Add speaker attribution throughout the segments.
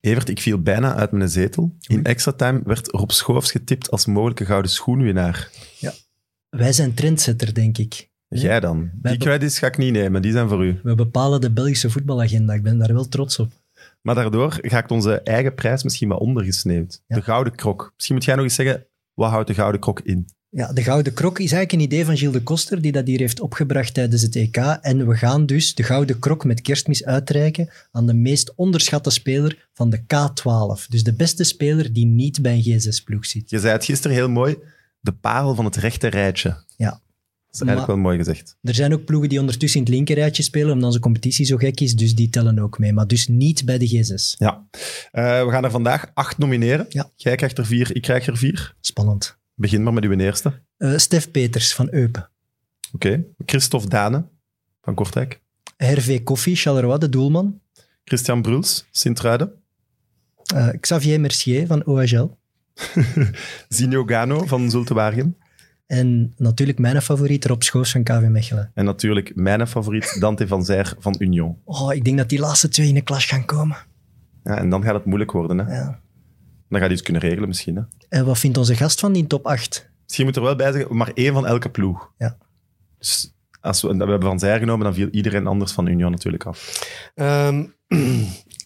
Speaker 1: Evert, ik viel bijna uit mijn zetel. In extra time werd Rob Schoofs getipt als mogelijke gouden schoenwinnaar.
Speaker 2: Wij zijn trendsetter, denk ik.
Speaker 1: Jij dan? Die
Speaker 2: hebben-
Speaker 1: credits ga ik niet nemen, die zijn voor u.
Speaker 2: We bepalen de Belgische voetbalagenda. Ik ben daar wel trots op.
Speaker 1: Maar daardoor ga ik onze eigen prijs misschien wel ondergesneeuwd.
Speaker 2: Ja.
Speaker 1: De gouden krok. Misschien moet jij nog eens zeggen, wat houdt de gouden krok in?
Speaker 2: Ja, de Gouden Krok is eigenlijk een idee van Gilles de Koster, die dat hier heeft opgebracht tijdens het EK. En we gaan dus de Gouden Krok met kerstmis uitreiken aan de meest onderschatte speler van de K12. Dus de beste speler die niet bij een G6-ploeg zit.
Speaker 1: Je zei het gisteren heel mooi, de parel van het rechte rijtje.
Speaker 2: Ja.
Speaker 1: Dat is eigenlijk
Speaker 2: Maar-
Speaker 1: wel mooi gezegd.
Speaker 2: Er zijn ook ploegen die ondertussen in het linkerrijtje spelen, omdat onze competitie zo gek is, dus die tellen ook mee. Maar dus niet bij de G6.
Speaker 1: Ja. Eh, we gaan er vandaag acht nomineren.
Speaker 2: Ja.
Speaker 1: Jij krijgt er vier, ik krijg er vier.
Speaker 2: Spannend.
Speaker 1: Begin maar met uw eerste. Oké.
Speaker 2: Eh, Stef Peters van Eupen.
Speaker 1: Christophe Dane van Kortrijk.
Speaker 2: Hervé Koffie, Charleroi, de doelman.
Speaker 1: Christian Bruls, Sint-Truiden.
Speaker 2: Eh, Xavier Mercier van OHL.
Speaker 1: Zinio Gano van Zulte Waregem.
Speaker 2: En natuurlijk mijn favoriet, Rob Schoofs van KV Mechelen.
Speaker 1: En natuurlijk mijn favoriet, Dante van Zijr van Union.
Speaker 2: Oh, ik denk dat die laatste twee in de klas gaan komen.
Speaker 1: Ja, en dan gaat het moeilijk worden. Hè?
Speaker 2: Ja.
Speaker 1: Dan gaat hij iets kunnen regelen misschien. Hè?
Speaker 2: En wat vindt onze gast van die top 8?
Speaker 1: Misschien moet er wel bij zeggen, maar één van elke ploeg.
Speaker 2: Ja.
Speaker 1: Dus als we, we hebben van zij genomen, dan viel iedereen anders van Union natuurlijk af.
Speaker 3: Ehm,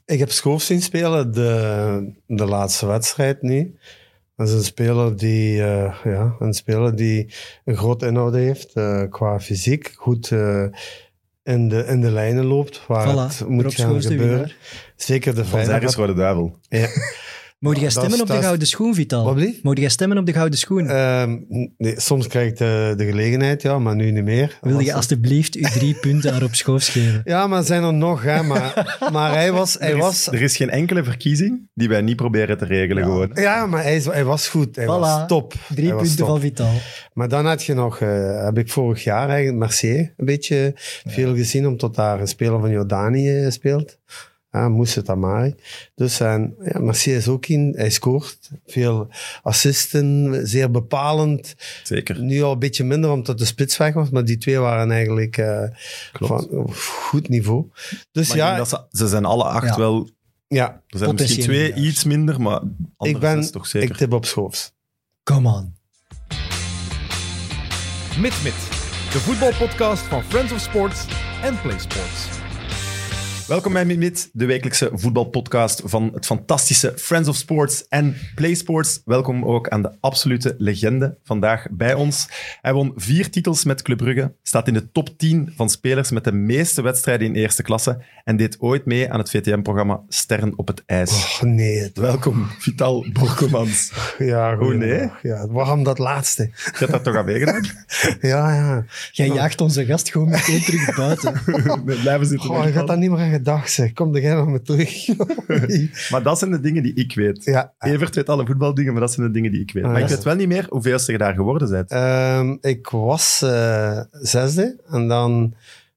Speaker 3: ik heb Schoof zien spelen de, de laatste wedstrijd nu. Dat is een speler die, eh, ja, een speler die een groot inhoud heeft eh, qua fysiek. Goed eh, in, de, in de lijnen loopt waar
Speaker 2: Voilà,
Speaker 3: het moet
Speaker 2: Rob
Speaker 3: gaan
Speaker 2: Schoofs de
Speaker 3: gebeuren.
Speaker 2: winnaar.
Speaker 3: Zeker de
Speaker 1: Van Zijr is
Speaker 3: vrijdag.
Speaker 1: Rode Duivel.
Speaker 3: Ja.
Speaker 2: Mogen jij
Speaker 3: Dat
Speaker 2: stemmen
Speaker 3: is-
Speaker 2: op de
Speaker 3: dat is-
Speaker 2: gouden schoen, Vital?
Speaker 3: Wat blieft?
Speaker 2: Mogen jij stemmen op de gouden schoen?
Speaker 3: Ehm, nee, soms krijg ik de, de gelegenheid, ja, maar nu niet meer.
Speaker 2: Wil je
Speaker 3: Als-
Speaker 2: alstublieft uw drie punten aan Rob Schoofs geven?
Speaker 3: Ja, maar er zijn er nog, hè, maar, maar hij was... Hij
Speaker 1: Er is,
Speaker 3: was
Speaker 1: er is geen enkele verkiezing die wij niet proberen te regelen gewoon.
Speaker 3: ja, maar hij, is- hij was goed. Hij
Speaker 2: Voilà.
Speaker 3: was top.
Speaker 2: Drie
Speaker 3: Hij was
Speaker 2: punten
Speaker 3: top.
Speaker 2: van Vital.
Speaker 3: Maar dan had je nog, eh, heb ik vorig jaar eigenlijk Marseille een beetje veel gezien, omdat daar een speler van Jordanië eh, speelt. Ja, Moussa Tamari. Dus en, ja, Marseille is ook in, hij scoort. Veel assisten, zeer bepalend.
Speaker 1: Zeker.
Speaker 3: Nu al een beetje minder omdat de spits weg was, maar die twee waren eigenlijk eh,
Speaker 1: Klopt.
Speaker 3: van eh, goed niveau. Dus
Speaker 1: Maar ik
Speaker 3: ja,
Speaker 1: denk dat ze, ze zijn alle acht
Speaker 2: Ja.
Speaker 1: wel...
Speaker 3: ja
Speaker 1: Er zijn misschien
Speaker 2: Potentiële
Speaker 1: twee
Speaker 2: winnaars.
Speaker 1: iets minder, maar
Speaker 3: ik,
Speaker 1: anders
Speaker 3: ben,
Speaker 1: is toch
Speaker 3: ik
Speaker 1: zeker.
Speaker 3: tip op Schoofs.
Speaker 2: Come on.
Speaker 4: Mit Mit, de voetbalpodcast van Friends of Sports en Play Sports.
Speaker 1: Welkom bij Mimit, de wekelijkse voetbalpodcast van het fantastische Friends of Sports en Play Sports. Welkom ook aan de absolute legende vandaag bij ons. Hij won vier titels met Club Brugge, staat in de top 10 van spelers met de meeste wedstrijden in eerste klasse en deed ooit mee aan het VTM-programma Sterren op het IJs.
Speaker 3: Oh nee,
Speaker 1: Welkom, Vital Borkomans.
Speaker 3: ja, goed.
Speaker 1: Oh, nee?
Speaker 3: Ja, waarom dat laatste?
Speaker 1: Je hebt dat toch aan meegedaan?
Speaker 3: Ja, ja.
Speaker 2: Jij jaagt onze gast gewoon meteen terug buiten.
Speaker 1: Nee, Blijven zitten.
Speaker 3: Oh, ik had daar niet meer aan gedacht, zeg. Kom er jij nog maar terug.
Speaker 1: Maar dat zijn de dingen die ik weet.
Speaker 3: ja.
Speaker 1: Evert weet alle voetbaldingen, maar dat zijn de dingen die ik weet.
Speaker 3: Ah,
Speaker 1: Maar ik
Speaker 3: ja.
Speaker 1: weet wel niet meer hoeveelste je daar geworden bent.
Speaker 3: Ehm, ik was eh, zesde en dan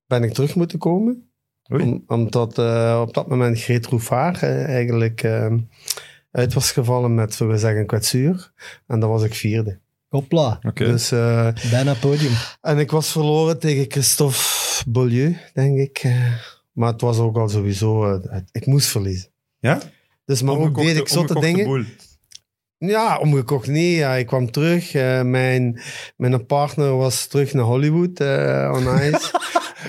Speaker 3: ben ik terug moeten komen.
Speaker 1: Oei.
Speaker 3: Om- omdat eh, op dat moment Greet Roefaar eh, eigenlijk ehm, uit was gevallen met, zullen we zeggen, een kwetsuur. En dan was ik vierde.
Speaker 2: Hopla,
Speaker 1: Oké.
Speaker 3: Dus, eh,
Speaker 2: bijna podium.
Speaker 3: en ik was verloren tegen Christophe Beaulieu, denk ik. Eh, Maar het was ook al sowieso... eh, het- ik moest verliezen.
Speaker 1: Ja?
Speaker 3: Dus, maar ook deed ik zotte dingen. Ja, omgekocht niet. Ja, ik kwam terug. Eh, mijn, mijn partner was terug naar Hollywood eh on ice.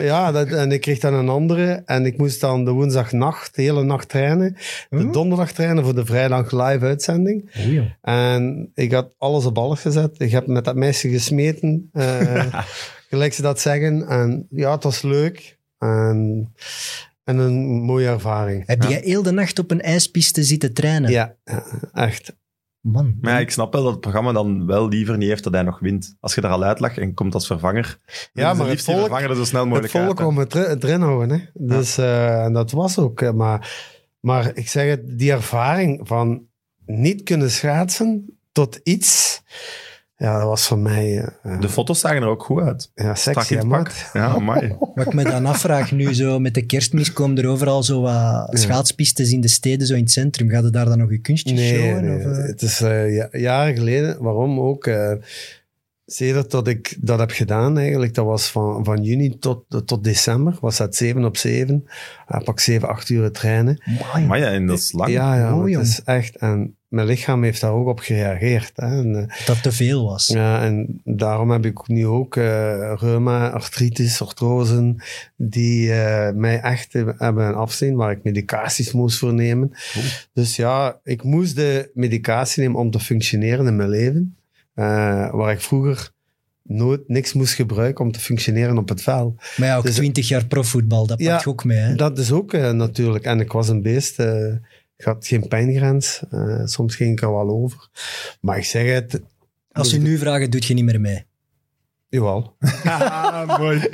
Speaker 3: ja, dat, en ik kreeg dan een andere. En ik moest dan de woensdagnacht, de hele nacht trainen. De donderdag trainen voor de vrijdag live uitzending. En ik had alles op alles gezet. Ik heb met dat meisje gesmeten. eh, gelijk ze dat zeggen. En ja, het was leuk. En, en een mooie ervaring.
Speaker 2: Heb jij heel de nacht op een ijspiste zitten trainen?
Speaker 3: Ja, ja, echt.
Speaker 2: Man.
Speaker 1: Maar ja, ik snap wel dat het programma dan wel liever niet heeft dat hij nog wint. Als je daar al uit lag en komt als vervanger,
Speaker 3: maar
Speaker 1: ja, maar
Speaker 3: het
Speaker 1: liefst die
Speaker 3: volk-
Speaker 1: vervanger er zo snel
Speaker 3: Het
Speaker 1: mogelijk uit,
Speaker 3: volk
Speaker 1: hè.
Speaker 3: om het, er- het erin houden. Hè? Dus, eh, en dat was ook. eh, Maar, maar ik zeg het, die ervaring van niet kunnen schaatsen tot iets. Ja, dat was voor mij eh,
Speaker 1: De foto's zagen er ook goed uit.
Speaker 3: ja,
Speaker 1: Strak
Speaker 3: sexy.
Speaker 1: in
Speaker 3: hè,
Speaker 1: het pak.
Speaker 3: maat.
Speaker 1: Ja, amai.
Speaker 2: Wat ik me dan afvraag nu, zo met de kerstmis komen er overal zo wat schaatspistes in de steden, zo in het centrum. Gaat het daar dan nog je kunstjes
Speaker 3: Nee,
Speaker 2: showen? eh?
Speaker 3: nee,
Speaker 2: of, eh?
Speaker 3: het is eh, ja- jaren geleden. Waarom ook? eh, Sedert dat ik dat heb gedaan eigenlijk, dat was van, van juni tot, tot december, was dat 7 op 7. Uh, pak 7, 8 uur trainen.
Speaker 2: Amai.
Speaker 1: Maar ja, en dat is lang.
Speaker 3: Ja, ja,
Speaker 2: Oh,
Speaker 3: want
Speaker 2: jong.
Speaker 3: het is echt... En mijn lichaam heeft daar ook op gereageerd. Hè. En, eh,
Speaker 2: Dat dat te veel was.
Speaker 3: ja, en daarom heb ik nu ook eh, reuma, artritis, artrosen, die eh, mij echt eh, hebben afzien, waar ik medicaties moest voor nemen. Dus ja, ik moest de medicatie nemen om te functioneren in mijn leven, eh, waar ik vroeger nooit niks moest gebruiken om te functioneren op het veld.
Speaker 2: Maar ja, ook
Speaker 3: Dus-
Speaker 2: 20 jaar profvoetbal, dat
Speaker 3: Ja,
Speaker 2: pakt je ook mee. Hè?
Speaker 3: Dat is ook eh, natuurlijk. En ik was een beest. eh, ik had geen pijngrens. eh, soms ging ik er wel over. Maar ik zeg het,
Speaker 2: Als ze nu vragen, doet je niet meer mee.
Speaker 3: jawel.
Speaker 1: Ah, mooi.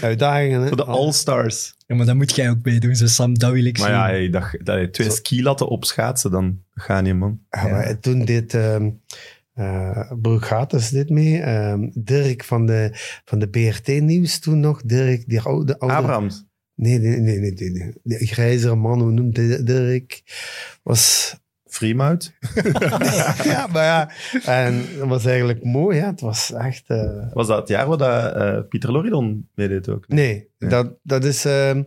Speaker 3: Uitdagingen. Hè?
Speaker 1: Voor de All-Stars.
Speaker 2: Ja, maar dat moet jij ook meedoen, zo Sam, dat wil ik
Speaker 1: Maar
Speaker 2: zien.
Speaker 1: ja, hey, dat, dat je twee
Speaker 3: Zo.
Speaker 1: skilatten op schaatsen, dan ga je, man.
Speaker 3: Ja, maar toen deed ehm eh Bruggatus dit mee. Ehm, Dirk van de, van de BRT-nieuws toen nog. Dirk, die oude... oude
Speaker 1: Abrahams.
Speaker 3: Nee, nee, nee, nee. nee, nee. Die grijzere man, hoe noemt hij Dirk? Was...
Speaker 1: Fremont.
Speaker 3: ja, maar ja. En dat was eigenlijk mooi, ja. Het was echt... eh,
Speaker 1: Was dat het jaar waar dat, eh, Pieter Loridon meedeed ook?
Speaker 3: Nee,
Speaker 1: Ja.
Speaker 3: dat, dat is ehm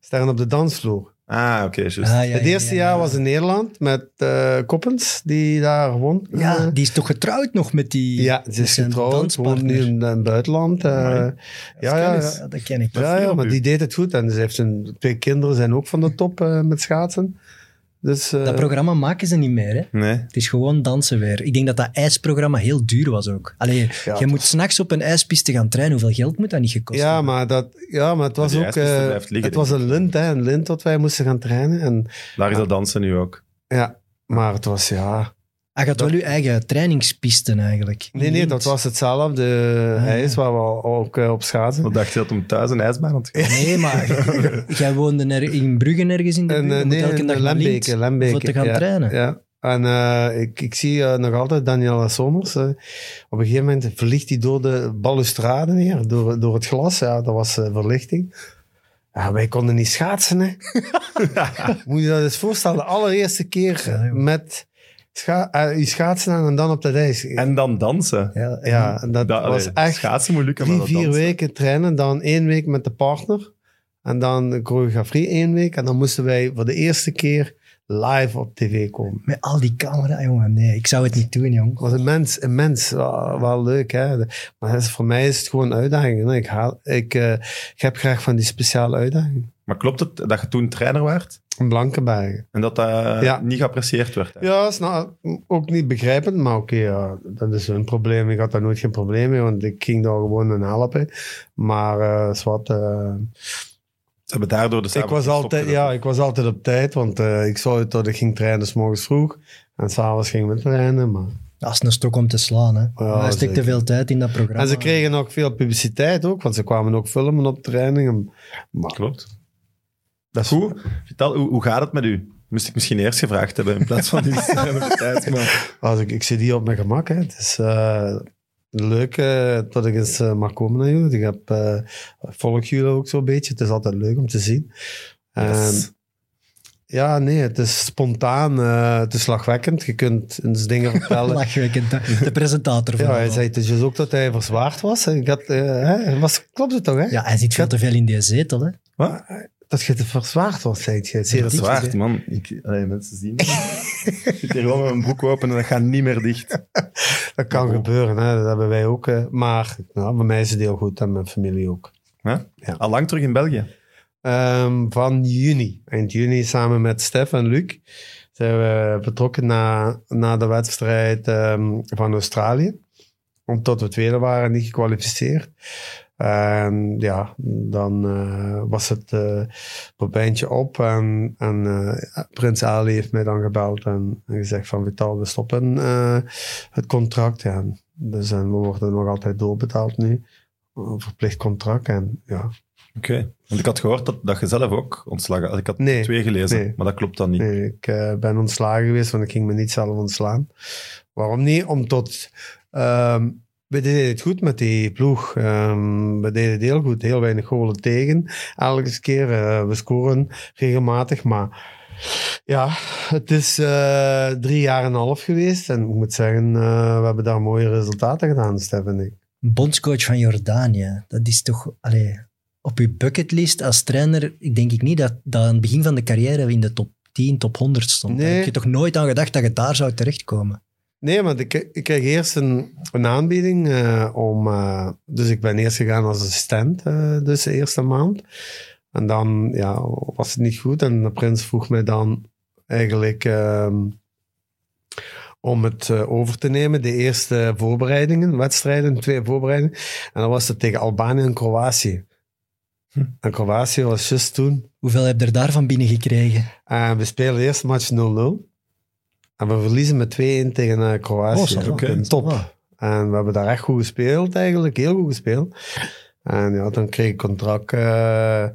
Speaker 3: Sterren op de Dansvloer.
Speaker 1: Ah, oké,
Speaker 2: Ah,
Speaker 1: juist.
Speaker 2: ja, ja,
Speaker 3: het eerste
Speaker 2: ja, ja.
Speaker 3: jaar was in Nederland met eh, Koppens, die daar won. Eh,
Speaker 2: Ja, die is toch getrouwd nog met die...
Speaker 3: ja, ze
Speaker 2: met
Speaker 3: is
Speaker 2: zijn
Speaker 3: getrouwd, woont nu
Speaker 2: danspartner.
Speaker 3: in het buitenland. eh,
Speaker 1: Amai.
Speaker 3: ja, ja, ja.
Speaker 2: Ja, dat ken ik.
Speaker 1: Dat is
Speaker 3: ja,
Speaker 1: veel
Speaker 3: ja,
Speaker 1: op
Speaker 3: maar
Speaker 1: u.
Speaker 3: die deed het goed. En ze heeft een, twee kinderen, zijn ook van de top eh, met schaatsen. Dus, eh,
Speaker 2: Dat programma maken ze niet meer, hè.
Speaker 1: Nee.
Speaker 2: Het is gewoon dansen weer. Ik denk dat dat ijsprogramma heel duur was ook. Allee,
Speaker 3: ja,
Speaker 2: je moet s'nachts op een ijspiste gaan trainen. Hoeveel geld moet dat niet gekost
Speaker 3: ja,
Speaker 2: hebben?
Speaker 3: maar dat, ja, maar het was
Speaker 1: die
Speaker 3: ook
Speaker 1: ijspiste
Speaker 3: eh,
Speaker 1: blijft liggen,
Speaker 3: het was
Speaker 1: denk
Speaker 3: een lint, hè, een lint dat wij moesten gaan trainen. En,
Speaker 1: Daar is
Speaker 3: Ah.
Speaker 1: dat dansen nu ook.
Speaker 3: ja, maar het was, ja...
Speaker 2: Hij gaat
Speaker 3: dat-
Speaker 2: wel Ah, je eigen trainingspisten eigenlijk.
Speaker 3: Nee, nee,
Speaker 2: Niet.
Speaker 3: dat was hetzelfde ijs waar we ook eh, op schaatsen.
Speaker 1: Wat dacht je dat om thuis een ijsbaan had gekomen?
Speaker 2: Nee, maar jij woonde er in Brugge ergens in de buurt.
Speaker 3: En,
Speaker 2: Je
Speaker 3: eh,
Speaker 2: moet
Speaker 3: nee,
Speaker 2: elke
Speaker 3: in
Speaker 2: dag naar Lint
Speaker 3: Lembeke. Lembeke,
Speaker 2: voor te gaan
Speaker 3: ja,
Speaker 2: trainen.
Speaker 3: Ja. En eh, ik, ik zie eh, nog altijd Daniela Somers. eh, op een gegeven moment verlicht hij door de balustrade neer, door, door het glas. Ja, dat was eh, verlichting. Ja, wij konden niet schaatsen, hè. Moet je dat eens voorstellen. De allereerste keer
Speaker 2: Ja, joh.
Speaker 3: met scha eh, je schaatsen aan en dan op dat ijs.
Speaker 1: En dan dansen.
Speaker 2: Ja, en-
Speaker 3: ja, dat, was
Speaker 1: allee,
Speaker 3: echt
Speaker 1: Schaatsen moet lukken,
Speaker 3: drie,
Speaker 1: maar dat
Speaker 3: vier
Speaker 1: dansen.
Speaker 3: weken trainen, dan één week met de partner. En dan choreografie één week. En dan moesten wij voor de eerste keer live op tv komen.
Speaker 2: Met al die camera, jongen. Nee, ik zou het niet doen, jong.
Speaker 3: Het was immens, immens. Wel, wel leuk, hè. De- Maar dat is- voor mij is het gewoon een uitdaging. hè. Ik, haal, ik, eh, ik heb graag van die speciale uitdaging.
Speaker 1: Maar klopt het dat je toen trainer werd
Speaker 3: Een blanke bergen.
Speaker 1: en dat dat eh,
Speaker 3: Ja.
Speaker 1: niet geapprecieerd werd? hè?
Speaker 3: Ja, is nou ook niet begrijpend, maar oké, ja, dat is hun probleem. Ik had daar nooit geen probleem mee, want ik ging daar gewoon aan helpen. Maar eh zwart, eh,
Speaker 1: Ze hebben daardoor de
Speaker 3: Ik was, altijd, ja, ik was altijd op tijd, want eh, ik zou het dat ik ging trainen s morgens vroeg. En s'avonds gingen we trainen. Maar...
Speaker 2: Dat is een stok om te slaan, hè.
Speaker 3: Ja,
Speaker 2: Daar steekt te
Speaker 3: zeker.
Speaker 2: veel tijd in dat programma.
Speaker 3: En ze kregen ook veel publiciteit ook, want ze kwamen ook filmen op trainingen. Dus Maar
Speaker 1: Klopt. Dat is goed. Vertel, hoe, hoe gaat het met u? Moest ik misschien eerst gevraagd hebben in plaats van die tijd. Maar...
Speaker 3: als ik, ik zit hier op mijn gemak. Hè. Het is eh, leuk eh, dat ik eens eh, mag komen naar jullie. Ik heb, eh, volg jullie ook zo'n beetje. Het is altijd leuk om te zien. Ehm,
Speaker 1: Yes.
Speaker 3: ja, nee, het is spontaan. eh, het is slagwekkend. Je kunt eens dingen vertellen.
Speaker 2: Lachwekkend, hè. de presentator van
Speaker 3: Ja, hij
Speaker 2: het
Speaker 3: zei dus ook dat hij verzwaard was. Ik had, eh, hè, was klopt het toch, hè?
Speaker 2: Ja, hij zit veel te veel in die zetel, hè.
Speaker 1: Wat?
Speaker 3: Dat je te verzwaard was, zei je. Zeer
Speaker 1: Dat is
Speaker 3: zwaar.
Speaker 1: waar, man. Ik, allee, mensen zien. het. ik zit hier gewoon met mijn boek open en dat gaat niet meer dicht.
Speaker 3: Dat kan
Speaker 1: Oh.
Speaker 3: gebeuren, hè. dat hebben wij ook. eh, Maar nou, bij mij is het heel goed en mijn familie ook.
Speaker 1: Al lang terug in België.
Speaker 3: Ehm, van juni, eind juni, samen met Stef en Luc, zijn we betrokken na, na de wedstrijd ehm, van Australië. Omdat we tweede waren, niet gekwalificeerd. En ja, dan eh, was het eh robijntje op en, en eh, Prins Ali heeft mij dan gebeld en, en gezegd van Vital, we stoppen eh, het contract. Ja, en dus en we worden nog altijd doorbetaald nu. Een verplicht contract en ja,
Speaker 1: Oké. Want ik had gehoord dat, dat je zelf ook ontslagen had. Ik had
Speaker 3: Nee.
Speaker 1: twee gelezen,
Speaker 3: Nee.
Speaker 1: maar dat klopt dan niet.
Speaker 3: Nee, ik eh, ben ontslagen geweest, want ik ging me niet zelf ontslaan. Waarom niet? Omdat ehm, we deden het goed met die ploeg. Ehm, we deden het heel goed, heel weinig golen tegen. Elke keer, eh, we scoren regelmatig, maar Ja, het is eh, drie jaar en een half geweest. En ik moet zeggen, eh, we hebben daar mooie resultaten gedaan, Stef en ik.
Speaker 2: bondscoach van Jordanië. Dat is toch allee, op je bucketlist als trainer. Ik denk ik niet dat, dat aan het begin van de carrière in de top 10, top 100 stond.
Speaker 3: Nee.
Speaker 2: Daar heb je toch nooit aan gedacht dat je daar zou terechtkomen.
Speaker 3: Nee, maar ik, ik kreeg eerst een, een aanbieding eh, om... eh, dus ik ben eerst gegaan als assistent, eh, dus de eerste maand. En dan ja, was het niet goed. En de prins vroeg mij dan eigenlijk ehm, om het eh, over te nemen. De eerste voorbereidingen, wedstrijden, twee voorbereidingen. En dan was het tegen Albanië en Kroatië. En Kroatië was juist toen...
Speaker 2: Hoeveel heb je er daarvan binnengekregen?
Speaker 3: En we spelen eerst match 0-0. En we verliezen met 2-1 tegen eh, Kroatië.
Speaker 2: Oh, zo,
Speaker 1: oké.
Speaker 3: Top. En we hebben daar echt goed gespeeld eigenlijk. Heel goed gespeeld. En ja, dan kreeg ik contract. eh.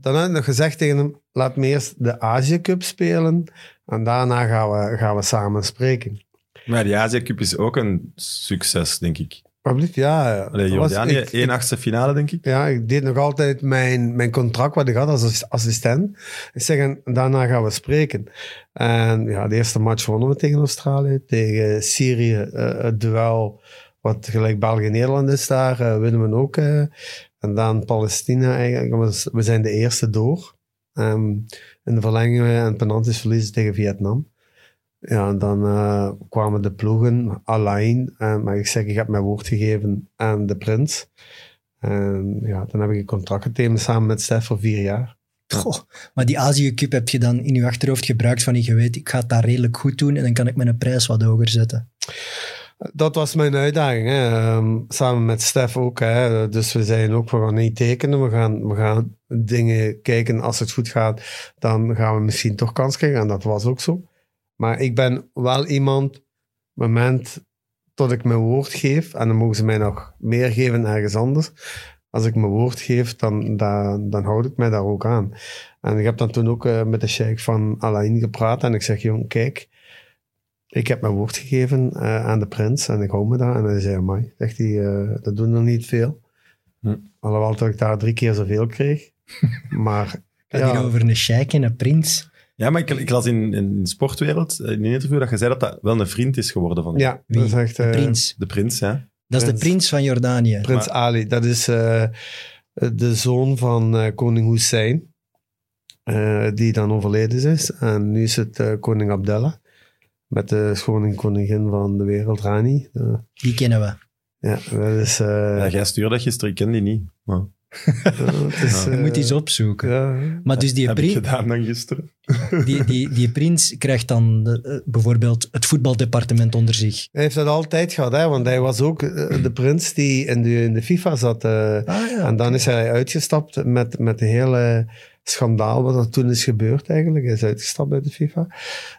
Speaker 3: dan heb ik nog gezegd tegen hem, laat me eerst de Azië Cup spelen. En daarna gaan we, gaan we samen spreken.
Speaker 1: Maar de Azië Cup is ook een succes, denk ik.
Speaker 3: Maar blieft, ja. eh,
Speaker 1: Allee,
Speaker 3: dat was-
Speaker 1: Jordanië,
Speaker 3: ik-
Speaker 1: 1 achtste finale, denk ik.
Speaker 3: Ja, ik deed nog altijd mijn, mijn contract wat ik had als ass- assistent. Ik zeg, en daarna gaan we spreken. En ja, de eerste match wonnen we tegen Australië. Tegen Syrië, eh, het duel wat gelijk België-Nederland is daar, eh, winnen we ook. eh. en dan Palestina eigenlijk. We- We zijn de eerste door. Ehm in de verlenging en penalties verliezen tegen Vietnam. Ja, en dan eh, kwamen de ploegen alleen. eh, maar ik zeg, ik heb mijn woord gegeven aan de prins. En Ehm, ja, dan heb ik een contract getekend samen met Stef voor vier jaar.
Speaker 2: Goh, maar die Azië Cup heb je dan in je achterhoofd gebruikt van je weet, ik ga het daar redelijk goed doen en dan kan ik mijn prijs wat hoger zetten.
Speaker 3: Dat was mijn uitdaging, hè. Ehm, samen met Stef ook. Hè. Dus we zeiden ook, we gaan niet tekenen, we gaan, we gaan dingen kijken. Als het goed gaat, dan gaan we misschien toch kans krijgen. En dat was ook zo. Maar ik ben wel iemand, op het moment tot ik mijn woord geef, en dan mogen ze mij nog meer geven ergens anders. Als ik mijn woord geef, dan, dan, dan houd ik mij daar ook aan. En ik heb dan toen ook eh, met de sheik van Alain gepraat. En ik zeg, jong, kijk, ik heb mijn woord gegeven eh, aan de prins en ik hou me daar. En hij zei, amai, zegt hij, eh, dat doen er niet veel.
Speaker 1: Hm.
Speaker 3: Alhoewel dat ik daar drie keer zoveel kreeg. maar
Speaker 2: Het
Speaker 3: ja,
Speaker 2: gaat hier over een sheik en een prins.
Speaker 1: Ja, maar ik, ik las in, in Sportwereld, eh, in een interview, dat je zei dat dat wel een vriend is geworden van
Speaker 3: ja
Speaker 2: Wie?
Speaker 3: dat is echt...
Speaker 2: De
Speaker 3: eh,
Speaker 2: prins.
Speaker 1: de prins. Ja.
Speaker 2: Dat is de
Speaker 3: prins.
Speaker 2: prins van Jordanië.
Speaker 3: Prins Ali, dat is eh, de zoon van eh, koning Hussein, eh, die dan overleden is. En nu is het eh, koning Abdallah, met de schone koningin van de wereld, Rani. Eh,
Speaker 2: Die kennen we.
Speaker 3: ja, dat is... eh,
Speaker 1: Ja, jij stuurde dat gisteren, ik ken die niet. Maar,
Speaker 3: eh, het is,
Speaker 1: Je
Speaker 2: Je
Speaker 3: eh,
Speaker 2: moet die eens opzoeken.
Speaker 3: ja.
Speaker 2: Maar dus die
Speaker 1: heb ik
Speaker 2: prins...
Speaker 1: gedaan dan gisteren.
Speaker 2: Die, die, die prins krijgt dan de, eh, bijvoorbeeld het voetbaldepartement onder zich.
Speaker 3: Hij heeft dat altijd gehad, hè, want hij was ook eh, de prins die in de, in de FIFA zat. eh,
Speaker 2: Ah ja.
Speaker 3: En dan is hij uitgestapt met, met de hele schandaal wat er toen is gebeurd eigenlijk. Hij is uitgestapt uit de FIFA.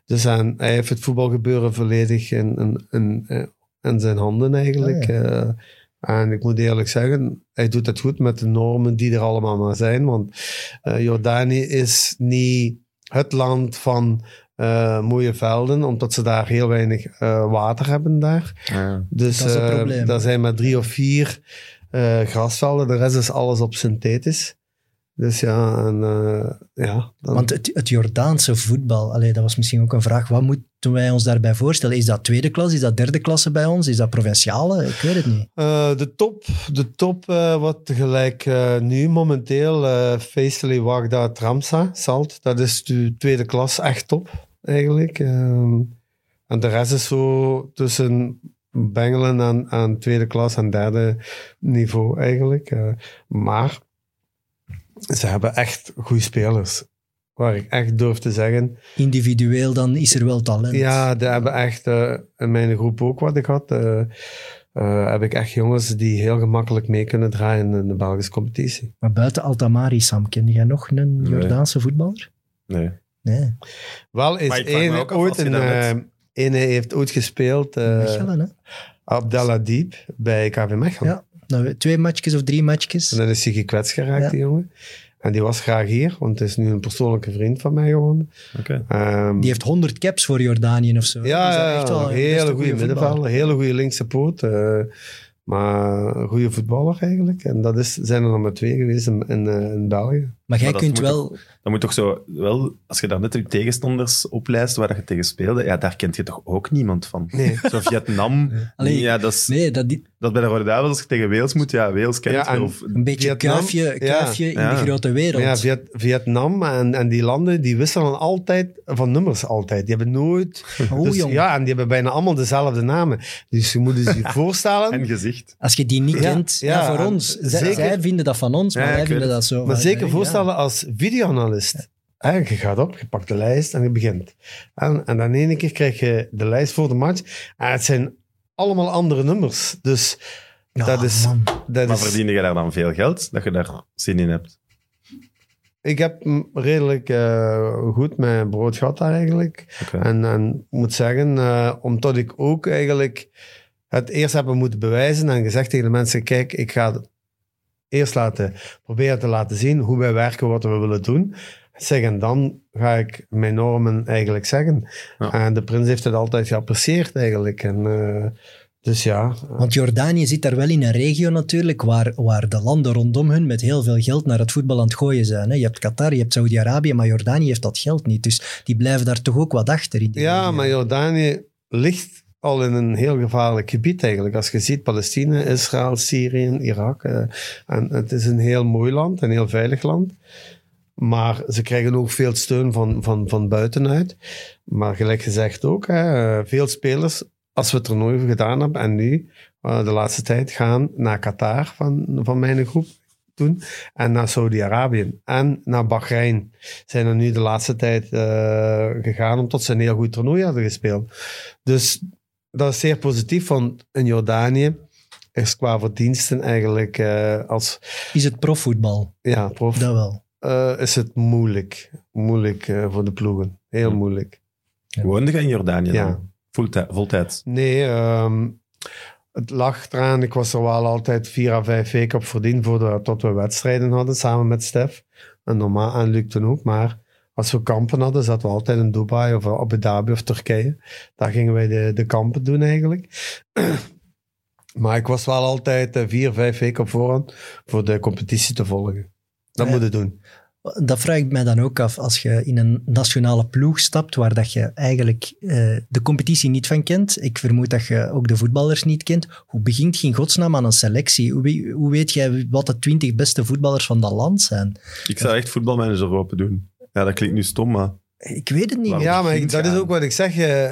Speaker 3: Dus en hij heeft het voetbalgebeuren volledig in, in, in, eh, in zijn handen eigenlijk. Eh, en ik moet eerlijk zeggen, hij doet het goed met de normen die er allemaal maar zijn. Want eh, Jordanië is niet het land van eh, mooie velden, omdat ze daar heel weinig eh, water hebben daar.
Speaker 1: Ja.
Speaker 3: Dus
Speaker 2: Dat is een
Speaker 3: eh,
Speaker 2: probleem.
Speaker 3: daar zijn maar drie of vier eh, grasvelden. De rest is alles op synthetisch. Dus ja, en, eh, ja dan-
Speaker 2: Want het, het Jordaanse voetbal, allee, dat was misschien ook een vraag. Wat moeten wij ons daarbij voorstellen? Is dat tweede klas? Is dat derde klasse bij ons? Is dat provinciale? Ik weet het niet.
Speaker 3: Eh, de top, de top eh, wat gelijk eh, nu momenteel, eh Faisali Wagda Tramsa, Salt, dat is de tweede klas echt top eigenlijk. Ehm, en de rest is zo tussen bengelen aan, aan tweede klas en derde niveau eigenlijk. Eh, maar ze hebben echt goede spelers. Waar ik echt durf te zeggen,
Speaker 2: Individueel dan is er wel talent.
Speaker 3: ja, daar hebben echt eh, in mijn groep ook wat ik had. eh, eh, heb ik echt jongens die heel gemakkelijk mee kunnen draaien in de Belgische competitie.
Speaker 2: Maar buiten Altamari, Sam, ken jij nog een
Speaker 1: Nee.
Speaker 2: Jordaanse voetballer?
Speaker 1: Nee.
Speaker 3: Eh.
Speaker 2: Nee.
Speaker 3: Wel
Speaker 1: Maar
Speaker 3: is
Speaker 1: ik vraag me
Speaker 3: één
Speaker 1: ook af,
Speaker 3: ooit
Speaker 1: als je
Speaker 3: een. eh,
Speaker 1: daarnet-
Speaker 3: Ene heeft ooit gespeeld, eh,
Speaker 2: Mechelen, hè?
Speaker 3: Abdallah Diep, bij KV Mechelen.
Speaker 2: Ja. Nou, twee matchjes of drie
Speaker 3: En
Speaker 2: matchjes.
Speaker 3: dan is hij gekwetst geraakt,
Speaker 2: Ja.
Speaker 3: die jongen. En die was graag hier, want het is nu een persoonlijke vriend van mij geworden.
Speaker 1: Oké.
Speaker 3: Ehm,
Speaker 2: Die heeft 100 caps voor Jordanië of zo.
Speaker 3: Ja,
Speaker 2: Dus dat is
Speaker 3: ja,
Speaker 2: echt wel een best
Speaker 3: hele
Speaker 2: een
Speaker 3: goede
Speaker 2: voetballer.
Speaker 3: middenvelder, hele goede linkse poot. eh, Maar een goede voetballer eigenlijk. En dat is, zijn er nog maar twee geweest in, in, eh, in België.
Speaker 2: Maar jij
Speaker 1: Maar dat
Speaker 2: kunt
Speaker 1: moet
Speaker 2: wel...
Speaker 1: Dan moet toch zo, wel, als je daar net je tegenstanders oplijst waar dat je tegen speelde, ja, daar kent je toch ook niemand van.
Speaker 3: Nee.
Speaker 1: Zo Vietnam,
Speaker 2: Allee,
Speaker 1: ja, dat is,
Speaker 2: Nee, dat, die-
Speaker 1: dat is bij de Rode Duivels als je tegen Wales moet, ja, Wales kent
Speaker 3: Ja,
Speaker 1: je.
Speaker 3: en-
Speaker 1: Of,
Speaker 2: een beetje
Speaker 3: Vietnam?
Speaker 2: kuifje,
Speaker 3: Ja.
Speaker 2: kuifje in
Speaker 1: Ja.
Speaker 2: de grote wereld.
Speaker 3: Maar ja, Viet- Vietnam en, en die landen, die wisselen altijd van nummers altijd. Die hebben nooit...
Speaker 2: Oh,
Speaker 3: dus,
Speaker 2: jong.
Speaker 3: ja, en die hebben bijna allemaal dezelfde namen. Dus je moet je zich voorstellen...
Speaker 1: en gezicht.
Speaker 2: Als je die niet
Speaker 3: Ja,
Speaker 2: kent, ja,
Speaker 3: ja,
Speaker 2: voor
Speaker 3: en
Speaker 2: ons. Zij,
Speaker 3: zeker-
Speaker 2: zij vinden dat van ons, maar
Speaker 1: Ja, ik
Speaker 2: wij
Speaker 1: weet
Speaker 2: vinden
Speaker 1: het.
Speaker 2: dat zo.
Speaker 3: Maar
Speaker 2: Wij
Speaker 3: zeker
Speaker 2: denken, ja.
Speaker 3: voorstellen als videoanalist. En Ah, je gaat op, je pakt de lijst en je begint. En, en dan ene keer krijg je de lijst voor de match. En het zijn allemaal andere nummers. Dus
Speaker 2: Ja,
Speaker 3: dat is...
Speaker 2: Ah, man.
Speaker 3: Dat
Speaker 1: Maar
Speaker 3: is
Speaker 1: verdien je daar dan veel geld, dat je daar zin in hebt?
Speaker 3: ik heb mm, redelijk eh, goed mijn brood gehad daar eigenlijk.
Speaker 1: Oké.
Speaker 3: En, en ik moet zeggen, eh, omdat ik ook eigenlijk het eerst heb moeten bewijzen en gezegd tegen de mensen, kijk, ik ga het eerst laten, proberen te laten zien hoe wij werken, wat we willen doen. Zeg, en dan ga ik mijn normen eigenlijk zeggen.
Speaker 1: Ja.
Speaker 3: En de prins heeft het altijd geapprecieerd eigenlijk. En, eh, dus ja,
Speaker 2: Want Jordanië zit daar wel in een regio natuurlijk waar, waar de landen rondom hun met heel veel geld naar het voetbal aan het gooien zijn. Hè. Je hebt Qatar, je hebt Saudi-Araë, maar Jordanië heeft dat geld niet. Dus die blijven daar toch ook wat achter in die
Speaker 3: Ja,
Speaker 2: regio.
Speaker 3: maar Jordanië ligt al in een heel gevaarlijk gebied eigenlijk. Als je ziet, Palestina, Israël, Syrië, Irak. eh, en het is een heel mooi land, een heel veilig land. Maar ze krijgen ook veel steun van, van, van buitenuit. Maar gelijk gezegd ook, hè, eh, veel spelers, als we het er nooit over gedaan hebben en nu, eh, de laatste tijd, gaan naar Qatar van, van mijn groep toen en naar Saudi-Arabië en naar Bahrein zijn er nu de laatste tijd eh, gegaan, omdat ze een heel goed toernooi hadden gespeeld. Dus dat is zeer positief, want in Jordanië is qua verdiensten eigenlijk eh, als
Speaker 2: Is het profvoetbal?
Speaker 3: ja, prof,
Speaker 2: Dat wel.
Speaker 3: eh, is het moeilijk. Moeilijk eh, voor de ploegen. Heel
Speaker 1: Hm.
Speaker 3: moeilijk.
Speaker 1: Woonde je in Jordanië
Speaker 3: Ja.
Speaker 1: dan? Voltij- Voltijds.
Speaker 3: Nee, ehm, het lag eraan. Ik was er wel altijd vier à vijf weken op verdiend voordat tot we wedstrijden hadden samen met Stef. En normaal en Luc toen ook. Maar als we kampen hadden, zaten we altijd in Dubai of eh, Abu Dhabi of Turkije. Daar gingen wij de, de kampen doen eigenlijk. maar ik was wel altijd eh, vier, vijf weken op voorhand voor de competitie te volgen. Dat
Speaker 2: Ja.
Speaker 3: moet je doen.
Speaker 2: Dat vraag ik mij dan ook af. Als je in een nationale ploeg stapt waar dat je eigenlijk eh, de competitie niet van kent, ik vermoed dat je ook de voetballers niet kent, hoe begint je in godsnaam aan een selectie? Hoe, wie- hoe weet jij wat de twintig beste voetballers van dat land zijn?
Speaker 1: Ik zou echt voetbalmanager open doen. Ja, dat klinkt nu stom, maar...
Speaker 2: Ik weet het niet.
Speaker 1: Waarom?
Speaker 3: Ja, maar ik-
Speaker 1: begint
Speaker 3: dat
Speaker 1: je
Speaker 3: is
Speaker 1: aan?
Speaker 3: ook wat ik zeg. eh,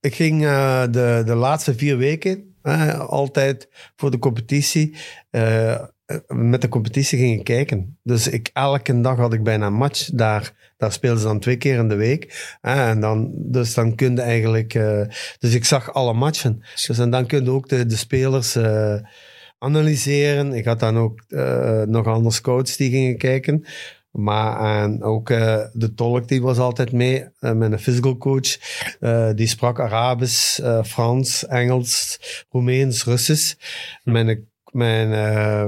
Speaker 3: Ik ging eh, de, de laatste vier weken eh, altijd voor de competitie. eh, eh, met de competitie ging ik kijken. Dus ik, elke dag had ik bijna een match daar. Daar speelden ze dan twee keer in de week. eh, en dan, dus dan kun je eigenlijk... eh, dus ik zag alle matchen. Dus en dan kun je ook de, de spelers eh, analyseren. Ik had dan ook eh, nog andere scouts die gingen kijken. Maar en ook eh, de tolk die was altijd mee, eh, met een physical coach. Eh, die sprak Arabisch, eh, Frans, Engels, Roemeens, Russisch. Mijn, mijn eh,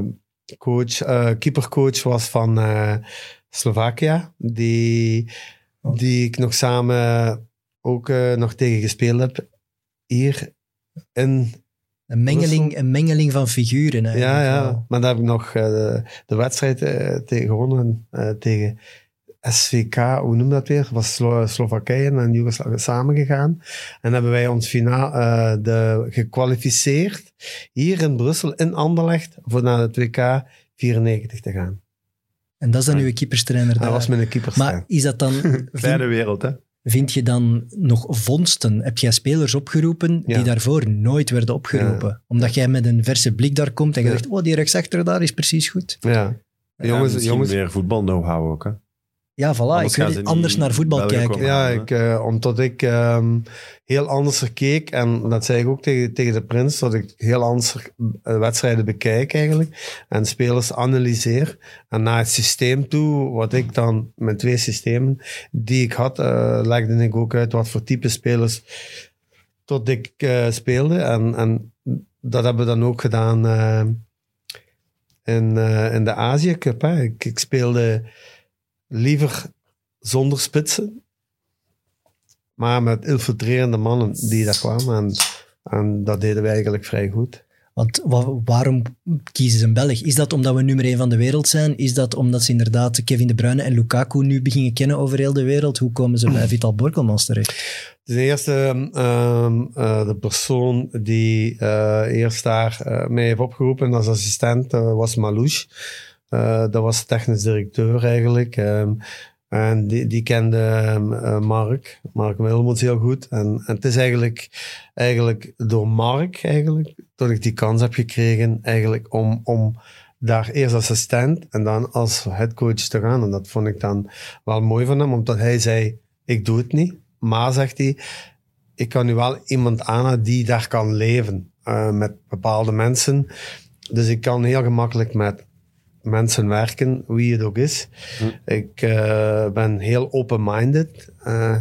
Speaker 3: coach, eh, keepercoach was van eh Slovakia. Die, die ik nog samen ook eh, nog tegen gespeeld heb. Hier in
Speaker 2: Een mengeling, een mengeling van figuren.
Speaker 3: ja,
Speaker 2: eigenlijk wel.
Speaker 3: ja. Maar daar heb ik nog eh, de, de wedstrijd eh, tegen gewonnen. eh, tegen SVK, hoe noem dat weer? Was Slo Slowakije en Joegoslavië samengegaan. En hebben wij ons finaal eh, de, gekwalificeerd hier in Brussel, in Anderlecht, voor naar het WK 94 te gaan.
Speaker 2: En dat is dan uw keeperstrainer.
Speaker 3: Dat
Speaker 2: daar.
Speaker 3: was met een keeper.
Speaker 2: maar is dat dan... vind,
Speaker 1: Kleine wereld, hè?
Speaker 2: vind je dan nog vondsten? Heb jij spelers opgeroepen
Speaker 3: Ja.
Speaker 2: die daarvoor nooit werden opgeroepen? Omdat jij met een verse blik daar komt en je
Speaker 3: Ja.
Speaker 2: zegt, oh, die rechtsachter daar is precies goed.
Speaker 3: Ja.
Speaker 1: Ja,
Speaker 3: Jongens,
Speaker 1: misschien
Speaker 3: jongens,
Speaker 1: meer voetbal-know-how ook, hè?
Speaker 2: Ja, voilà.
Speaker 1: Anders
Speaker 2: ik weet
Speaker 1: gaan
Speaker 2: het,
Speaker 1: ze niet
Speaker 2: anders naar voetbal
Speaker 1: België
Speaker 2: kijken.
Speaker 1: komen.
Speaker 3: Ja,
Speaker 1: hè?
Speaker 3: ik, eh, omdat ik ehm, heel anders er keek. En dat zei ik ook tegen, tegen de prins, dat ik heel anders er- eh, wedstrijden bekijk eigenlijk. En spelers analyseer. En naar het systeem toe, wat ik dan met twee systemen die ik had, eh, legde ik ook uit wat voor type spelers tot ik eh, speelde. En, en dat hebben we dan ook gedaan eh, in, eh, in de Azië Cup. Hè. Ik, ik speelde liever zonder spitsen, maar met infiltrerende mannen die daar kwamen. En, en dat deden we eigenlijk vrij goed.
Speaker 2: Want wa- waarom kiezen ze een Belg? Is dat omdat we nummer één van de wereld zijn? Is dat omdat ze inderdaad Kevin De Bruyne en Lukaku nu beginnen kennen over heel de wereld? Hoe komen ze bij Vital Borkelmans terecht?
Speaker 3: Dus de eerste, ehm, eh, de persoon die eh, eerst daar eh, mij heeft opgeroepen als assistent eh, was Malouche. Eh, dat was de technisch directeur eigenlijk. ehm, en die, die kende ehm, eh, Mark, Mark Wilmots heel goed. En, en het is eigenlijk, eigenlijk door Mark eigenlijk, dat ik die kans heb gekregen eigenlijk om, om daar eerst als assistent en dan als headcoach te gaan. En dat vond ik dan wel mooi van hem, omdat hij zei, ik doe het niet. Maar, zegt hij, ik kan nu wel iemand aan die daar kan leven eh, met bepaalde mensen. Dus ik kan heel gemakkelijk met mensen werken, wie het ook is.
Speaker 2: Hm.
Speaker 3: Ik eh, ben heel open-minded. eh,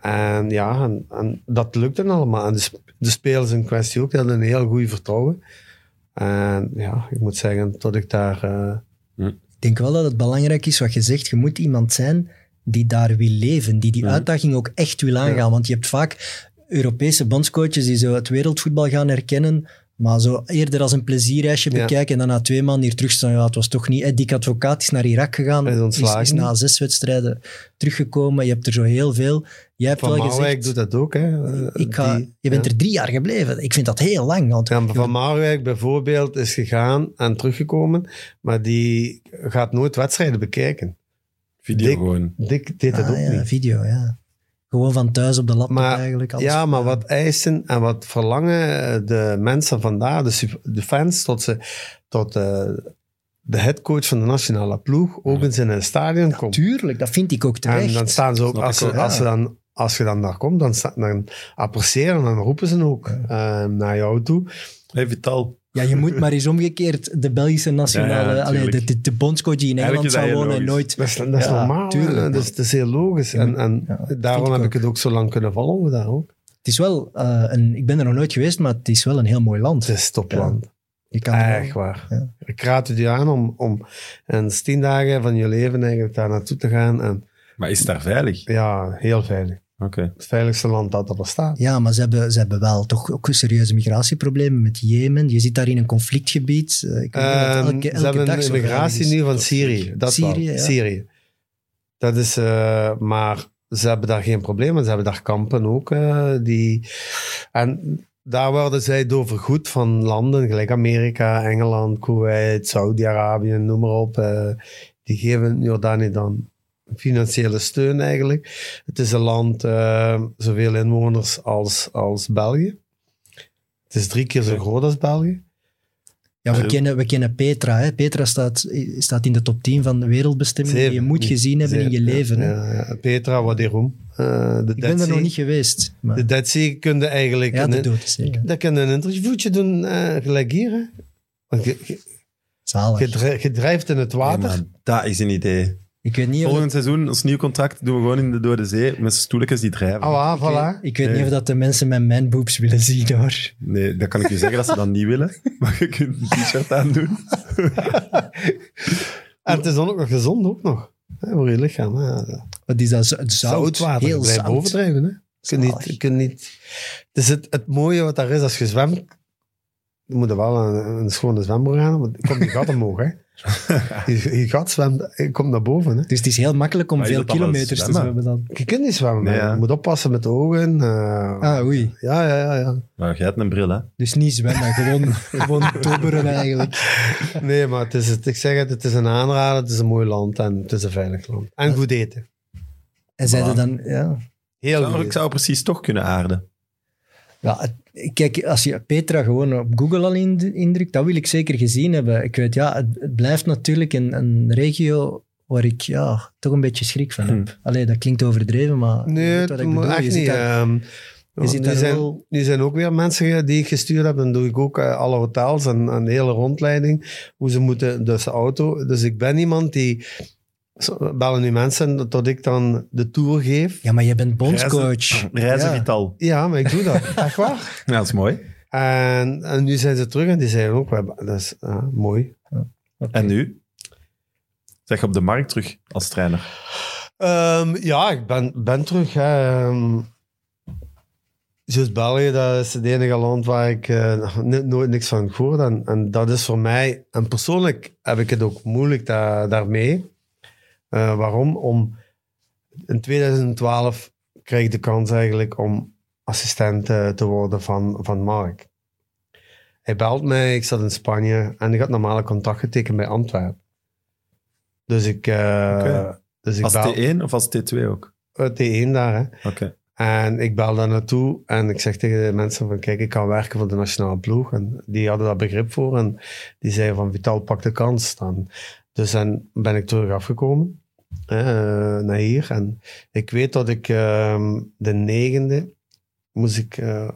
Speaker 3: en ja, en, en dat lukt dan allemaal. En de, sp- de spelers in kwestie ook, die hadden een heel goed vertrouwen. En ja, ik moet zeggen, tot ik daar... eh,
Speaker 2: Ik denk wel dat het belangrijk is wat je zegt. Je moet iemand zijn die daar wil leven, die die
Speaker 3: Mhm.
Speaker 2: uitdaging ook echt wil aangaan. Want je hebt vaak Europese bondscoaches die zo het wereldvoetbal gaan herkennen, maar zo eerder als een plezierreisje
Speaker 3: Ja.
Speaker 2: bekijken en dan na twee maanden hier terugstaan. Ja, het was toch niet... hè, Dick Advocaat is naar Irak gegaan,
Speaker 3: Hij is ontslagen.
Speaker 2: na zes wedstrijden teruggekomen. Je hebt er zo heel veel. Jij hebt
Speaker 3: van
Speaker 2: wel gezegd...
Speaker 3: Marwijk doet dat ook, hè.
Speaker 2: ik ga,
Speaker 3: Die-
Speaker 2: je bent
Speaker 3: ja.
Speaker 2: er drie jaar gebleven. Ik vind dat heel lang. Want
Speaker 3: Ja, maar van Marwijk bijvoorbeeld is gegaan en teruggekomen, maar die gaat nooit wedstrijden bekijken.
Speaker 1: Video
Speaker 3: Dik.
Speaker 1: gewoon.
Speaker 3: Dick deed dat
Speaker 2: Ah,
Speaker 3: ook
Speaker 2: ja,
Speaker 3: niet.
Speaker 2: video, ja. Gewoon van thuis op de laptop
Speaker 3: Maar-
Speaker 2: eigenlijk. alles
Speaker 3: Ja, maar
Speaker 2: gedaan.
Speaker 3: wat eisen en wat verlangen eh, de mensen vandaag, de, sup- de fans, tot, ze, tot eh, de headcoach van de nationale ploeg ook eens in een stadion komt.
Speaker 2: Tuurlijk, dat vind ik ook terecht.
Speaker 3: En dan staan ze ook,
Speaker 1: Snap
Speaker 3: als,
Speaker 1: ik
Speaker 3: ze,
Speaker 1: ook,
Speaker 3: als,
Speaker 2: ja.
Speaker 3: ze dan, als je dan daar komt, dan, sta- dan appreciëren en dan roepen ze ook eh, naar jou toe.
Speaker 1: Hey, Vital.
Speaker 2: Ja, je moet maar eens omgekeerd de Belgische nationale...
Speaker 1: Ja, ja,
Speaker 2: allee, de,
Speaker 1: tuurlijk.
Speaker 2: de, de bondscoach die in
Speaker 1: Eigenlijk
Speaker 2: Engeland
Speaker 1: is
Speaker 2: zou
Speaker 1: dat heel
Speaker 2: wonen en nooit...
Speaker 1: logisch.
Speaker 3: Dat is, dat is
Speaker 2: Ja,
Speaker 3: normaal,
Speaker 2: tuurlijk,
Speaker 3: tuurlijk,
Speaker 2: man.
Speaker 3: dus het is heel logisch. En, en
Speaker 2: Ja, dat
Speaker 3: daarom
Speaker 2: vind ik
Speaker 3: heb ik het ook zo lang kunnen volgen daar ook.
Speaker 2: Het is wel eh, een... Ik ben er nog nooit geweest, maar het is wel een heel mooi land.
Speaker 3: Het is topland.
Speaker 2: Je kan er wel-
Speaker 3: Echt waar.
Speaker 2: Ja.
Speaker 3: Ik raad het u aan om, om eens tien dagen van je leven eigenlijk daar naartoe te gaan. En
Speaker 1: Maar is het daar veilig?
Speaker 3: ja, heel veilig.
Speaker 1: Oké.
Speaker 3: Het veiligste land dat er bestaat.
Speaker 2: Ja, maar ze hebben, ze hebben wel toch ook serieuze migratieproblemen met Jemen. Je zit daar in een conflictgebied. Eh, Ik weet niet dat
Speaker 3: Ehm,
Speaker 2: elke, elke
Speaker 3: ze hebben
Speaker 2: dag
Speaker 3: een
Speaker 2: zo gaande
Speaker 3: migratie
Speaker 2: is.
Speaker 3: nu van Syrië. Dat
Speaker 2: Syrië,
Speaker 3: wel.
Speaker 2: ja.
Speaker 3: Syrië. Dat is, eh, maar ze hebben daar geen problemen. Ze hebben daar kampen ook. eh, die, en daar worden zij door vergoed van landen, gelijk Amerika, Engeland, Kuwait, Saudi-Arabië, noem maar op. eh, die geven Jordanië dan financiële steun eigenlijk. Het is een land, eh, zoveel inwoners als, als België. Het is drie keer zo groot als België.
Speaker 2: Ja, we
Speaker 1: Ja.
Speaker 2: kennen, we kennen Petra. Hè. Petra staat, staat in de top 10 van de wereldbestemmingen die je
Speaker 3: Zeven.
Speaker 2: moet gezien hebben in je
Speaker 3: Zeven,
Speaker 2: leven. hè.
Speaker 3: ja, ja. Petra Waderum. Eh de
Speaker 2: Ik
Speaker 3: Dead
Speaker 2: ben er
Speaker 3: Sea.
Speaker 2: nog niet geweest. Maar,
Speaker 3: De Dead Sea kun je eigenlijk...
Speaker 2: ja,
Speaker 3: een,
Speaker 2: de dood is zeker.
Speaker 3: dat kun je een interviewtje doen, eh, gelijk hier. hè. Want je, je,
Speaker 2: Zalig.
Speaker 3: je dri- je drijft in het water.
Speaker 1: Nee, maar dat is een idee.
Speaker 2: Ik weet niet, of,
Speaker 1: Volgend seizoen, ons nieuw contract, doen we gewoon in de Dode Zee met stoeltjes die drijven.
Speaker 3: Ah, wa, voilà.
Speaker 2: ik weet
Speaker 1: Nee.
Speaker 2: niet of dat de mensen mijn manboobs willen zien, hoor.
Speaker 1: Nee, dat kan ik je zeggen dat ze dat niet willen. Maar je kunt een t-shirt aandoen.
Speaker 3: En het is dan ook nog gezond, ook nog. Hè, voor je lichaam. Hè.
Speaker 2: Wat is dat? Zout.
Speaker 3: Zoutwater.
Speaker 2: Heel
Speaker 3: blijf
Speaker 2: zout.
Speaker 3: bovendrijven. Hè. Je kunt niet,
Speaker 2: Zalig.
Speaker 3: je kunt niet... Dus het, het mooie wat daar is, als je zwemt... Je moet er wel een, een schone zwembroek aan, want er komt je gat omhoog. Hè. Je, je gat zwemt, je komt naar boven. Hè.
Speaker 2: Dus het is heel makkelijk om
Speaker 1: Maar is
Speaker 2: veel
Speaker 1: dat dan wel
Speaker 2: kilometers te
Speaker 1: zwemmen?
Speaker 2: zwemmen dan.
Speaker 3: Je kunt niet zwemmen.
Speaker 1: Nee,
Speaker 3: hè.
Speaker 1: ja.
Speaker 3: Je moet oppassen met de ogen. eh,
Speaker 2: Ah, oei.
Speaker 3: Ja, ja, ja, ja.
Speaker 1: Maar jij hebt een bril, hè?
Speaker 2: Dus niet zwemmen, gewoon, gewoon dobberen eigenlijk.
Speaker 3: Nee, maar het is, het, ik zeg het, het is een aanrader, het is een mooi land en het is een veilig land. En goed eten.
Speaker 2: En zeiden
Speaker 1: Voilà.
Speaker 2: dan, ja,
Speaker 3: Heel
Speaker 1: Zou-
Speaker 3: goed
Speaker 1: ik
Speaker 3: eten.
Speaker 1: zou precies toch kunnen aarden.
Speaker 2: Ja, het- kijk, als je Petra gewoon op Google al ind- indrukt, dat wil ik zeker gezien hebben. Ik weet, ja, het, het blijft natuurlijk een, een regio waar ik ja, toch een beetje schrik
Speaker 1: Hm.
Speaker 2: van heb. Allee, dat klinkt overdreven, maar je
Speaker 3: Nee,
Speaker 2: weet
Speaker 3: het
Speaker 2: wat ik
Speaker 3: moet
Speaker 2: bedoel. Je
Speaker 3: echt
Speaker 2: zit
Speaker 3: niet.
Speaker 2: daar-
Speaker 3: ehm,
Speaker 2: je zit
Speaker 3: nu
Speaker 2: daar
Speaker 3: zijn,
Speaker 2: wel-
Speaker 3: nu zijn ook weer mensen die ik gestuurd heb. Dan doe ik ook eh, alle hotels en, en de hele rondleiding. Hoe ze moeten, dus de auto. Dus ik ben iemand die... zo- Bellen nu mensen tot ik dan de tour geef.
Speaker 2: Ja, maar je bent bondscoach.
Speaker 1: Reizen
Speaker 2: Ja.
Speaker 1: Vital.
Speaker 3: Ja, maar ik doe dat. Echt waar.
Speaker 1: Ja, dat is mooi.
Speaker 3: En, en nu zijn ze terug en die zeiden ook, we hebben- dat is ah, mooi.
Speaker 2: Oké.
Speaker 1: En nu? Zeg je op de markt terug als trainer.
Speaker 3: Ehm, ja, ik ben, ben terug. hè. Ehm, Zoals België, dat is het enige land waar ik eh, nog ni- nooit niks van gehoord heb. En, en dat is voor mij, en persoonlijk heb ik het ook moeilijk da- daarmee. Eh, waarom? Om, in 2012 kreeg ik de kans eigenlijk om assistent eh, te worden van, van Mark. Hij belt mij, ik zat in Spanje en ik had normale contact getekend bij Antwerpen. Dus ik, eh
Speaker 1: Oké.
Speaker 3: dus ik
Speaker 1: Als
Speaker 3: bel
Speaker 1: T1 of als T2 ook?
Speaker 3: uit T1 daar. Hè.
Speaker 1: Oké.
Speaker 3: En ik bel daar naartoe en ik zeg tegen de mensen van kijk, ik kan werken voor de nationale ploeg. En die hadden daar begrip voor en die zeiden van Vital, pak de kans dan. Dus dan ben ik terug afgekomen eh, naar hier. En ik weet dat ik ehm, de negende moest ik eh,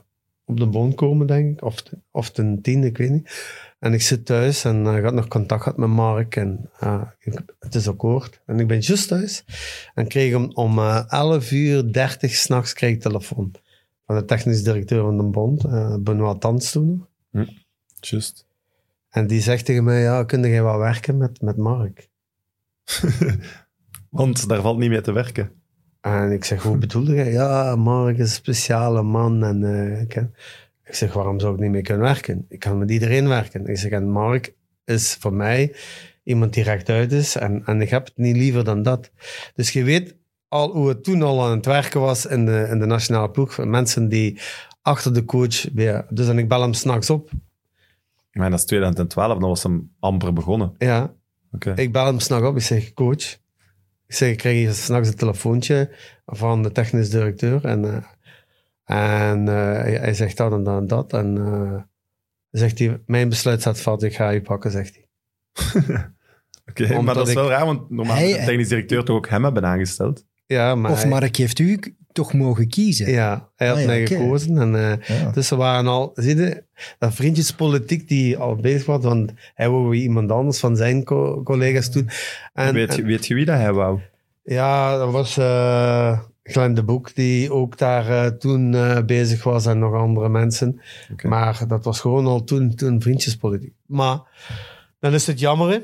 Speaker 3: op de bond komen, denk ik. Of, de- of de tiende, ik weet niet. En ik zit thuis en eh, ik had nog contact gehad met Mark en ah, ik- het is akkoord. En ik ben juist thuis en kreeg hem om eh 11 uur 30 s'nachts kreeg ik telefoon. Van de technisch directeur van de bond, eh Benoit Tans toen nog.
Speaker 1: Just.
Speaker 3: En die zegt tegen mij, ja, kun jij wel werken met, met Mark?
Speaker 1: Want daar valt niet mee te werken.
Speaker 3: En ik zeg, hoe bedoelde jij? Ja, Mark is een speciale man. En, eh, ik, ik zeg, waarom zou ik niet mee kunnen werken? Ik kan met iedereen werken. Ik zeg, en Mark is voor mij iemand die rechtuit is. En, en ik heb het niet liever dan dat. Dus je weet al hoe het toen al aan het werken was in de, in de nationale ploeg. Mensen die achter de coach weer... Dus en ik bel hem s'nachts op.
Speaker 1: Maar dat is 2012, dan was hem amper begonnen.
Speaker 3: Ja,
Speaker 1: Oké.
Speaker 3: Ik bel hem s'nachts op. Ik zeg, coach. Ik zeg, ik krijg hier s'nachts een telefoontje van de technisch directeur. En, eh, en eh, hij, hij zegt dat en dat en dat. En eh, zegt hij, mijn besluit staat vast. Ik ga je pakken, zegt hij.
Speaker 1: Oké,
Speaker 3: Omdat
Speaker 1: maar dat is
Speaker 3: ik-
Speaker 1: wel raar, want normaal
Speaker 2: Hij-
Speaker 1: zou de technisch directeur toch ook hem hebben aangesteld.
Speaker 3: Ja, maar...
Speaker 2: Of
Speaker 3: hij-
Speaker 2: Mark heeft u k- toch mogen kiezen.
Speaker 3: Ja, hij had
Speaker 2: Ah, ja,
Speaker 3: mij
Speaker 2: oké.
Speaker 3: gekozen. En, eh,
Speaker 2: Ja.
Speaker 3: Dus ze waren al, zie je, dat vriendjespolitiek die al bezig was, want hij wou weer iemand anders van zijn co- collega's doen. En,
Speaker 1: weet, je, weet je wie dat hij wou?
Speaker 3: Ja, dat was eh Glenn de Boek, die ook daar eh, toen eh, bezig was en nog andere mensen.
Speaker 1: Oké.
Speaker 3: Maar dat was gewoon al toen, toen vriendjespolitiek. Maar dan is het jammer, hè.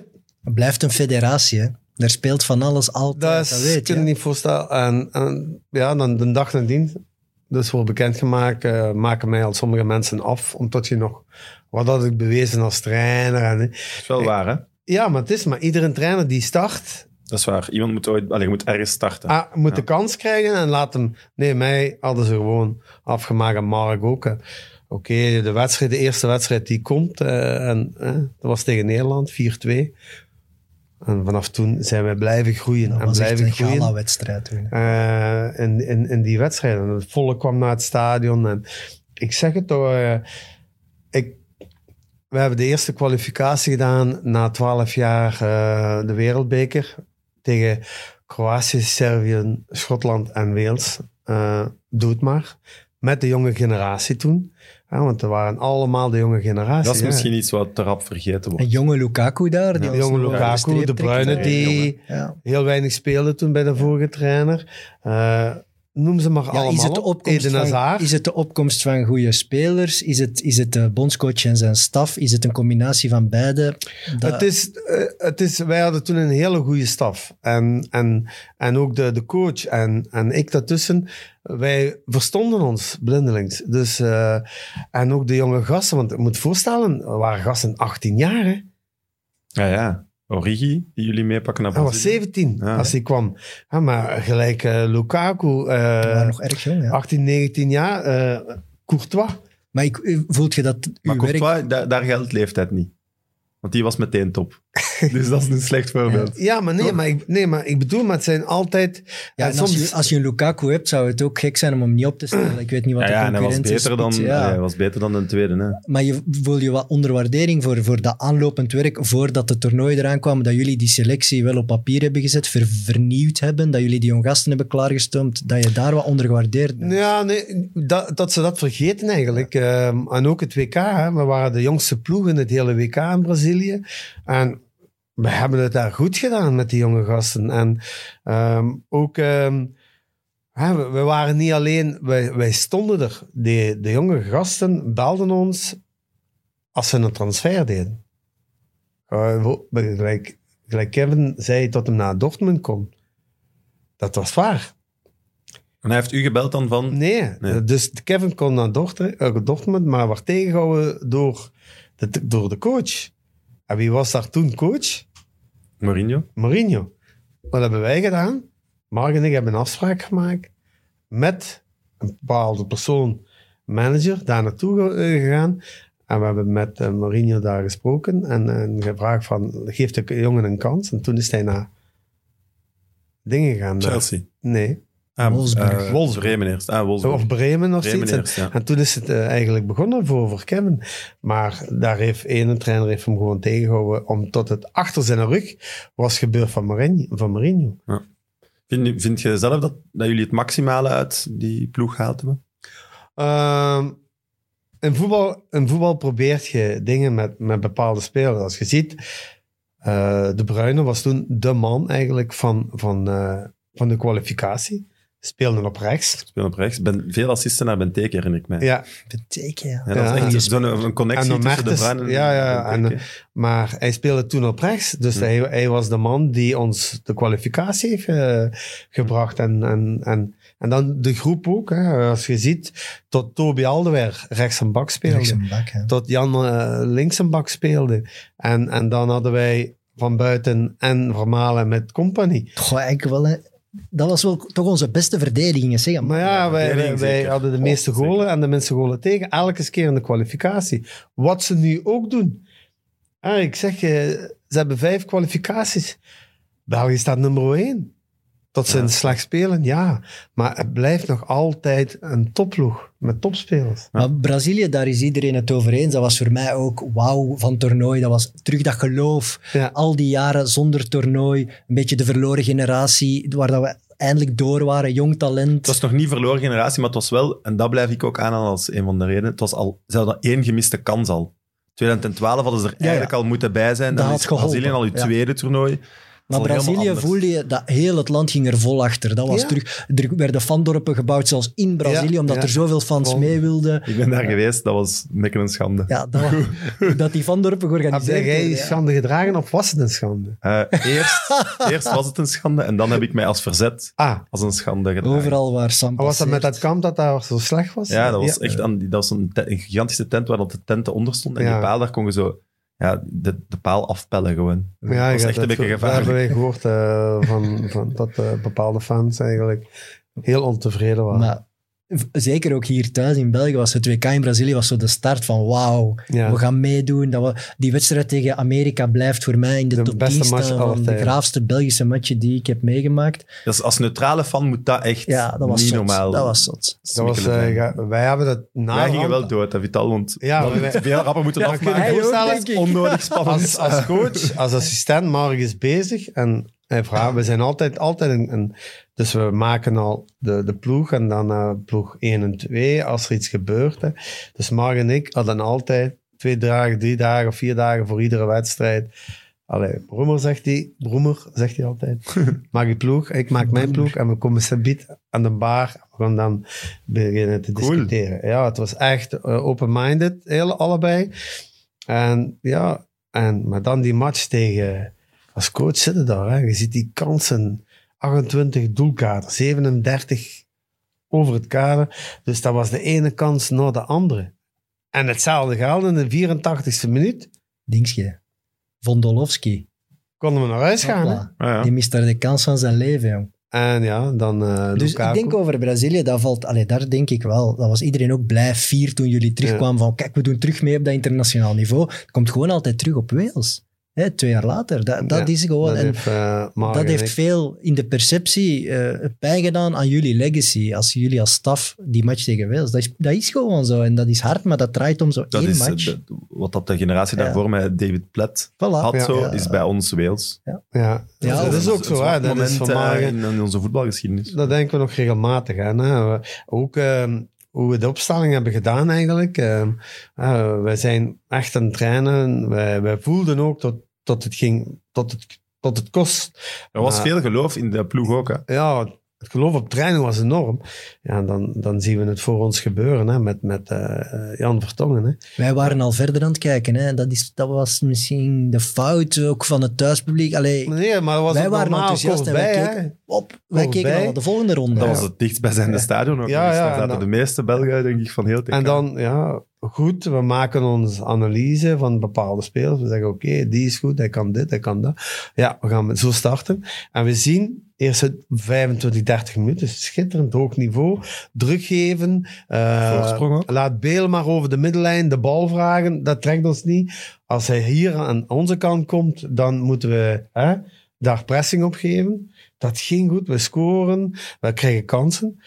Speaker 2: Het blijft een federatie, hè. Daar speelt van alles
Speaker 3: dat,
Speaker 2: altijd, dat,
Speaker 3: is,
Speaker 2: weet
Speaker 3: kun
Speaker 2: je.
Speaker 3: je niet voorstellen. En, en ja, dan de dag nadien, dus wordt bekendgemaakt, eh, maken mij al sommige mensen af, omdat je nog, wat had ik bewezen als trainer. En,
Speaker 1: Dat is wel waar, hè?
Speaker 3: ja, maar het is maar, iedere trainer die start,
Speaker 1: Dat is waar. Iemand moet ooit... Allee, je moet ergens starten.
Speaker 3: Ah, moet
Speaker 1: Ja.
Speaker 3: de kans krijgen en laat hem. Nee, mij hadden ze gewoon afgemaakt en Mark ook. hè. Oké, de, wedstrijd, de eerste wedstrijd die komt, eh, en, eh, dat was tegen Nederland, 4-2. En vanaf toen zijn wij blijven groeien
Speaker 2: Dat
Speaker 3: en
Speaker 2: was echt
Speaker 3: blijven
Speaker 2: een
Speaker 3: groeien.
Speaker 2: gala-wedstrijd toen.
Speaker 3: Eh, in, in, in die wedstrijd. En het volk kwam naar het stadion. En ik zeg het toch, eh, ik, we hebben de eerste kwalificatie gedaan na twaalf jaar eh, de wereldbeker tegen Kroatië, Servië, Schotland en Wales. Eh, doe het maar. Met de jonge generatie toen. Ja, want er waren allemaal de jonge generatie.
Speaker 1: dat is
Speaker 3: hè.
Speaker 1: misschien iets wat te rap vergeten wordt.
Speaker 2: Een jonge Lukaku daar. Die
Speaker 3: De
Speaker 2: ons
Speaker 3: jonge
Speaker 2: nog over
Speaker 3: Lukaku,
Speaker 2: streep
Speaker 3: de
Speaker 2: trekt.
Speaker 3: Bruyne,
Speaker 1: hè.
Speaker 3: die
Speaker 2: Ja.
Speaker 3: heel weinig speelde toen bij de vorige trainer. Eh, noem ze maar
Speaker 2: Ja,
Speaker 3: allemaal
Speaker 2: is, het de
Speaker 3: op.
Speaker 2: opkomst
Speaker 3: Eden
Speaker 2: van,
Speaker 3: Hazard.
Speaker 2: is het de opkomst van goede spelers? Is het, is het de bondscoach en zijn staf? Is het een combinatie van beide? Dat-
Speaker 3: Het is, eh, het is, wij hadden toen een hele goede staf. En, en, en ook de, de coach en, en ik daartussen. Wij verstonden ons blindelings. Dus, eh, en ook de jonge gasten. Want ik moet voorstellen, er waren gasten 18 jaar. Hè?
Speaker 1: Ja, ja. Origi, die jullie meepakken naar
Speaker 3: Hij was
Speaker 1: Brazilië.
Speaker 3: 17
Speaker 1: Ja.
Speaker 3: als hij kwam. Ja, maar gelijk eh, Lukaku, eh,
Speaker 2: maar nog erg jong, ja.
Speaker 3: 18, 19 jaar. eh Courtois.
Speaker 2: Maar ik, u- voelt je dat
Speaker 1: Maar
Speaker 2: uw werk...
Speaker 1: Courtois, daar, daar geldt leeftijd niet. Want die was meteen top. dus dat is een slecht voorbeeld.
Speaker 3: Ja, maar nee,
Speaker 1: Toch?
Speaker 3: maar ik, nee, maar ik bedoel, maar het zijn altijd.
Speaker 2: Ja,
Speaker 3: en
Speaker 2: en als,
Speaker 3: soms-
Speaker 2: je, als je een Lukaku hebt, zou het ook gek zijn om hem niet op te stellen. Ik weet niet wat
Speaker 1: Ja,
Speaker 2: de
Speaker 1: ja, en hij was
Speaker 2: concurrentie
Speaker 1: beter dan,
Speaker 2: is.
Speaker 1: allee,
Speaker 2: Ja.
Speaker 1: hij was beter dan de tweede. Hè.
Speaker 2: Maar je voel je wat onderwaardering voor, voor dat aanlopend werk, voordat de toernooi eraan kwam, dat jullie die selectie wel op papier hebben gezet, ver- vernieuwd hebben, dat jullie die jong gasten hebben klaargestoomd, dat je daar wat ondergewaardeerd bent.
Speaker 3: Ja, nee, dat, dat ze dat vergeten eigenlijk. Ehm, en ook het WK. Hè. We waren de jongste ploeg in het hele WK in Brazilië. En we hebben het daar goed gedaan met die jonge gasten. En ehm, ook, ehm, hè, we, we waren niet alleen, wij, wij stonden er. De, de jonge gasten belden ons als ze een transfer deden. Eh, wo- gelijk, gelijk Kevin zei dat hem naar Dortmund kon. Dat was waar.
Speaker 1: En hij heeft u gebeld dan van...
Speaker 3: Nee.
Speaker 1: Nee.
Speaker 3: Dus Kevin kon naar Dortmund, eh, Dortmund maar werd tegengehouden door de, door de coach. En wie was daar toen coach?
Speaker 1: Mourinho?
Speaker 3: Mourinho. Wat hebben wij gedaan? Mark en ik hebben een afspraak gemaakt met een bepaalde persoon, manager, daar naartoe ge- eh, gegaan. En we hebben met eh, Mourinho daar gesproken en, en gevraagd van, geef de jongen een kans. En toen is hij naar dingen gegaan. naar-
Speaker 1: Chelsea?
Speaker 3: Nee.
Speaker 1: Ah,
Speaker 2: Wolfsburg.
Speaker 1: eh, Wolfs- Bremen eerst. Ah, Wolfsburg.
Speaker 3: Of Bremen of
Speaker 1: Bremen
Speaker 3: zoiets.
Speaker 1: eerst, ja.
Speaker 3: En toen is het eh, eigenlijk begonnen voor, voor Kevin. Maar daar heeft ene trainer heeft hem gewoon tegengehouden, omdat het achter zijn rug was gebeurd van Mourinho. Van Mourinho.
Speaker 1: Vind, vind je zelf dat, dat jullie het maximale uit die ploeg gehaald hebben?
Speaker 3: Ehm, in, voetbal, in voetbal probeert je dingen met, met bepaalde spelers. Als je ziet, eh, De Bruyne was toen de man eigenlijk van, van, eh, van de kwalificatie. Speelde op rechts.
Speaker 1: Speel op rechts. Ben, veel assisten naar Benteke, herinner ik mij.
Speaker 3: Ja,
Speaker 2: Betekent, ja. dus
Speaker 1: Ja, dat
Speaker 3: Ja.
Speaker 1: is echt zo'n een connectie
Speaker 3: En dan
Speaker 1: tussen de
Speaker 3: Mertens,
Speaker 1: Bruin en
Speaker 3: ja, ja,
Speaker 1: Benteke.
Speaker 3: Maar hij speelde toen op rechts, dus
Speaker 1: Hm.
Speaker 2: Hmm.
Speaker 3: hij, hij was de man die ons de kwalificatie heeft eh, gebracht. En, en, en, en dan de groep ook, hè. als je ziet, tot Toby Aldewer rechts een bak speelde.
Speaker 2: Rechts een bak, hè.
Speaker 3: Tot Jan eh, links een bak speelde. En, en dan hadden wij van buiten en Vermalen met compagnie.
Speaker 2: Goh, eigenlijk wel, hè. Dat was wel toch onze beste verdediging, zeg maar.
Speaker 3: Maar ja, wij, wij,
Speaker 1: verdediging
Speaker 3: wij
Speaker 1: zeker.
Speaker 3: hadden de
Speaker 1: Oh,
Speaker 3: meeste
Speaker 1: zeker.
Speaker 3: golen en de minste golen tegen. Elke keer in de kwalificatie. Wat ze nu ook doen. Ah, ik zeg je, ze hebben vijf kwalificaties. België staat nummer één. Tot ze
Speaker 1: Ja.
Speaker 3: een slecht spelen, ja. Maar het blijft nog altijd een topploeg met topspelers.
Speaker 2: Maar Brazilië, daar is iedereen het over eens. Dat was voor mij ook wauw van toernooi. Dat was terug dat geloof.
Speaker 3: Ja.
Speaker 2: Al die jaren zonder toernooi. Een beetje de verloren generatie, waar dat we eindelijk door waren. Jong talent.
Speaker 1: Het was nog niet verloren generatie, maar het was wel, en dat blijf ik ook aanhalen als een van de redenen, het was al, ze hadden één gemiste kans al. 2012 hadden ze er
Speaker 2: ja.
Speaker 1: eigenlijk al moeten bij zijn.
Speaker 2: Dat
Speaker 1: Dan
Speaker 2: had
Speaker 1: is
Speaker 2: geholpen,
Speaker 1: Brazilië al uw
Speaker 2: ja.
Speaker 1: tweede toernooi.
Speaker 2: maar
Speaker 1: al helemaal
Speaker 2: Brazilië
Speaker 1: anders.
Speaker 2: voelde je dat heel het land ging er vol achter. Dat was
Speaker 3: Ja.
Speaker 2: terug, er werden fandorpen gebouwd, zelfs in Brazilië,
Speaker 3: Ja,
Speaker 2: omdat
Speaker 3: ja.
Speaker 2: er zoveel fans
Speaker 3: Vol.
Speaker 2: mee wilden.
Speaker 1: Ik ben daar geweest, dat was niks een schande.
Speaker 2: Ja, dat, dat die vandorpen
Speaker 3: Heb
Speaker 2: georganiseerd
Speaker 3: jij
Speaker 2: werden, ja.
Speaker 3: schande gedragen of was het een schande?
Speaker 1: Eh, eerst, eerst was het een schande en dan heb ik mij als verzet
Speaker 3: Ah,
Speaker 1: als een schande gedaan.
Speaker 2: Overal waar Sam
Speaker 3: was dat met
Speaker 2: passeert.
Speaker 3: dat kamp dat daar zo slecht was?
Speaker 1: Ja, dat was echt aan, die- dat was een, te- een gigantische tent waar dat de tenten onder stond. En die
Speaker 3: Ja.
Speaker 1: paal, daar kon je zo ja, de, de paal afpellen gewoon.
Speaker 3: Ja,
Speaker 1: dat was
Speaker 3: ja,
Speaker 1: echt een beetje
Speaker 3: dat
Speaker 1: gevaarlijk.
Speaker 3: hebben wij gehoord eh, van, van dat eh, bepaalde fans eigenlijk heel ontevreden waren.
Speaker 2: Maar v- zeker ook hier thuis in België was het WK in Brazilië was zo de start van wauw,
Speaker 3: ja.
Speaker 2: we gaan meedoen. Dat we, die wedstrijd tegen Amerika blijft voor mij in de,
Speaker 3: De
Speaker 2: top 10
Speaker 3: beste
Speaker 2: staan
Speaker 3: match aller
Speaker 2: van de
Speaker 3: tijden.
Speaker 2: graafste Belgische matchen die ik heb meegemaakt.
Speaker 1: Dus als neutrale fan moet dat echt
Speaker 2: Ja, dat was
Speaker 1: niet
Speaker 2: zot.
Speaker 1: normaal.
Speaker 2: Dat was zot.
Speaker 3: dat was,
Speaker 1: smikkelen
Speaker 3: eh,
Speaker 1: zijn.
Speaker 3: ga- wij hebben dat na
Speaker 1: Wij gingen
Speaker 3: ramp-
Speaker 1: wel dood, hè, Vital, want
Speaker 3: Ja,
Speaker 1: we
Speaker 3: maar
Speaker 1: hadden
Speaker 3: wij-
Speaker 1: veel rappen moeten
Speaker 3: Ja,
Speaker 1: afmaken.
Speaker 3: kun je je voorstellen,
Speaker 2: Hij ook, denk ik.
Speaker 1: onnodig spannend.
Speaker 3: als, als coach, als assistent, Mark is bezig en hij vraagt, we zijn altijd, altijd een, een- dus we maken al de, de ploeg en dan eh, ploeg 1 en 2 als er iets gebeurt. Hè. Dus Mark en ik hadden altijd twee dagen, drie dagen, vier dagen voor iedere wedstrijd. Allee, Broemer zegt hij, Broemer zegt hij altijd, maak je ploeg, ik maak mijn ploeg en we komen sabiet aan de bar. We gaan dan beginnen te
Speaker 1: Cool.
Speaker 3: discussiëren. Ja, het was echt eh, open-minded, heel, allebei. En ja, en, maar dan die match tegen... Als coach zitten daar, hè. je ziet die kansen. 28 doelkader, 37 over het kader. Dus dat was de ene kans na de andere. En hetzelfde geldt in de 84ste minuut.
Speaker 2: Dingsje. Vondolovski.
Speaker 3: Konden we naar huis gaan. hè.
Speaker 2: Hopla.
Speaker 1: Ah, ja.
Speaker 2: Die mist daar de kans van zijn leven, jong.
Speaker 3: En ja, dan eh
Speaker 2: Dus ik
Speaker 3: Lukaku.
Speaker 2: denk over Brazilië, dat valt, allee, daar denk ik wel. Dat was iedereen ook blij, fier toen jullie terugkwamen van kijk, we doen terug mee op dat internationaal niveau. Het komt gewoon altijd terug op Wales. Hè, twee jaar later. Dat, dat
Speaker 3: Ja,
Speaker 2: is gewoon...
Speaker 3: dat
Speaker 2: en
Speaker 3: heeft, eh, Mark
Speaker 2: dat
Speaker 3: en
Speaker 2: heeft
Speaker 3: ik-
Speaker 2: veel in de perceptie eh pijn gedaan aan jullie legacy. Als jullie als staf die match tegen Wales, dat is, dat is gewoon zo. En dat is hard, maar dat draait om zo
Speaker 1: dat
Speaker 2: één
Speaker 1: is eh,
Speaker 2: match.
Speaker 1: de- wat dat de generatie
Speaker 2: Ja.
Speaker 1: daarvoor met David Platt
Speaker 2: Voilà.
Speaker 1: had,
Speaker 3: Ja.
Speaker 1: zo,
Speaker 2: Ja.
Speaker 1: is bij ons Wales.
Speaker 3: Ja,
Speaker 2: Ja,
Speaker 3: dat, is
Speaker 1: een-
Speaker 3: ook
Speaker 1: een
Speaker 3: zo.
Speaker 1: zwart
Speaker 3: Hè. Dat
Speaker 1: moment,
Speaker 3: is van
Speaker 1: eh,
Speaker 3: Mark en-
Speaker 1: in, in onze voetbalgeschiedenis.
Speaker 3: Dat denken we nog regelmatig aan. Hè. Nou, Ook ehm, hoe we de opstelling hebben gedaan eigenlijk. Ehm, eh, wij zijn echt aan het trainen. Wij, wij voelden ook dat, dat het ging, dat het, dat het kost.
Speaker 1: Er was
Speaker 3: Maar-
Speaker 1: veel geloof in de ploeg ook. Hè.
Speaker 3: Ja, het geloof op training was enorm. Ja, en dan, dan zien we het voor ons gebeuren hè, met, met eh, Jan Vertongen. Hè.
Speaker 2: Wij waren al verder aan het kijken. Hè. Dat, is, dat was misschien de fout ook van het thuispubliek. Allee,
Speaker 3: Nee, maar dat was
Speaker 2: wij
Speaker 3: ook
Speaker 2: waren
Speaker 3: normaal,
Speaker 2: enthousiast en wij
Speaker 3: Corbeil, hè.
Speaker 2: keken, op, wij
Speaker 3: Corbeil.
Speaker 2: keken al naar de volgende ronde.
Speaker 1: Dat was het dichtstbijzijnde stadion ook.
Speaker 3: Ja,
Speaker 1: Ja,
Speaker 3: ja,
Speaker 1: Daar zaten
Speaker 3: en dan-
Speaker 1: de meeste Belgen, denk ik, van heel TK.
Speaker 3: En dan, ja, goed, we maken ons analyse van bepaalde spelers. We zeggen, oké, die is goed, hij kan dit, hij kan dat. Ja, we gaan met- zo starten. En we zien, eerste 25, 30 minuten, schitterend hoog niveau, druk geven. eh,
Speaker 1: Voorsprong ook.
Speaker 3: laat Beel maar over de middenlijn de bal vragen, dat trekt ons niet. Als hij hier aan onze kant komt, dan moeten we hè, daar pressing op geven. Dat ging goed, we scoren, we krijgen kansen.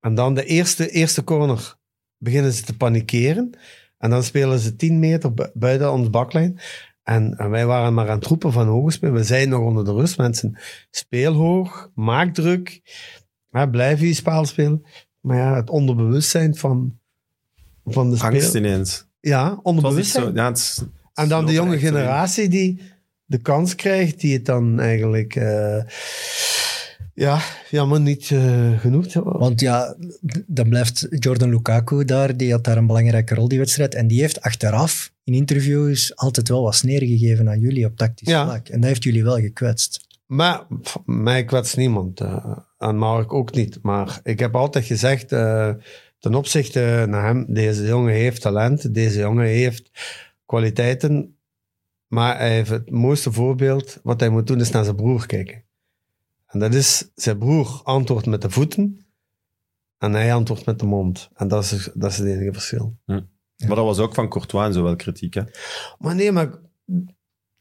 Speaker 3: En dan de eerste, eerste corner beginnen ze te panikeren. En dan spelen ze 10 meter bu- buiten ons baklijn. En, en wij waren maar aan het roepen van hoog spelen. We zijn nog onder de rust, mensen. Speel hoog, maak druk. Hè, blijf je spel spelen. Maar ja, het onderbewustzijn van, van de speler.
Speaker 1: Angst ineens.
Speaker 3: Ja,
Speaker 1: Het was niet zo-
Speaker 3: onderbewustzijn.
Speaker 1: ja, het is-
Speaker 3: En dan de jonge
Speaker 1: Echt zo in.
Speaker 3: generatie die de kans krijgt, die het dan eigenlijk... eh, ja, jammer niet eh, genoeg.
Speaker 2: Want ja, d- dan blijft Jordan Lukaku daar. Die had daar een belangrijke rol, die wedstrijd. En die heeft achteraf in interviews altijd wel wat sneer gegeven aan jullie op tactisch
Speaker 3: Ja.
Speaker 2: vlak. En dat heeft jullie wel gekwetst.
Speaker 3: Maar pff, mij kwetst niemand. eh, en Mark ook niet. Maar ik heb altijd gezegd, eh, ten opzichte naar hem, deze jongen heeft talent, deze jongen heeft kwaliteiten. Maar hij heeft het mooiste voorbeeld, wat hij moet doen, is naar zijn broer kijken. En dat is, zijn broer antwoordt met de voeten en hij antwoordt met de mond. En dat is, dat is het enige verschil.
Speaker 1: Maar dat was ook van Courtois en zo wel kritiek. Hè?
Speaker 3: Maar nee, maar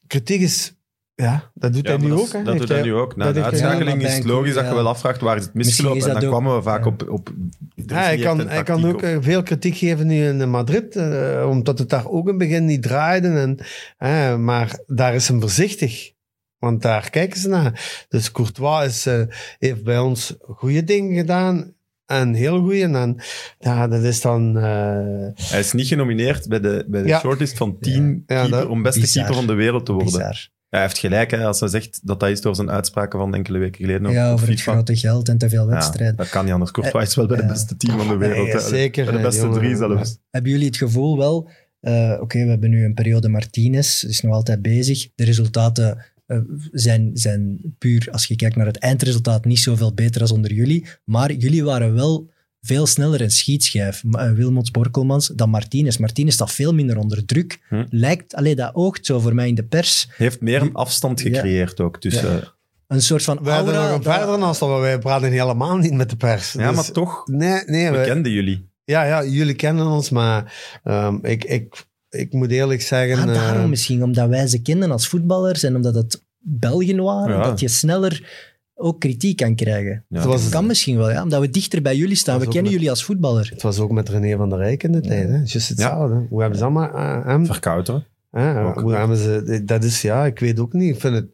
Speaker 3: kritiek is... Ja, dat doet
Speaker 1: Ja,
Speaker 3: hij
Speaker 1: maar
Speaker 3: nu
Speaker 1: dat,
Speaker 3: ook. hè.
Speaker 1: Dat doet
Speaker 3: Heeft
Speaker 1: hij
Speaker 3: hij-
Speaker 1: nu ook. Na
Speaker 3: dat
Speaker 1: de
Speaker 3: heeft hij-
Speaker 1: uitschakeling
Speaker 2: ja,
Speaker 1: is
Speaker 2: maar
Speaker 1: het
Speaker 2: bij een
Speaker 1: logisch dat je
Speaker 2: club,
Speaker 1: wel afvraagt waar is het
Speaker 2: Misschien
Speaker 1: misgelopen.
Speaker 2: is
Speaker 1: en
Speaker 2: dat
Speaker 1: dan
Speaker 2: ook-
Speaker 1: kwamen we vaak
Speaker 2: ja.
Speaker 1: op... op er is
Speaker 3: Ja, hij,
Speaker 1: niet
Speaker 3: kan,
Speaker 1: echt een
Speaker 3: hij kan
Speaker 1: tactiek
Speaker 3: ook
Speaker 1: op.
Speaker 3: eh, veel kritiek geven nu in eh, Madrid, eh, omdat het daar ook in het begin niet draaide. En, eh, maar daar is hem voorzichtig, want daar kijken ze naar. Dus Courtois is, eh, heeft bij ons goede dingen gedaan. En heel goede. En dan, ja, dat is dan. eh,
Speaker 1: Hij is niet genomineerd bij de, bij de
Speaker 3: Ja.
Speaker 1: shortlist van 10
Speaker 3: Ja,
Speaker 1: keeper,
Speaker 3: dat-
Speaker 1: om beste
Speaker 2: bizar.
Speaker 1: keeper van de wereld te worden.
Speaker 2: Bizar.
Speaker 1: Ja, Hij heeft gelijk hè, als hij zegt dat dat is door zijn uitspraken van enkele weken geleden. op-
Speaker 2: ja,
Speaker 1: op
Speaker 2: over het
Speaker 1: FIFA.
Speaker 2: grote geld en te veel
Speaker 1: Ja,
Speaker 2: wedstrijden.
Speaker 1: dat kan niet anders. Courtois is wel bij de
Speaker 2: Ja.
Speaker 1: beste team van de wereld.
Speaker 3: Nee,
Speaker 1: hè.
Speaker 3: zeker,
Speaker 1: Bij de
Speaker 3: nee,
Speaker 1: beste
Speaker 3: jongen.
Speaker 1: drie zelfs.
Speaker 2: Hebben jullie het gevoel wel, eh, oké, we hebben nu een periode Martinez, is nog altijd bezig. De resultaten eh, zijn, zijn puur, als je kijkt naar het eindresultaat, niet zoveel beter als onder jullie. Maar jullie waren wel veel sneller een schietschijf, M- eh, Wilmots Borkelmans, dan Martinez. Martinez staat veel minder onder druk.
Speaker 1: Hm.
Speaker 2: Lijkt, alleen dat oogt zo voor mij in de pers,
Speaker 1: Hij heeft meer een afstand gecreëerd ook. Tussen, ja.
Speaker 2: een soort van
Speaker 3: we hadden nog
Speaker 2: aura.
Speaker 3: een
Speaker 2: dat-
Speaker 3: verder naast, want wij praten helemaal niet met de pers. Dus-
Speaker 1: maar toch,
Speaker 3: Nee, nee,
Speaker 1: we
Speaker 3: we-
Speaker 1: kenden jullie.
Speaker 3: ja, ja, jullie kennen ons, maar ehm, ik, ik, ik moet eerlijk zeggen.
Speaker 2: Ah,
Speaker 3: eh,
Speaker 2: daarom misschien, omdat wij ze kenden als voetballers en omdat het Belgen waren,
Speaker 1: Ja.
Speaker 2: dat je sneller ook kritiek kan krijgen.
Speaker 1: Ja.
Speaker 3: Het was-
Speaker 2: Dat kan misschien wel, ja, omdat we dichter bij jullie staan.
Speaker 3: Dat
Speaker 2: We
Speaker 3: is ook
Speaker 2: kennen
Speaker 3: met-
Speaker 2: jullie als voetballer.
Speaker 3: Het was ook met René van der Rijk in de tijd. Hè? Just hetzelfde. Hoe hebben ze allemaal eh, hem?
Speaker 1: Verkouteren.
Speaker 3: hè?
Speaker 1: ook.
Speaker 3: Hoe hebben ze, dat is, ja, ik weet ook niet. Ik vind het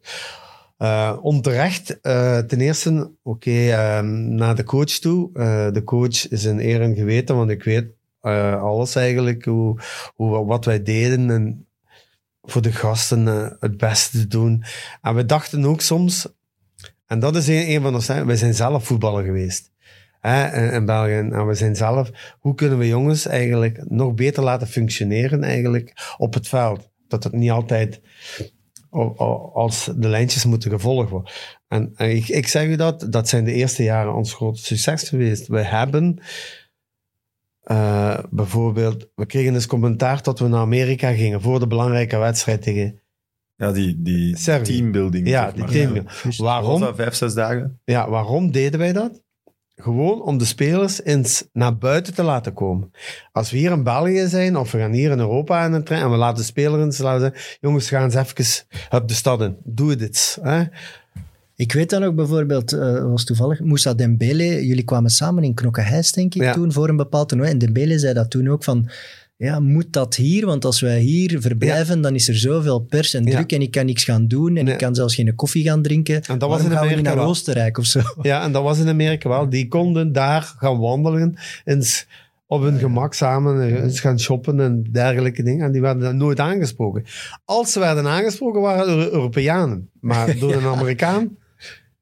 Speaker 3: eh, onterecht. Eh, ten eerste, oké, eh, naar de coach toe. Eh, de coach is een eer en geweten, want ik weet eh, alles eigenlijk, hoe, hoe, wat wij deden en voor de gasten eh, het beste te doen. En we dachten ook soms, en dat is een, een van ons, hè, wij zijn zelf voetballer geweest. Hè, in, in België. En we zijn zelf, hoe kunnen we jongens eigenlijk nog beter laten functioneren eigenlijk op het veld? Dat het niet altijd o- o- als de lijntjes moeten gevolgd worden. En, en ik, ik zeg u dat, dat zijn de eerste jaren ons grote succes geweest. We hebben eh, bijvoorbeeld, we kregen eens commentaar dat we naar Amerika gingen voor de belangrijke wedstrijd tegen.
Speaker 1: Ja, die, die
Speaker 3: Servië.
Speaker 1: teambuilding.
Speaker 3: Ja,
Speaker 1: zeg
Speaker 3: die
Speaker 1: maar.
Speaker 3: team.
Speaker 1: Was
Speaker 3: Waarom?
Speaker 1: dat vijf, zes dagen?
Speaker 3: Ja, waarom deden wij dat? Gewoon om de spelers eens naar buiten te laten komen. Als we hier in België zijn, of we gaan hier in Europa aan het trein, en we laten de spelers eens laten zeggen, jongens, ga eens even op de stad in. Doe dit. Hè?
Speaker 2: Ik weet dan ook bijvoorbeeld, eh, dat was toevallig, Moussa Dembele, jullie kwamen samen in Knokke-Heist, denk ik,
Speaker 3: Ja.
Speaker 2: toen, voor een bepaald toernooi. En Dembele zei dat toen ook van, ja, moet dat hier? Want als wij hier verblijven, dan is er zoveel pers en
Speaker 3: Ja.
Speaker 2: druk en ik kan niks gaan doen en
Speaker 3: Nee.
Speaker 2: ik kan zelfs geen koffie gaan drinken.
Speaker 3: En dat was
Speaker 2: Waarom
Speaker 3: in
Speaker 2: gaan we niet
Speaker 3: Amerika
Speaker 2: naar
Speaker 3: wel.
Speaker 2: Oostenrijk of zo?
Speaker 3: Ja, en dat was in Amerika wel. Die konden daar gaan wandelen, eens op hun gemak samen eh, eens gaan shoppen en dergelijke dingen. En die werden dan nooit aangesproken. Als ze werden aangesproken, waren het Euro- Europeanen. Maar door een Amerikaan,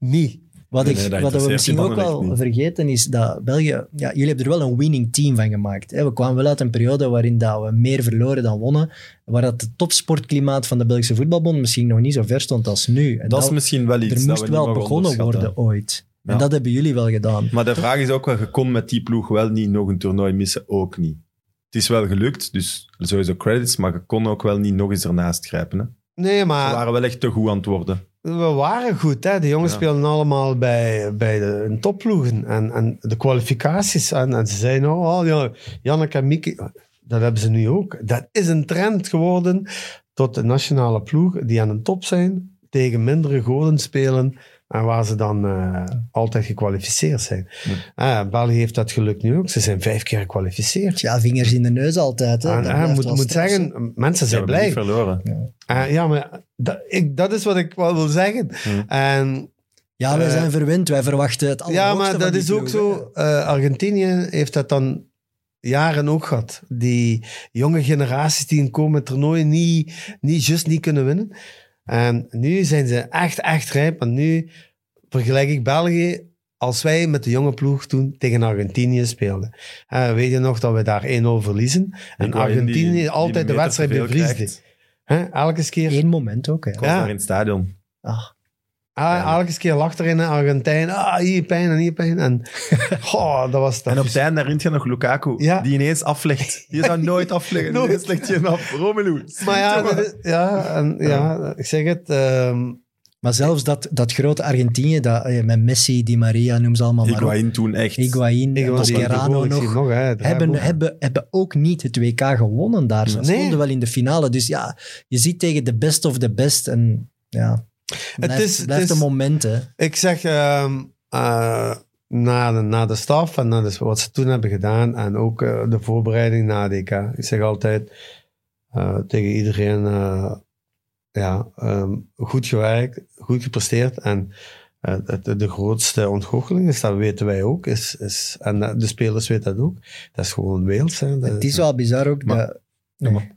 Speaker 3: niet.
Speaker 2: Wat,
Speaker 1: Nee,
Speaker 2: ik,
Speaker 1: nee, dat
Speaker 2: wat we
Speaker 1: interesseert
Speaker 2: misschien
Speaker 1: die
Speaker 2: ook
Speaker 1: mannen echt
Speaker 2: wel
Speaker 1: niet.
Speaker 2: vergeten is dat België... Ja, jullie hebben er wel een winning team van gemaakt. Hè? We kwamen wel uit een periode waarin dat we meer verloren dan wonnen. Waar dat het topsportklimaat van de Belgische voetbalbond misschien nog niet zo ver stond als nu. En
Speaker 1: Dat is misschien wel iets
Speaker 2: er
Speaker 1: dat
Speaker 2: moest
Speaker 1: we niet
Speaker 2: wel
Speaker 1: mogen
Speaker 2: begonnen
Speaker 1: onderschatten.
Speaker 2: worden ooit. En
Speaker 1: Ja.
Speaker 2: dat hebben jullie wel gedaan.
Speaker 1: Maar de vraag is ook wel, je kon met die ploeg wel niet nog een toernooi missen, ook niet. Het is wel gelukt, dus sowieso credits, maar je kon ook wel niet nog eens ernaast grijpen. Hè.
Speaker 3: Nee,
Speaker 1: Ze
Speaker 3: maar
Speaker 1: waren wel echt te goed aan het worden.
Speaker 3: we waren goed. Hè? De jongens
Speaker 1: Ja.
Speaker 3: speelden allemaal bij, bij de hun topploegen. En, en de kwalificaties. En, en ze zeiden, oh, oh ja, Jannek en Mieke, dat hebben ze nu ook. Dat is een trend geworden tot de nationale ploeg die aan de top zijn, tegen mindere goden spelen en waar ze dan eh, altijd gekwalificeerd zijn. Eh, België heeft dat geluk nu ook. Ze zijn vijf keer gekwalificeerd.
Speaker 2: Ja, vingers in de neus altijd. Hè?
Speaker 3: En,
Speaker 2: Dat
Speaker 3: eh,
Speaker 2: blijft
Speaker 3: moet,
Speaker 2: wel
Speaker 3: moet
Speaker 2: straf zijn.
Speaker 3: zeggen, mensen
Speaker 1: Ze
Speaker 3: zijn
Speaker 1: hebben
Speaker 3: blij.
Speaker 1: niet verloren.
Speaker 3: Eh, ja, maar dat, ik, dat is wat ik wel wil zeggen.
Speaker 1: Hmm.
Speaker 3: En
Speaker 2: Ja, wij
Speaker 3: eh,
Speaker 2: zijn verwend. Wij verwachten het
Speaker 3: ja,
Speaker 2: allerhoogste
Speaker 3: maar
Speaker 2: van
Speaker 3: dat
Speaker 2: die
Speaker 3: is ook
Speaker 2: ploeg, hè.
Speaker 3: zo. eh, Argentinië heeft dat dan jaren ook gehad. Die jonge generaties die in komende toernooien niet, niet just niet kunnen winnen. En nu zijn ze echt, echt rijp. Want nu vergelijk ik België als wij met de jonge ploeg toen tegen Argentinië speelden. Eh, weet je nog dat we daar 1-0 verliezen? En Argentinië altijd de wedstrijd bevriesde.
Speaker 1: Ik
Speaker 3: Hè, elke keer.
Speaker 2: Eén moment ook. Hè.
Speaker 1: was
Speaker 3: Ja.
Speaker 1: daar in het stadion.
Speaker 2: Ah,
Speaker 3: Ah,
Speaker 1: Ja.
Speaker 3: Elke keer lag er in een Argentijn. Ah, hier pijn en hier pijn. En goh, dat was dat.
Speaker 1: en op het einde herinner je nog Lukaku,
Speaker 3: Ja.
Speaker 1: die ineens aflegt. Die zou nooit afleggen.
Speaker 3: Nooit.
Speaker 1: Ineens legt je af. Romelu.
Speaker 3: maar ja,
Speaker 1: Jongen.
Speaker 3: dat is- ja, en, ja, ik zeg het. ehm,
Speaker 2: Maar zelfs dat, dat grote Argentinië, dat, eh, met Messi, Di Maria, noem ze allemaal maar op.
Speaker 1: Higuaín toen echt.
Speaker 2: Higuain,
Speaker 3: ik was hier
Speaker 2: Mascherano
Speaker 3: tevoren, ik zie
Speaker 2: nog.
Speaker 3: het hè, het
Speaker 2: Hebben,
Speaker 3: draaiboek.
Speaker 2: hebben, hebben ook niet het WK gewonnen daar. Ze
Speaker 3: Nee.
Speaker 2: stonden wel in de finale. Dus ja, je ziet tegen de best of the best. En ja, blijft,
Speaker 3: is- het
Speaker 2: blijft
Speaker 3: is- Eh,
Speaker 2: een moment. Hè.
Speaker 3: Ik zeg ehm eh, na, de, na de staf en na de, wat ze toen hebben gedaan en ook eh, de voorbereiding na DK. Ik zeg altijd eh, tegen iedereen: eh, ja, ehm, goed gewerkt, goed gepresteerd. En eh, het- de grootste ontgoocheling is, dat weten wij ook. Is, is, en dat- de spelers weten dat ook. Dat is gewoon Wales. Hè. Dat
Speaker 2: Het is wel bizar ook.
Speaker 1: Maar-
Speaker 2: dat, nee.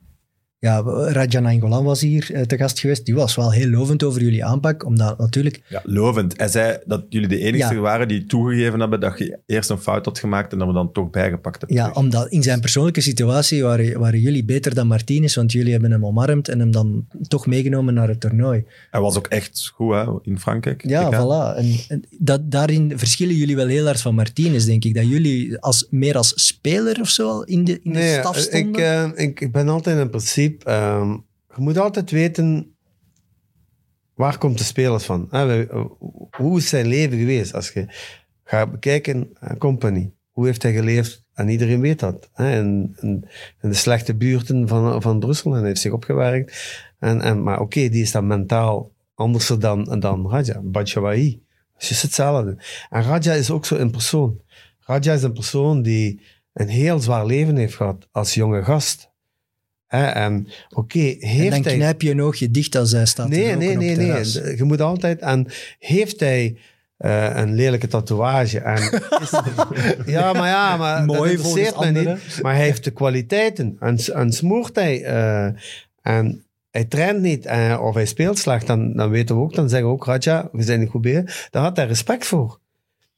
Speaker 2: Ja, Rajan Angolan was hier eh, te gast geweest. Die was wel heel lovend over jullie aanpak. Omdat natuurlijk,
Speaker 1: Ja, lovend. Hij zei dat jullie de enigste
Speaker 2: Ja.
Speaker 1: waren die toegegeven hebben dat je eerst een fout had gemaakt en dat we dan toch bijgepakt hebben.
Speaker 2: ja, omdat in zijn persoonlijke situatie waren, waren jullie beter dan Martinez. Want jullie hebben hem omarmd en hem dan toch meegenomen naar het toernooi.
Speaker 1: Hij was ook echt goed hè, in Frankrijk.
Speaker 2: Ja,
Speaker 1: Ik, hè.
Speaker 2: voilà. En, en dat, daarin verschillen jullie wel heel hard van Martinez, denk ik. Dat jullie als, meer als speler of zo al in de, in de staf stonden.
Speaker 3: Ik, eh, ik, ik ben altijd in principe... ehm, je moet altijd weten... Waar komt de speler van? Hè, we- eh, hoe is zijn leven geweest? Als je gaat bekijken, eh, Company. Hoe heeft hij geleefd? En iedereen weet dat. Hè? In, in, in de slechte buurten van, van Brussel. En hij heeft zich opgewerkt. En, en, maar oké, die is dan mentaal anders dan, dan Raja. Batshuayi. Het is hetzelfde. En Raja is ook zo een persoon. Raja is een persoon die een heel zwaar leven heeft gehad als jonge gast. Hè, en oké,
Speaker 2: en
Speaker 3: heeft
Speaker 2: dan
Speaker 3: hij...
Speaker 2: knijp je een oogje dicht als hij staat te
Speaker 3: Nee,
Speaker 2: roken
Speaker 3: nee,
Speaker 2: op
Speaker 3: nee,
Speaker 2: het
Speaker 3: nee.
Speaker 2: terras.
Speaker 3: Je moet altijd... En heeft hij eh, een lelijke tatoeage? En is- ja, maar ja, maar dat
Speaker 2: Mooi
Speaker 3: interesseert mij
Speaker 2: volgens
Speaker 3: niet.
Speaker 2: anderen.
Speaker 3: Maar hij heeft de kwaliteiten. En, s- en smoort hij... eh, en hij traint niet eh, of hij speelt slecht, dan, dan weten we ook, dan zeggen we ook, Raja, we zijn niet goed bezig. Daar had hij respect voor.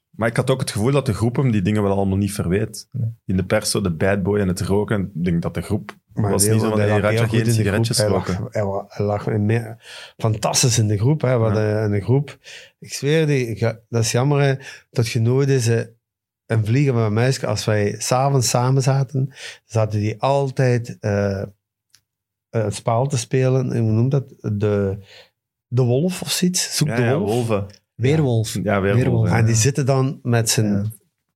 Speaker 1: Maar ik had ook het gevoel dat de groep hem die dingen wel allemaal niet verweet. In de pers, zo de bad boy en het roken. Ik denk dat de groep was niet zo van, hey,
Speaker 3: hij lag heel
Speaker 1: Raja,
Speaker 3: goed in
Speaker 1: geen
Speaker 3: de
Speaker 1: sigaretjes
Speaker 3: groep.
Speaker 1: roken.
Speaker 3: Hij lag, hij lag in me- fantastisch in de groep. Hè, wat, eh, in de groep. Ik zweer die, ga- dat is jammer hè, dat je nooit eens eh, een vliegen met een muisje. Als wij s'avonds samen zaten, zaten die altijd eh, eh, het spaal te spelen. Hoe noem dat? De, de wolf of zoiets. Zoek
Speaker 1: Ja,
Speaker 3: de
Speaker 1: ja,
Speaker 3: wolf.
Speaker 1: wolven.
Speaker 2: Weerwolf.
Speaker 1: Ja, weer
Speaker 2: Weerwolven.
Speaker 1: wolven.
Speaker 3: En die
Speaker 2: Ja.
Speaker 3: zitten dan met z'n
Speaker 2: Ja.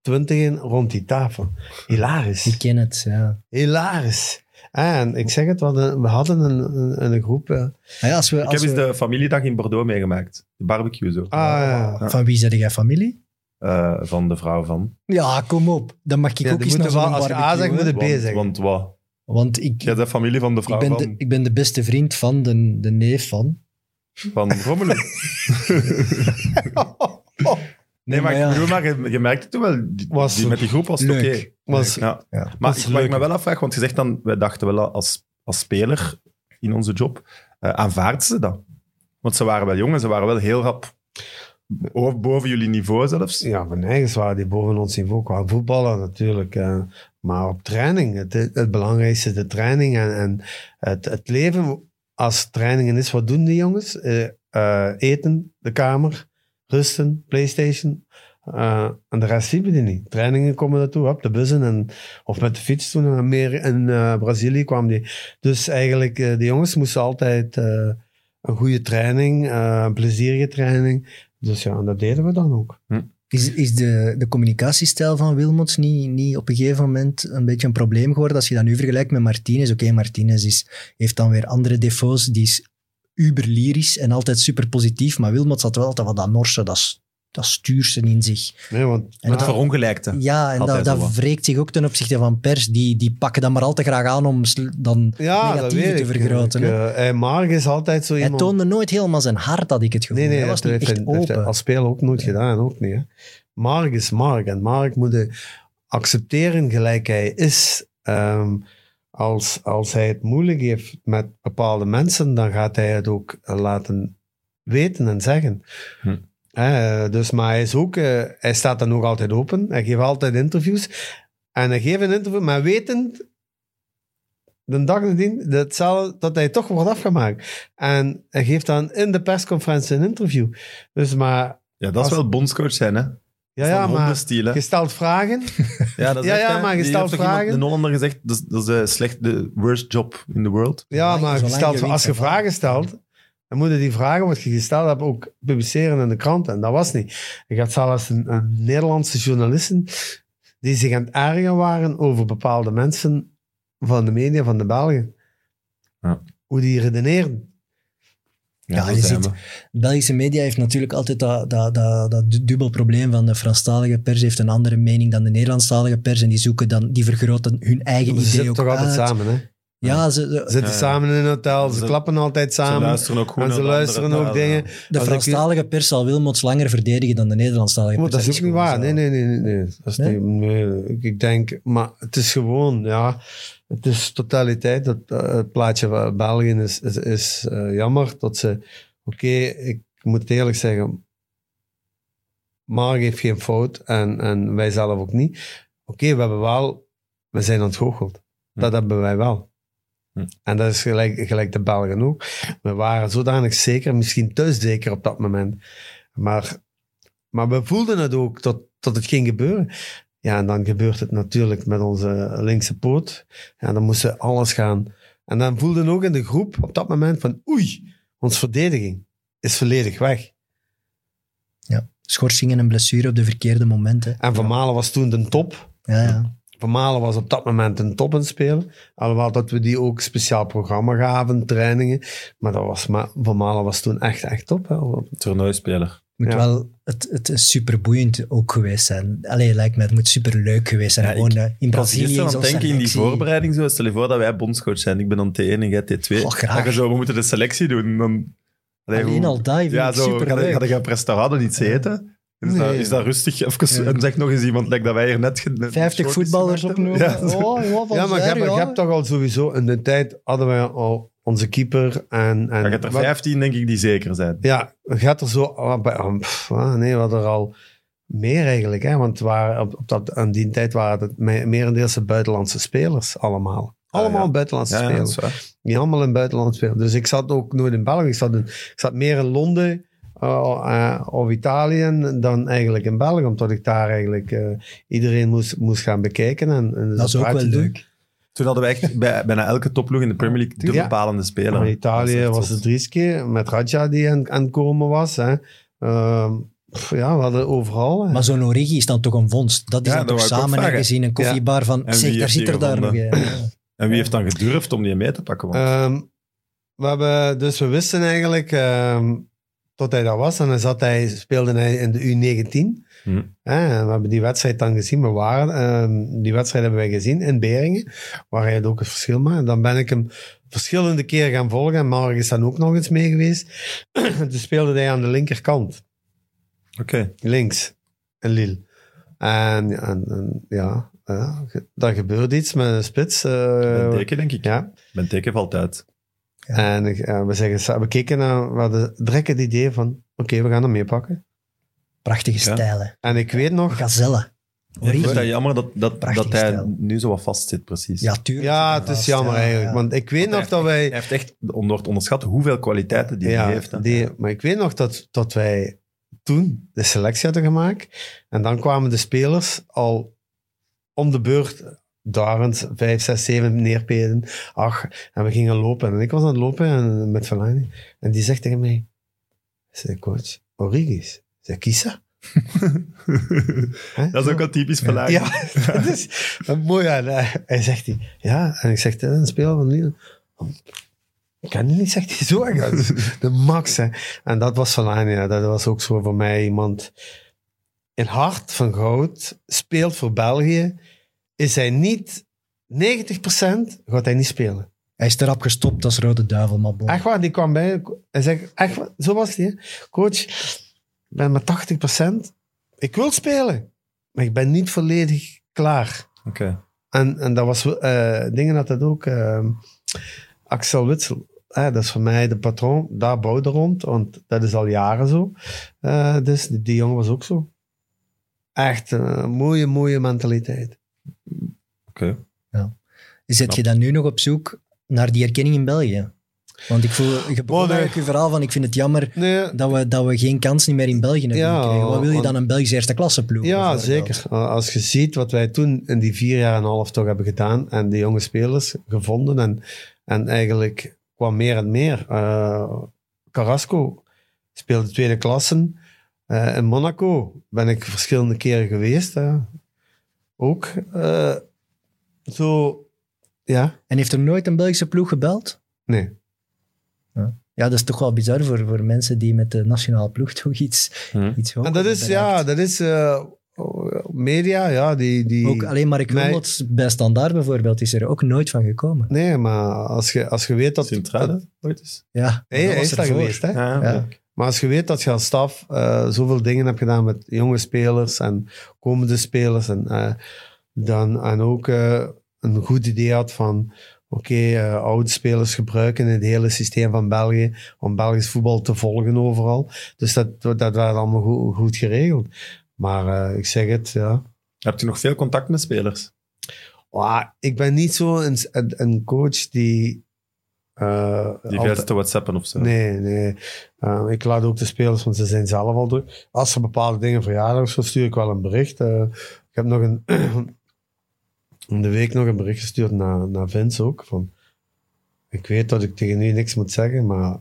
Speaker 3: twintigen rond die tafel. Hilarisch.
Speaker 2: Ik ken het, ja.
Speaker 3: Hilarisch. Ah, En ik zeg het, we hadden, we hadden een, een, een groep. eh,
Speaker 2: Ah ja, als we,
Speaker 1: Ik
Speaker 2: als
Speaker 1: heb eens
Speaker 2: we-
Speaker 1: de familiedag in Bordeaux meegemaakt. De barbecue zo.
Speaker 3: ah, ja.
Speaker 2: Van wie zijn jij familie?
Speaker 1: Eh, van de vrouw van.
Speaker 2: Ja, kom op. Dan mag ik
Speaker 3: Ja,
Speaker 2: ook
Speaker 3: die
Speaker 2: eens naar
Speaker 3: moeten
Speaker 2: zo'n
Speaker 3: wel- als je A
Speaker 2: barbecue,
Speaker 3: zegt,
Speaker 2: hè.
Speaker 3: moet De B
Speaker 1: Want,
Speaker 3: zeggen.
Speaker 1: want wat?
Speaker 2: Want ik,
Speaker 1: Jij bent familie van de
Speaker 2: ik,
Speaker 1: vrouw
Speaker 2: ben
Speaker 1: van,
Speaker 2: de, ik ben de beste vriend van de, de neef van.
Speaker 1: van Romelu. Nee, maar,
Speaker 2: ja,
Speaker 1: ik bedoel, maar je, je merkte toen wel, die,
Speaker 3: Was
Speaker 1: die met die groep was het oké.
Speaker 2: leuk.
Speaker 3: Was,
Speaker 1: Ja.
Speaker 2: Ja.
Speaker 1: Maar
Speaker 3: is
Speaker 1: ik- wat ik
Speaker 3: leuk.
Speaker 1: me wel afvraag, want je zegt dan, wij dachten wel als, als speler in onze job, eh aanvaarden ze dat? Want ze waren wel jong en ze waren wel heel rap Of boven jullie niveau zelfs.
Speaker 3: Ja, van nergens waren die boven ons niveau qua voetballen natuurlijk. eh, maar op training, het, het belangrijkste is de training en, en het, het leven als trainingen is. Wat doen die jongens? Eh, eh, eten, de kamer, rusten, Playstation. eh, en de rest zien we die niet. Trainingen komen daartoe, op de bussen en, of met de fiets toen. En meer in eh, Brazilië kwam die. Dus eigenlijk, eh, de jongens moesten altijd eh, een goede training, eh, een plezierige training. Dus ja, en dat deden we dan ook.
Speaker 2: Is, is de, de communicatiestijl van Wilmots niet, niet op een gegeven moment een beetje een probleem geworden? Als je dat nu vergelijkt met Martinez. Oké, Martinez is, heeft dan weer andere defo's. Die is uberlyrisch en altijd super positief. Maar Wilmots had wel altijd wat dat Norse, dat, s- dat stuurse in zich.
Speaker 3: Nee, want,
Speaker 2: En dat
Speaker 1: Het
Speaker 3: maar-
Speaker 1: verongelijkte.
Speaker 2: Ja, en
Speaker 1: Had hij
Speaker 2: dat,
Speaker 1: zo
Speaker 2: dat
Speaker 1: wat.
Speaker 2: wreekt zich ook ten opzichte van pers. Die, die pakken dat maar al te graag aan om sl- dan
Speaker 3: ja, dat
Speaker 2: negatieven
Speaker 3: weet
Speaker 2: te
Speaker 3: ik.
Speaker 2: vergroten.
Speaker 3: Ik,
Speaker 2: hè.
Speaker 3: eh, eh, Marg is altijd zo
Speaker 2: Hij
Speaker 3: iemand...
Speaker 2: toonde nooit helemaal zijn hart, had ik het gevoel.
Speaker 3: nee, nee,
Speaker 2: hij was
Speaker 3: dat
Speaker 2: niet
Speaker 3: heeft
Speaker 2: echt
Speaker 3: hij- heeft hij
Speaker 2: open.
Speaker 3: als speler ook nooit gedaan, ook niet. Hè. Marg is Marg en Marg moet je accepteren gelijk hij is. Ehm, als, als hij het moeilijk heeft met bepaalde mensen, dan gaat hij het ook eh, laten weten en zeggen.
Speaker 1: Hm.
Speaker 3: Eh, dus, maar hij, is ook, eh, hij staat dan ook altijd open. Hij geeft altijd interviews. En hij geeft een interview, maar wetend, de dag nadien, dat hetzelfde, dat hij toch wordt afgemaakt. En hij geeft dan in de persconferentie een interview. Dus maar,
Speaker 1: Ja, dat is
Speaker 3: Als-
Speaker 1: wel bondscoach zijn, hè?
Speaker 3: ja, ja, maar
Speaker 1: Hondenstiel, hè?
Speaker 3: gesteld vragen.
Speaker 1: Ja, dat is
Speaker 3: Ja,
Speaker 1: echt,
Speaker 3: ja,
Speaker 1: hè.
Speaker 3: maar je
Speaker 1: Die
Speaker 3: stelt
Speaker 1: heeft toch iemand-
Speaker 3: vragen.
Speaker 1: Een Hollander gezegd, dat is, dat is de, slecht, de worst job in the world.
Speaker 3: Ja,
Speaker 2: Zolang-
Speaker 3: maar
Speaker 2: zolang
Speaker 3: gesteld,
Speaker 2: je weet
Speaker 3: als je
Speaker 2: dat-
Speaker 3: vragen stelt, dan moeten die vragen wat je gesteld hebt ook publiceren in de krant. En dat was niet. Ik had zelfs een, een Nederlandse journalisten die zich aan het ergeren waren over bepaalde mensen van de media van de Belgen.
Speaker 1: Ja.
Speaker 3: Hoe die redeneerden.
Speaker 2: Ja,
Speaker 1: dat
Speaker 2: je
Speaker 1: zijn
Speaker 2: ziet-
Speaker 1: we.
Speaker 2: Belgische media heeft natuurlijk altijd dat, dat, dat, dat du- dubbel probleem van de Franstalige pers heeft een andere mening dan de Nederlandstalige pers en die zoeken dan, die vergroten hun eigen
Speaker 3: Ze
Speaker 2: idee
Speaker 3: zitten
Speaker 2: ook
Speaker 3: toch altijd
Speaker 2: uit.
Speaker 3: samen, hè?
Speaker 2: Ja, ze-
Speaker 3: Ze
Speaker 2: de,
Speaker 3: zitten
Speaker 1: Ja, ja.
Speaker 3: samen in een hotel, ze,
Speaker 1: Ze-
Speaker 3: klappen altijd
Speaker 1: Ze
Speaker 3: samen.
Speaker 1: luisteren ook goed
Speaker 3: En
Speaker 1: naar
Speaker 3: ze
Speaker 1: de
Speaker 3: luisteren
Speaker 1: anderen.
Speaker 3: ook
Speaker 1: Ja, ja.
Speaker 3: dingen.
Speaker 2: de
Speaker 3: als ik-
Speaker 2: Franstalige pers zal Wilmots langer verdedigen dan de Nederlandstalige
Speaker 3: Maar
Speaker 2: pers.
Speaker 3: dat is ook niet
Speaker 2: gewoon
Speaker 3: waar.
Speaker 2: zo.
Speaker 3: Nee, nee, nee. nee, nee. Dat is
Speaker 2: Nee?
Speaker 3: niet- nee, ik- Ik denk, maar het is gewoon, ja. Het is totaliteit. Dat, eh, het plaatje van België is, is, is, eh, jammer dat ze. Oké, ik moet eerlijk zeggen. Mark heeft geen fout en, en wij zelf ook niet. Oké, we hebben wel. We zijn ontgoocheld. Dat hebben wij wel.
Speaker 1: Hm.
Speaker 3: En dat is gelijk, gelijk de Belgen ook. We waren zodanig zeker, misschien te zeker op dat moment. Maar maar we voelden het ook dat, dat het ging gebeuren. Ja, en dan gebeurt het natuurlijk met onze linkse poot. Ja, dan moesten we alles gaan. En dan voelden ook in de groep op dat moment van oei, onze verdediging is volledig weg.
Speaker 2: Schorsingen en blessure op de verkeerde momenten.
Speaker 3: En Van Malen was toen de top.
Speaker 2: Ja, ja.
Speaker 3: Van Malen was op dat moment een top in spelen. Alhoewel dat we die ook speciaal programma gaven, trainingen. Maar dat was, maar Van Malen was toen echt, echt top. Hè.
Speaker 1: Toernooispeler.
Speaker 2: Moet
Speaker 3: Ja.
Speaker 2: wel, het, het is superboeiend ook geweest zijn. Allee, lijkt mij, het moet superleuk geweest zijn.
Speaker 1: Ja,
Speaker 2: Gewoon eh, in
Speaker 1: Ik was
Speaker 2: Brazilië.
Speaker 1: gisteren aan
Speaker 2: zo'n
Speaker 1: het denken in die
Speaker 2: selectie.
Speaker 1: voorbereiding. Zo, stel je voor dat wij bondscoach zijn. Ik ben dan T1 en jij T2.
Speaker 2: Goh, graag.
Speaker 1: Dat je zo, we moeten de selectie doen. Dan, Allee,
Speaker 2: Alleen
Speaker 1: hoe-
Speaker 2: al dat vind
Speaker 1: Ja,
Speaker 2: ik
Speaker 1: zo,
Speaker 2: superleuk.
Speaker 1: ga je- ga je op restaurant en iets eten? Is, dat,
Speaker 3: Nee.
Speaker 1: is dat rustig? Even,
Speaker 2: Ja.
Speaker 1: En zeg nog eens iemand, like dat wij hier net... ge-
Speaker 2: 50
Speaker 1: shorties
Speaker 2: voetballers
Speaker 1: gemaakt hebben.
Speaker 2: opnoemen.
Speaker 1: Ja, zo.
Speaker 2: Oh, wat
Speaker 3: Ja, maar je
Speaker 2: ver,
Speaker 3: hebt, je
Speaker 2: ja.
Speaker 3: hebt toch al sowieso, in de tijd hadden wij al onze keeper en... en
Speaker 1: Ja, je hebt er
Speaker 3: wat-
Speaker 1: 15, denk ik, die zeker zijn.
Speaker 3: Ja, gaat er zo. ah, bij- ah, pff, ah, nee, we hadden er al meer eigenlijk. Hè? Want waar, op, op dat, aan die tijd waren het me- merendeels buitenlandse spelers allemaal.
Speaker 1: Ah,
Speaker 3: Allemaal
Speaker 1: ja.
Speaker 3: buitenlandse
Speaker 1: Ja, ja, dat
Speaker 3: spelers.
Speaker 1: is waar.
Speaker 3: Die allemaal in buitenland spelen. Dus ik zat ook nooit in België. Ik zat, in- ik zat meer in Londen eh, eh, of Italië dan eigenlijk in België. Omdat ik daar eigenlijk eh, iedereen moest, moest gaan bekijken. En, en
Speaker 2: Dat is ook wel
Speaker 3: praatje doen.
Speaker 2: leuk.
Speaker 1: Toen hadden we echt bij, bijna elke topploeg in de Premier League de
Speaker 3: Ja.
Speaker 1: bepalende speler.
Speaker 3: Maar In Italië
Speaker 1: Dat is echt
Speaker 3: was
Speaker 1: zot.
Speaker 3: het Rieske met Radja die aan aan het komen was. Hè. Ehm, pff, ja, we hadden overal. hè.
Speaker 2: Maar zo'n Origi is dan toch een vondst. Dat is
Speaker 1: Ja,
Speaker 2: dan
Speaker 1: dat wou
Speaker 2: toch
Speaker 1: ik ook
Speaker 2: samen
Speaker 1: vragen.
Speaker 2: ergens in een koffiebar van...
Speaker 1: En
Speaker 2: zeg,
Speaker 1: wie
Speaker 2: daar
Speaker 1: heeft
Speaker 2: zit
Speaker 1: die
Speaker 2: er daar nog
Speaker 1: gevonden?
Speaker 2: een. Ja.
Speaker 1: En wie heeft dan gedurfd om die mee te pakken? Want
Speaker 3: Ehm, we hebben, dus we wisten eigenlijk ehm, tot hij daar was. En dan zat hij, speelde hij in de U19.
Speaker 1: Hm.
Speaker 3: Hè, en we hebben die wedstrijd dan gezien. We waren, ehm, die wedstrijd hebben wij gezien in Beringen, waar hij het ook het verschil maakte. Dan ben ik hem verschillende keren gaan volgen. En morgen is dan ook nog eens mee geweest. Toen speelde hij aan de linkerkant,
Speaker 1: Oké.
Speaker 3: links, in Lille. En, en, en ja, ja, ge- daar gebeurde iets met een spits. eh,
Speaker 1: Ben teken, denk ik.
Speaker 3: ja.
Speaker 1: Ben teken valt uit.
Speaker 3: En eh, we, zeggen, sa- we keken naar we hadden direct het idee van: oké, we gaan hem meepakken.
Speaker 2: Prachtige
Speaker 1: Ja.
Speaker 2: stijlen.
Speaker 3: En ik weet nog...
Speaker 2: Gazelle.
Speaker 1: Ja, ik vind dat
Speaker 2: Origi.
Speaker 1: jammer dat, dat,
Speaker 2: Prachtig
Speaker 1: dat hij
Speaker 2: stijl.
Speaker 1: nu zo wat vast zit, precies.
Speaker 2: Ja, tuurlijk.
Speaker 3: Ja, het is jammer
Speaker 2: Ja,
Speaker 3: eigenlijk.
Speaker 2: ja.
Speaker 3: Want ik weet nog
Speaker 1: Want
Speaker 3: dat
Speaker 1: Hij
Speaker 3: wij...
Speaker 1: heeft echt onder- onderschat hoeveel kwaliteiten die
Speaker 3: ja,
Speaker 1: hij heeft. hè.
Speaker 3: die- maar ik weet nog dat, dat wij toen de selectie hadden gemaakt. En dan kwamen de spelers al om de beurt. Darend, vijf, zes, zeven, neerpeden. Ach, en we gingen lopen. En ik was aan het lopen en, met Verlaine. En die zegt tegen mij... Zei coach, Origis. Zei Kisa. Hè?
Speaker 1: Dat is ook wel typisch Verlaine.
Speaker 3: Ja, dat is dat is mooi. aan. Hij- Hij zegt die, ja, en ik zeg, dat is een speler van Lille. Ik ken die niet, zegt hij zo. Ja, dat is De max, hè. En dat was Solani, ja. dat was ook zo voor mij iemand. In hart van goud, speelt voor België. Is hij niet 90%, gaat hij niet spelen.
Speaker 2: Hij is erop gestopt als Rode Duivel, maar bon.
Speaker 3: Echt waar, die kwam bij. Hij zegt, echt waar, zo was hij. hè. Coach, ik ben maar 80%. Ik wil spelen, maar ik ben niet volledig klaar.
Speaker 1: Oké.
Speaker 3: En, en dat was eh, dingen dat dat ook. eh, Axel Witsel, hè, dat is voor mij de patroon. Daar bouwde rond, want dat is al jaren zo. Eh, dus die, die jongen was ook zo. Echt een mooie, mooie mentaliteit.
Speaker 1: Oké.
Speaker 2: Zet je dan nu nog op zoek naar die erkenning in België? Want ik voel, je begon
Speaker 3: Oh, nee.
Speaker 2: eigenlijk je verhaal van ik vind het jammer
Speaker 3: Nee,
Speaker 2: dat we, dat we geen kans niet meer in België hebben
Speaker 3: Ja,
Speaker 2: gekregen. Wat wil je
Speaker 3: want-
Speaker 2: dan een Belgische eerste klasse ploeg?
Speaker 3: ja,
Speaker 2: bijvoorbeeld?
Speaker 3: zeker. Eh, Als je ziet wat wij toen in die vier jaar en een half toch hebben gedaan en de jonge spelers gevonden en, en eigenlijk kwam meer en meer. Eh, Carrasco speelde tweede klassen. Eh, in Monaco ben ik verschillende keren geweest. hè. Ook. eh, zo, ja,
Speaker 2: En heeft er nooit een Belgische ploeg gebeld?
Speaker 3: nee.
Speaker 2: Ja, dat is toch wel bizar voor, voor mensen die met de nationale ploeg toch iets,
Speaker 1: Hm.
Speaker 2: iets hoger
Speaker 3: En dat is, ja, dat is eh, media, ja, die... die
Speaker 2: Ook alleen Mark
Speaker 3: Mij-
Speaker 2: Hummels bij Standaard bijvoorbeeld is er ook nooit van gekomen.
Speaker 3: Nee, maar als je, als je weet dat... dat-
Speaker 1: Sint-Truiden ooit eens.
Speaker 2: Ja,
Speaker 3: Nee,
Speaker 2: dat
Speaker 3: hij
Speaker 2: was
Speaker 3: is daar
Speaker 2: ervoor.
Speaker 3: geweest, hè.
Speaker 1: Ja,
Speaker 2: Ja.
Speaker 1: oké.
Speaker 3: Maar als je weet dat je als staf eh, zoveel dingen hebt gedaan met jonge spelers en komende spelers, en, eh, dan, en ook eh, een goed idee had van: oké, eh, oude spelers gebruiken het hele systeem van België om Belgisch voetbal te volgen overal. Dus dat, dat werd allemaal goed, goed geregeld. Maar eh, ik zeg het, ja.
Speaker 1: Hebt u nog veel contact met spelers?
Speaker 3: Ah, ik ben niet zo een, een, een coach die. eh,
Speaker 1: Die
Speaker 3: altijd-
Speaker 1: verder te whatsappen of zo?
Speaker 3: Nee, nee. Eh, ik laat ook de spelers, want ze zijn zelf al druk. Als er bepaalde dingen verjaardag of zo, stuur ik wel een bericht. Eh, ik heb nog een... om de week nog een bericht gestuurd naar, naar Vince ook. Van, ik weet dat ik tegen u niks moet zeggen, maar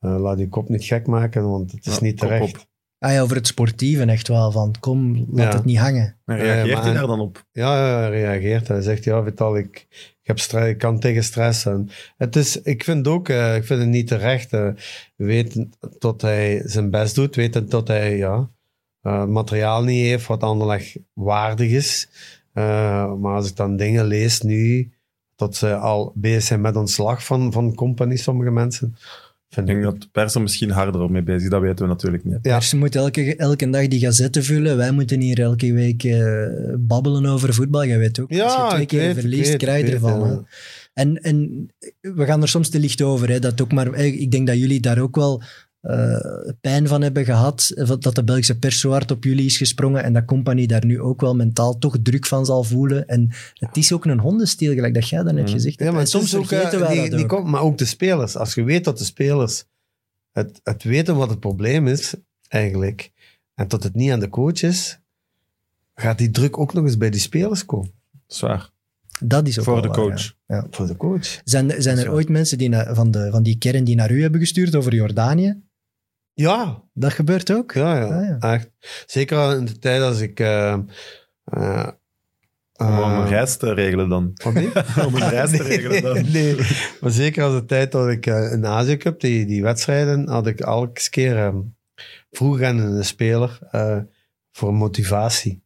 Speaker 3: eh, laat die kop niet gek maken, want het is
Speaker 1: Ja,
Speaker 3: niet
Speaker 1: kop
Speaker 3: terecht.
Speaker 1: op.
Speaker 2: Ah ja, over het sportieve echt wel. Van kom, laat
Speaker 3: Ja.
Speaker 2: het niet hangen.
Speaker 1: En reageert
Speaker 3: Ja, Eh, maar-
Speaker 1: hij daar dan op?
Speaker 3: Ja, ja, hij reageert. Hij zegt, ja, Vital, ik, ik, heb stre- ik kan tegen stress. En het is, ik vind ook, eh, ik vind het niet terecht. eh, weten dat hij zijn best doet, weten dat hij ja, eh, materiaal niet heeft wat Anderlecht waardig is. Eh, maar als ik dan dingen lees nu, dat ze al bezig zijn met ontslag van, van company, sommige mensen.
Speaker 1: Ik
Speaker 3: Vind
Speaker 1: denk
Speaker 3: ik,
Speaker 1: dat de pers er misschien harder mee bezig is. Dat weten we natuurlijk niet.
Speaker 3: Ja.
Speaker 2: Ja. Ze moeten Dus elke, elke dag die gazetten vullen. Wij moeten hier elke week eh, babbelen over voetbal. Jij weet ook, als je twee
Speaker 3: ik
Speaker 2: keer
Speaker 3: weet, ik
Speaker 2: verliest,
Speaker 3: weet,
Speaker 2: krijg
Speaker 3: ik
Speaker 2: je
Speaker 3: weet,
Speaker 2: ervan.
Speaker 3: ja.
Speaker 2: hè. En, en we gaan er soms te licht over. Hè, dat ook, maar eh, ik denk dat jullie daar ook wel eh, pijn van hebben gehad. eh, Dat de Belgische pers zo hard op jullie is gesprongen. En dat compagnie daar nu ook wel mentaal toch druk van zal voelen. En het is ook een hondensteel, gelijk dat jij dan hebt
Speaker 1: Mm.
Speaker 2: gezegd.
Speaker 3: Ja, maar
Speaker 2: en
Speaker 3: het
Speaker 2: soms
Speaker 3: is ook, eh,
Speaker 2: vergeten wij
Speaker 3: die,
Speaker 2: dat
Speaker 3: die
Speaker 2: ook.
Speaker 3: komt- maar ook de spelers. Als je weet dat de spelers het, het weten wat het probleem is, eigenlijk, en dat het niet aan de coach is, gaat die druk ook nog eens bij die spelers komen.
Speaker 1: Zwaar.
Speaker 2: Dat is ook
Speaker 1: Voor
Speaker 2: wel
Speaker 1: de
Speaker 2: waar,
Speaker 1: coach.
Speaker 2: ja. Ja.
Speaker 3: Voor de coach.
Speaker 2: Zijn, zijn er
Speaker 3: Zo.
Speaker 2: ooit mensen die na- van, de, van die kern die naar u hebben gestuurd over Jordanië?
Speaker 3: Ja,
Speaker 2: Dat gebeurt ook.
Speaker 3: ja, ja.
Speaker 2: Ah,
Speaker 3: Echt. Zeker in de tijd als ik... eh eh,
Speaker 1: Om
Speaker 3: eh,
Speaker 1: een reis te regelen dan.
Speaker 3: wat ben je?
Speaker 1: Om een reis te regelen dan.
Speaker 3: Nee, nee. maar zeker als de tijd dat ik eh, in de Azië Cup, die, die wedstrijden, had ik elke keer ehm, vroeg aan een speler eh, voor motivatie,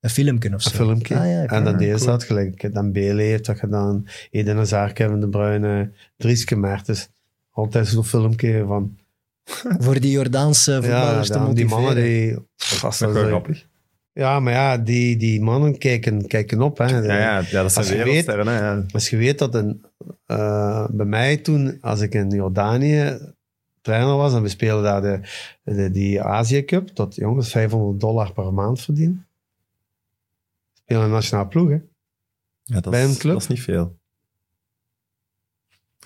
Speaker 2: Een filmpje of zo.
Speaker 3: een filmpje.
Speaker 2: Ah, ja, oké.
Speaker 3: En dan
Speaker 2: Ah,
Speaker 3: deed ze
Speaker 2: cool.
Speaker 3: dat gelijk. Dan Bele heeft dat gedaan, Eden Hazard, Kevin De Bruyne, Drieske Mertens. Altijd zo'n filmpje van...
Speaker 2: Voor die Jordaanse
Speaker 3: Ja,
Speaker 2: voetballers te
Speaker 3: dan die
Speaker 2: motiveren.
Speaker 3: mannen die... Pff, als
Speaker 1: Dat is wel
Speaker 3: dat zo-
Speaker 1: grappig.
Speaker 3: ja, maar ja, die, die mannen kijken, kijken op. Hè.
Speaker 1: Ja, ja, ja, dat zijn
Speaker 3: Als je
Speaker 1: wereldsterren. hè, ja.
Speaker 3: Dus Als je weet dat een, eh, bij mij toen, als ik in Jordanië trainer was. En we speelden daar de, de, die Azië Cup. Dat jongens 500 dollar per maand verdienen. Spelen in de nationale ploeg, hè?
Speaker 1: Ja, dat,
Speaker 3: Bij
Speaker 1: is,
Speaker 3: een club?
Speaker 1: dat is niet veel.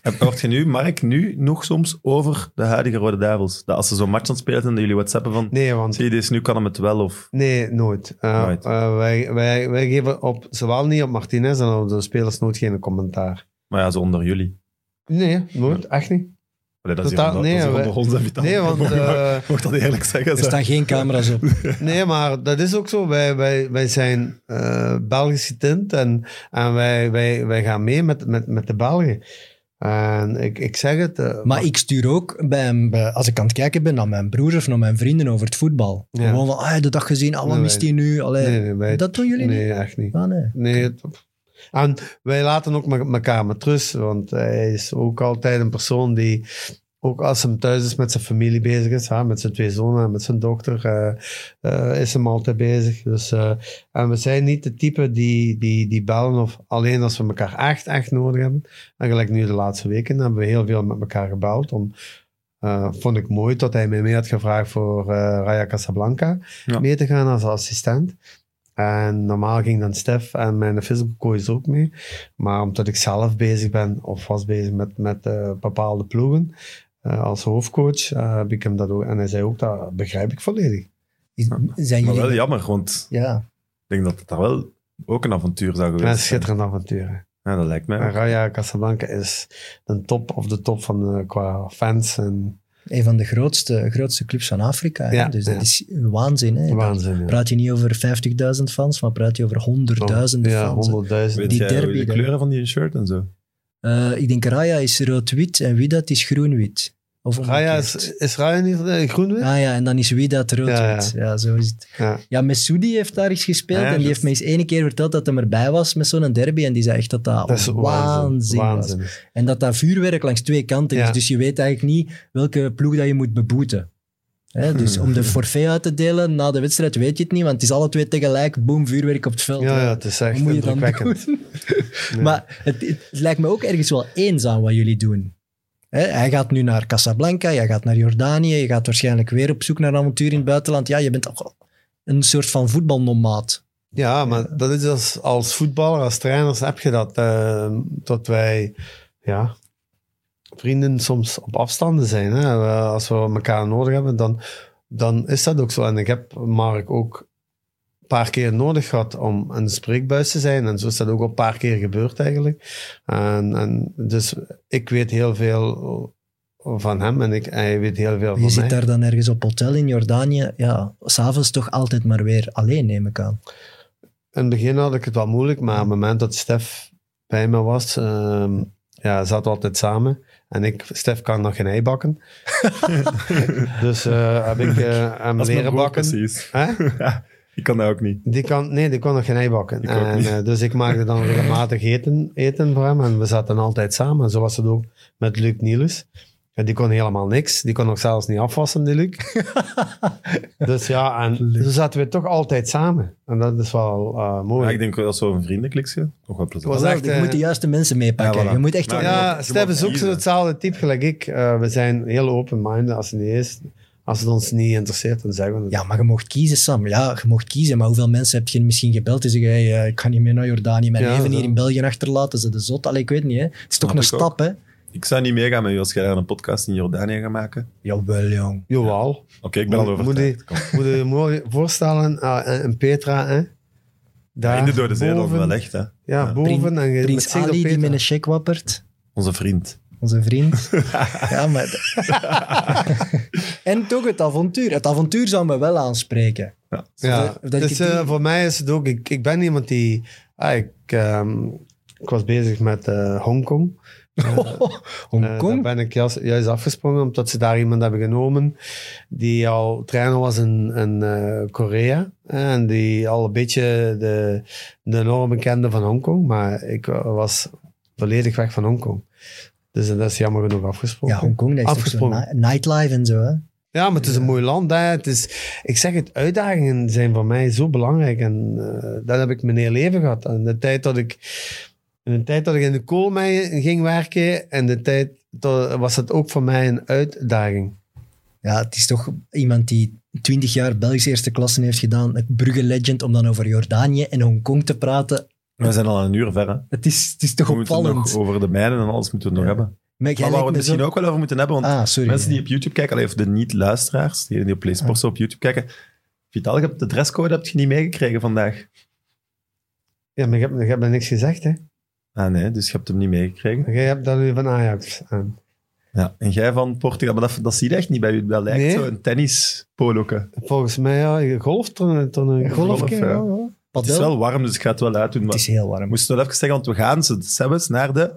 Speaker 1: Heb- Hoort je nu, Mark, nu nog soms over de huidige Rode Duivels? Dat als ze zo'n match aan het spelen zijn, dat jullie whatsappen van...
Speaker 3: Nee, want
Speaker 1: Zie je, dus nu kan hem het wel, of...
Speaker 3: Nee, nooit. Eh,
Speaker 1: Nooit.
Speaker 3: eh, wij, wij, wij geven op, zowel niet op Martinez en op de spelers nooit geen commentaar.
Speaker 1: Maar ja, zo onder jullie.
Speaker 3: Nee, nooit. Echt niet.
Speaker 1: Allee, dat is hier
Speaker 3: Totaal-
Speaker 1: onder,
Speaker 3: nee,
Speaker 1: dat is hier
Speaker 3: wij-
Speaker 1: onder ons en Vital.
Speaker 3: Nee, want,
Speaker 1: Mocht-
Speaker 3: eh,
Speaker 1: Mocht dat eerlijk zeggen.
Speaker 2: Er
Speaker 1: zo.
Speaker 2: staan geen camera's op.
Speaker 3: nee, maar dat is ook zo. Wij, wij, wij zijn eh, Belgisch getint en, en wij, wij, wij gaan mee met, met, met de Belgen. En ik, ik zeg het. eh,
Speaker 2: Maar ik stuur ook, bij, hem, bij- als ik aan het kijken ben, naar mijn broer of naar mijn vrienden over het voetbal.
Speaker 3: Ja.
Speaker 2: Gewoon van, ah, heb je dat gezien? Ah, wat
Speaker 3: Nee,
Speaker 2: mist
Speaker 3: wij-
Speaker 2: hij nu? Allee,
Speaker 3: nee, nee, wij-
Speaker 2: dat doen jullie
Speaker 3: nee,
Speaker 2: niet?
Speaker 3: echt niet.
Speaker 2: Ah, nee.
Speaker 3: Nee, het- en wij laten ook me- elkaar met rust, want hij is ook altijd een persoon die, ook als hem thuis is met zijn familie bezig is, hè, met zijn twee zonen en met zijn dochter, eh, eh, is hem altijd bezig. Dus, eh, en we zijn niet de type die, die, die bellen, of alleen als we elkaar echt, echt nodig hebben. En gelijk nu de laatste weken hebben we heel veel met elkaar gebeld. Om, eh, vond ik mooi dat hij mij mee had gevraagd voor eh Raya Casablanca
Speaker 1: Ja.
Speaker 3: mee te gaan als assistent. En normaal ging dan Stef en mijn physical coach ook mee. Maar omdat ik zelf bezig ben, of was bezig met, met eh, bepaalde ploegen, eh, als hoofdcoach, eh, heb ik hem dat ook... En hij zei ook, dat begrijp ik volledig.
Speaker 2: Is- Zijn
Speaker 1: Maar
Speaker 2: jullie...
Speaker 1: wel jammer, want
Speaker 2: ja.
Speaker 1: ik denk dat het daar wel ook een avontuur zou geweest
Speaker 3: Met een
Speaker 1: zijn.
Speaker 3: schitterend avonturen.
Speaker 1: Ja, dat lijkt mij.
Speaker 3: En
Speaker 1: ook.
Speaker 3: Raya Casablanca is de top of de top van de, qua fans en
Speaker 2: Een van de grootste, grootste clubs van Afrika. hè.
Speaker 3: Ja,
Speaker 2: dus dat
Speaker 3: ja.
Speaker 2: is waanzin. Hè? Dan
Speaker 3: waanzin. ja.
Speaker 2: praat je niet over 50.000 fans, maar praat je over honderdduizenden
Speaker 3: Ja,
Speaker 2: fans. hè.
Speaker 1: Weet
Speaker 3: honderdduizend.
Speaker 2: Die
Speaker 1: jij hoe
Speaker 2: derby
Speaker 1: de
Speaker 2: dan.
Speaker 1: kleuren van die shirt en zo?
Speaker 2: Eh, ik denk Raya is rood-wit en Widat is groen-wit. Of
Speaker 3: Raya
Speaker 2: omgekeerd.
Speaker 3: is, is Raya niet eh, groen weer?
Speaker 2: Ah ja, en dan is Widat rood-wit. Ja, zo is het.
Speaker 3: Ja.
Speaker 2: Ja, Messoudi heeft daar eens gespeeld
Speaker 1: Ja,
Speaker 2: en die
Speaker 1: dat-
Speaker 2: heeft me eens ene keer verteld dat hij erbij was met zo'n derby en die zei echt dat dat,
Speaker 3: Dat is
Speaker 2: waanzin,
Speaker 3: waanzin.
Speaker 2: was.
Speaker 3: waanzin.
Speaker 2: En dat dat vuurwerk langs twee kanten is,
Speaker 3: Ja.
Speaker 2: dus je weet eigenlijk niet welke ploeg dat je moet beboeten. Hè, dus om de forfait uit te delen na de wedstrijd weet je het niet, want het is alle twee tegelijk, boom, vuurwerk op het veld.
Speaker 3: Ja,
Speaker 2: hè.
Speaker 3: ja, het is
Speaker 2: Wat
Speaker 3: echt
Speaker 2: moet je dan
Speaker 3: indrukwekkend.
Speaker 2: doen?
Speaker 3: Ja.
Speaker 2: Maar het, het lijkt me ook ergens wel eenzaam wat jullie doen. Hè, hij gaat nu naar Casablanca, jij gaat naar Jordanië, je gaat waarschijnlijk weer op zoek naar een avontuur in het buitenland. Ja, je bent toch een soort van voetbalnomaat.
Speaker 3: Ja, maar dat is als, als voetballer, als trainers heb je dat. eh, dat wij ja, vrienden soms op afstanden zijn. Hè? We- Als we elkaar nodig hebben, dan, dan is dat ook zo. En ik heb Mark ook een paar keer nodig gehad om een spreekbuis te zijn. En zo is dat ook al een paar keer gebeurd eigenlijk. En, en dus ik weet heel veel van hem en ik, hij weet heel veel
Speaker 2: Je
Speaker 3: van mij.
Speaker 2: zit daar dan ergens op hotel in Jordanië. Ja, s'avonds toch altijd maar weer alleen, neem ik aan.
Speaker 3: In het begin had ik het wel moeilijk, maar op het moment dat Stef bij me was, ehm, ja, zaten we altijd samen. En ik, Stef kan nog geen ei bakken. dus eh, heb ik eh, hem
Speaker 1: Dat is mijn
Speaker 3: leren
Speaker 1: broer
Speaker 3: bakken.
Speaker 1: Precies.
Speaker 3: Hè?
Speaker 1: Ik kan dat ook niet.
Speaker 3: Die kan, nee, die kon nog geen ei bakken.
Speaker 1: Ik ook
Speaker 3: en,
Speaker 1: niet.
Speaker 3: eh, dus ik maakte dan regelmatig eten, eten voor hem en we zaten altijd samen. En zo was het ook met Luc Niels. Ja, Die kon helemaal niks. Die kon nog zelfs niet afwassen, die Luc. dus ja, en zo zaten we toch altijd samen. En dat is wel eh, mooi.
Speaker 1: Oh, Ja, ik denk wel dat zo'n vriendenklikje nog wel plezant.
Speaker 3: Was
Speaker 2: Vandaag,
Speaker 3: echt,
Speaker 2: je
Speaker 3: eh,
Speaker 2: moet de juiste mensen meepakken.
Speaker 1: ja, voilà.
Speaker 2: Je moet echt...
Speaker 1: Maar-
Speaker 2: wel-
Speaker 1: je
Speaker 3: Ja,
Speaker 1: mag- je
Speaker 3: Stef
Speaker 1: mag
Speaker 3: is ook
Speaker 1: kiezen.
Speaker 3: zo hetzelfde type gelijk ik. Eh, we zijn heel open-minded als het niet is. Als het ons niet interesseert, dan zeggen we het.
Speaker 2: Ja, maar je mocht kiezen, Sam. Ja, je mocht kiezen. Maar hoeveel mensen heb je misschien gebeld die zeggen, hey, eh, ik ga niet meer naar Jordanië, mijn
Speaker 3: Ja,
Speaker 2: leven hier
Speaker 3: zo.
Speaker 2: in België achterlaten, ze de zot. Allee, ik weet niet, hè. Het is
Speaker 1: Snap
Speaker 2: toch een
Speaker 1: ik ook.
Speaker 2: stap, hè.
Speaker 1: Ik zou niet meegaan met u als jij daar een podcast in Jordanië gaat maken.
Speaker 2: Jawel, jong.
Speaker 3: Jawel.
Speaker 1: Oké, ik ben al
Speaker 3: Oh, Moet- moet
Speaker 1: overtuigd. Kom.
Speaker 3: Moet je je mooi voorstellen, eh, een een Petra, hè? Daar
Speaker 1: In de Dode Zee dan
Speaker 3: boven.
Speaker 1: wel echt, hè.
Speaker 3: Ja,
Speaker 1: Ja.
Speaker 3: boven. En je met
Speaker 2: Prins
Speaker 3: zicht op
Speaker 2: Ali die
Speaker 3: Petra.
Speaker 2: met een check wappert.
Speaker 1: Onze vriend.
Speaker 2: Onze vriend. ja, maar... en toch het avontuur. Het avontuur zou me wel aanspreken.
Speaker 3: Ja,
Speaker 2: Dat ik
Speaker 3: dus
Speaker 2: het
Speaker 3: eh,
Speaker 2: doe.
Speaker 3: voor mij is het ook... Ik, ik ben iemand die... ah, ik, ehm, ik was bezig met eh, Hongkong. Eh,
Speaker 2: Oh, Hongkong?
Speaker 3: daar ben ik juist, juist afgesprongen, omdat ze daar iemand hebben genomen die al trainer was in, in eh, Korea. En die al een beetje de, de normen kende van Hongkong. Maar ik wa- was volledig weg van Hongkong. Dus dat is jammer genoeg afgesprongen.
Speaker 2: ja,
Speaker 3: Ja,
Speaker 2: Hongkong, dat is toch zo'n
Speaker 3: Afgesprongen.
Speaker 2: ni- nightlife en zo, hè.
Speaker 3: maar het is een mooi land. Hè. Het is, ik zeg het, uitdagingen zijn voor mij zo belangrijk. En eh, dat heb ik mijn hele leven gehad. En de tijd dat ik... In de tijd dat ik in de koolmijn ging werken en de tijd to- was het ook voor mij een uitdaging.
Speaker 2: Ja, het is toch iemand die 20 jaar Belgische eerste klasse heeft gedaan. Een Brugge legend om dan over Jordanië en Hongkong te praten.
Speaker 1: We zijn al een uur ver, hè.
Speaker 2: Het is, het is toch
Speaker 1: We moeten
Speaker 2: opvallend.
Speaker 1: nog over de mijnen en alles moeten we het nog hebben.
Speaker 2: Maar jij
Speaker 1: Maar waar we
Speaker 2: lijkt
Speaker 1: het
Speaker 2: me
Speaker 1: misschien
Speaker 2: zo-
Speaker 1: ook wel over moeten hebben, want
Speaker 2: Ah, sorry.
Speaker 1: mensen die op YouTube kijken, allee, of de niet-luisteraars, die die op PlaySports op YouTube kijken. Vital, je hebt de dresscode heb je niet meegekregen vandaag.
Speaker 3: Ja, maar je hebt, je hebt er niks gezegd, hè?
Speaker 1: Ah nee, dus je hebt hem niet meegekregen.
Speaker 3: Jij hebt dan nu van Ajax aan.
Speaker 1: Ja. En jij van Portugal, maar dat, dat zie je echt niet bij u. Dat lijkt
Speaker 3: Nee.
Speaker 1: zo een tennispoloke.
Speaker 3: Volgens mij, ja, golftoernooi.
Speaker 1: golf,
Speaker 3: Golf,
Speaker 1: ja.
Speaker 3: ja.
Speaker 1: Het is
Speaker 2: Padel?
Speaker 1: wel warm, dus ik ga het wel uitdoen.
Speaker 2: Het
Speaker 1: Maar
Speaker 2: is heel
Speaker 1: ik
Speaker 2: warm.
Speaker 1: moest het wel even zeggen, want we gaan ze zelfs naar de...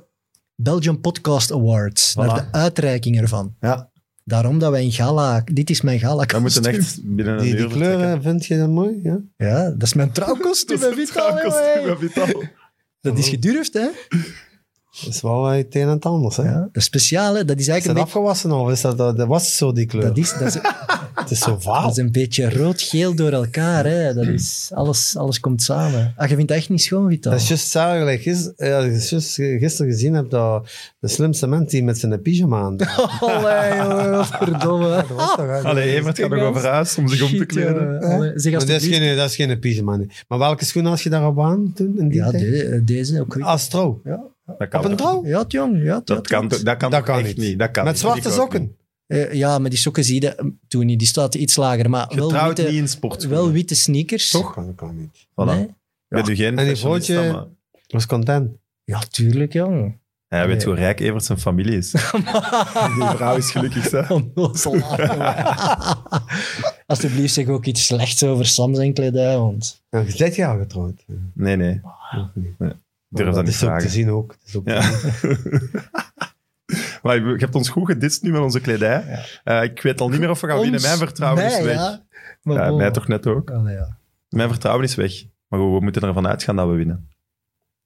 Speaker 2: Belgium Podcast Awards. Naar
Speaker 1: Voilà.
Speaker 2: de uitreiking ervan.
Speaker 1: Ja,
Speaker 2: Daarom dat wij een gala... Dit is mijn gala
Speaker 1: we moeten echt binnen een
Speaker 3: Die,
Speaker 1: uur
Speaker 3: die kleuren vind je dan mooi? Ja?
Speaker 2: Ja, dat is mijn
Speaker 1: vertrekken.
Speaker 2: trouwkostuum.
Speaker 1: Dat
Speaker 2: hè,
Speaker 1: is het
Speaker 2: Vital,
Speaker 1: trouwkostuum
Speaker 2: hey, hey.
Speaker 1: van Vital.
Speaker 2: Dat is gedurfd, hè?
Speaker 3: Dat is wel eh, het een en het ander. Hè?
Speaker 2: Ja. Dat is speciaal, hè? Dat is
Speaker 3: Is dat
Speaker 2: eigenlijk een
Speaker 3: afgewassen al? Is dat, dat, dat was zo die kleur?
Speaker 2: beetje... Dat is, dat, is,
Speaker 3: Het is zo vaal.
Speaker 2: dat is een beetje rood-geel door elkaar, hè? Dat is... Alles, alles komt samen. Ah, je vindt dat echt niet schoon, Vital?
Speaker 1: Nou.
Speaker 3: Dat is juist zalig. Like, gis- eh, ja, dat is juist gisteren gezien heb dat de slimste man die met zijn pyjama aan. Dat
Speaker 2: Allee, jongen, wat verdomme.
Speaker 3: was toch uit.
Speaker 1: Allee, Evert gaat nog over huis om zich om te
Speaker 2: Shit,
Speaker 1: kleden.
Speaker 2: jongen. Allee, Zeg
Speaker 3: Maar dat, is
Speaker 2: alsjeblieft.
Speaker 3: geen, dat is geen pyjama. nee. Maar welke schoen had je daarop aan toen? In die
Speaker 2: Ja,
Speaker 3: tijd?
Speaker 2: de- eh, deze ook weer.
Speaker 3: Als trouw.
Speaker 2: eh,
Speaker 1: Dat kan
Speaker 3: Op een
Speaker 1: toch?
Speaker 3: trouw?
Speaker 2: Ja, het jong. Ja, het- ja,
Speaker 1: Ah, Dat
Speaker 2: het
Speaker 1: kan,
Speaker 2: klopt.
Speaker 1: toch- dat kan,
Speaker 3: Dat kan
Speaker 1: echt
Speaker 3: niet.
Speaker 1: Dat kan
Speaker 3: Met
Speaker 1: niet.
Speaker 3: zwarte
Speaker 1: Ik ook
Speaker 3: sokken.
Speaker 1: niet.
Speaker 2: Eh, ja, maar die sokken zie je dat- toen niet. Die staat iets lager. Maar wel
Speaker 1: Getrouwd niet
Speaker 2: witte,
Speaker 1: in sportschoenen.
Speaker 2: wel witte sneakers.
Speaker 3: Toch? Dat kan niet.
Speaker 1: Voilà.
Speaker 2: Nee?
Speaker 1: Ben je geen
Speaker 3: En die
Speaker 1: fashionista,
Speaker 3: vrouwtje-
Speaker 1: maar
Speaker 3: Ik was content.
Speaker 2: Ja, tuurlijk, jong.
Speaker 1: Hij weet
Speaker 2: Nee.
Speaker 1: hoe rijk Evert zijn familie is. Die vrouw is gelukkig, hè.
Speaker 2: Onnozel lachen. Alsjeblieft, zeg ook iets slechts over Sam zijn kledij, want...
Speaker 3: Ja, je bent jou getrouwd. Ja,
Speaker 1: Nee, nee.
Speaker 3: nog niet.
Speaker 1: Durf dat
Speaker 3: dat
Speaker 1: niet
Speaker 3: is ook te
Speaker 1: vragen.
Speaker 3: zien ook. Dat is ook te
Speaker 1: Ja. maar je hebt ons goed gedist nu met onze kledij. Eh, ik weet al niet meer of we gaan winnen.
Speaker 2: Ons-
Speaker 1: Mijn vertrouwen
Speaker 2: mij,
Speaker 1: is weg.
Speaker 2: Ja,
Speaker 1: Ja,
Speaker 2: Maar bon.
Speaker 1: mij toch net ook.
Speaker 2: Allee, ja.
Speaker 1: Mijn vertrouwen is weg. Maar goed, we moeten ervan uitgaan dat we winnen.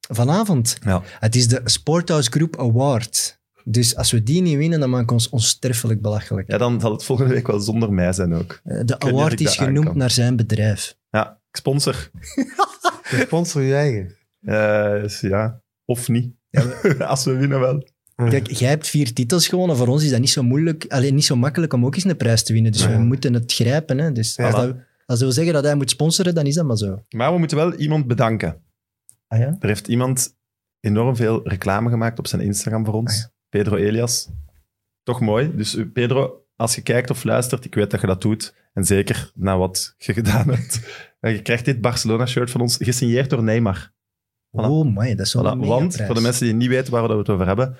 Speaker 2: Vanavond.
Speaker 1: Ja.
Speaker 2: Het is de Sporthouse Group Award. Dus als we die niet winnen, dan maken we ons onsterfelijk belachelijk.
Speaker 1: ja, dan zal het volgende week wel zonder mij zijn ook.
Speaker 2: Eh, De
Speaker 1: weet niet of
Speaker 2: award
Speaker 1: ik
Speaker 2: is
Speaker 1: dat aan
Speaker 2: genoemd
Speaker 1: kan.
Speaker 2: naar zijn bedrijf.
Speaker 1: Ja, ik sponsor.
Speaker 3: zien. Je sponsor je eigen.
Speaker 1: Eh, dus ja, of niet. Als we winnen wel.
Speaker 2: Kijk, jij hebt vier titels gewonnen. Voor ons is dat niet zo moeilijk, alleen niet zo makkelijk om ook eens een prijs te winnen. Dus
Speaker 3: Ja.
Speaker 2: we moeten het grijpen. Hè. Dus als,
Speaker 1: Voilà.
Speaker 2: dat, als dat wil zeggen dat hij moet sponsoren, dan is dat maar zo.
Speaker 1: Maar we moeten wel iemand bedanken.
Speaker 2: Ah ja?
Speaker 1: Er heeft iemand enorm veel reclame gemaakt op zijn Instagram voor ons.
Speaker 2: Ah,
Speaker 1: Pedro Elias. Toch mooi. Dus eh, Pedro, als je kijkt of luistert, ik weet dat je dat doet. En zeker na wat je gedaan hebt. En je krijgt dit Barcelona-shirt van ons, gesigneerd door Neymar. Voilà.
Speaker 2: Oh man, dat is wel
Speaker 1: Voilà.
Speaker 2: een
Speaker 1: Want,
Speaker 2: megaprijs.
Speaker 1: voor de mensen die niet weten waar we het over hebben,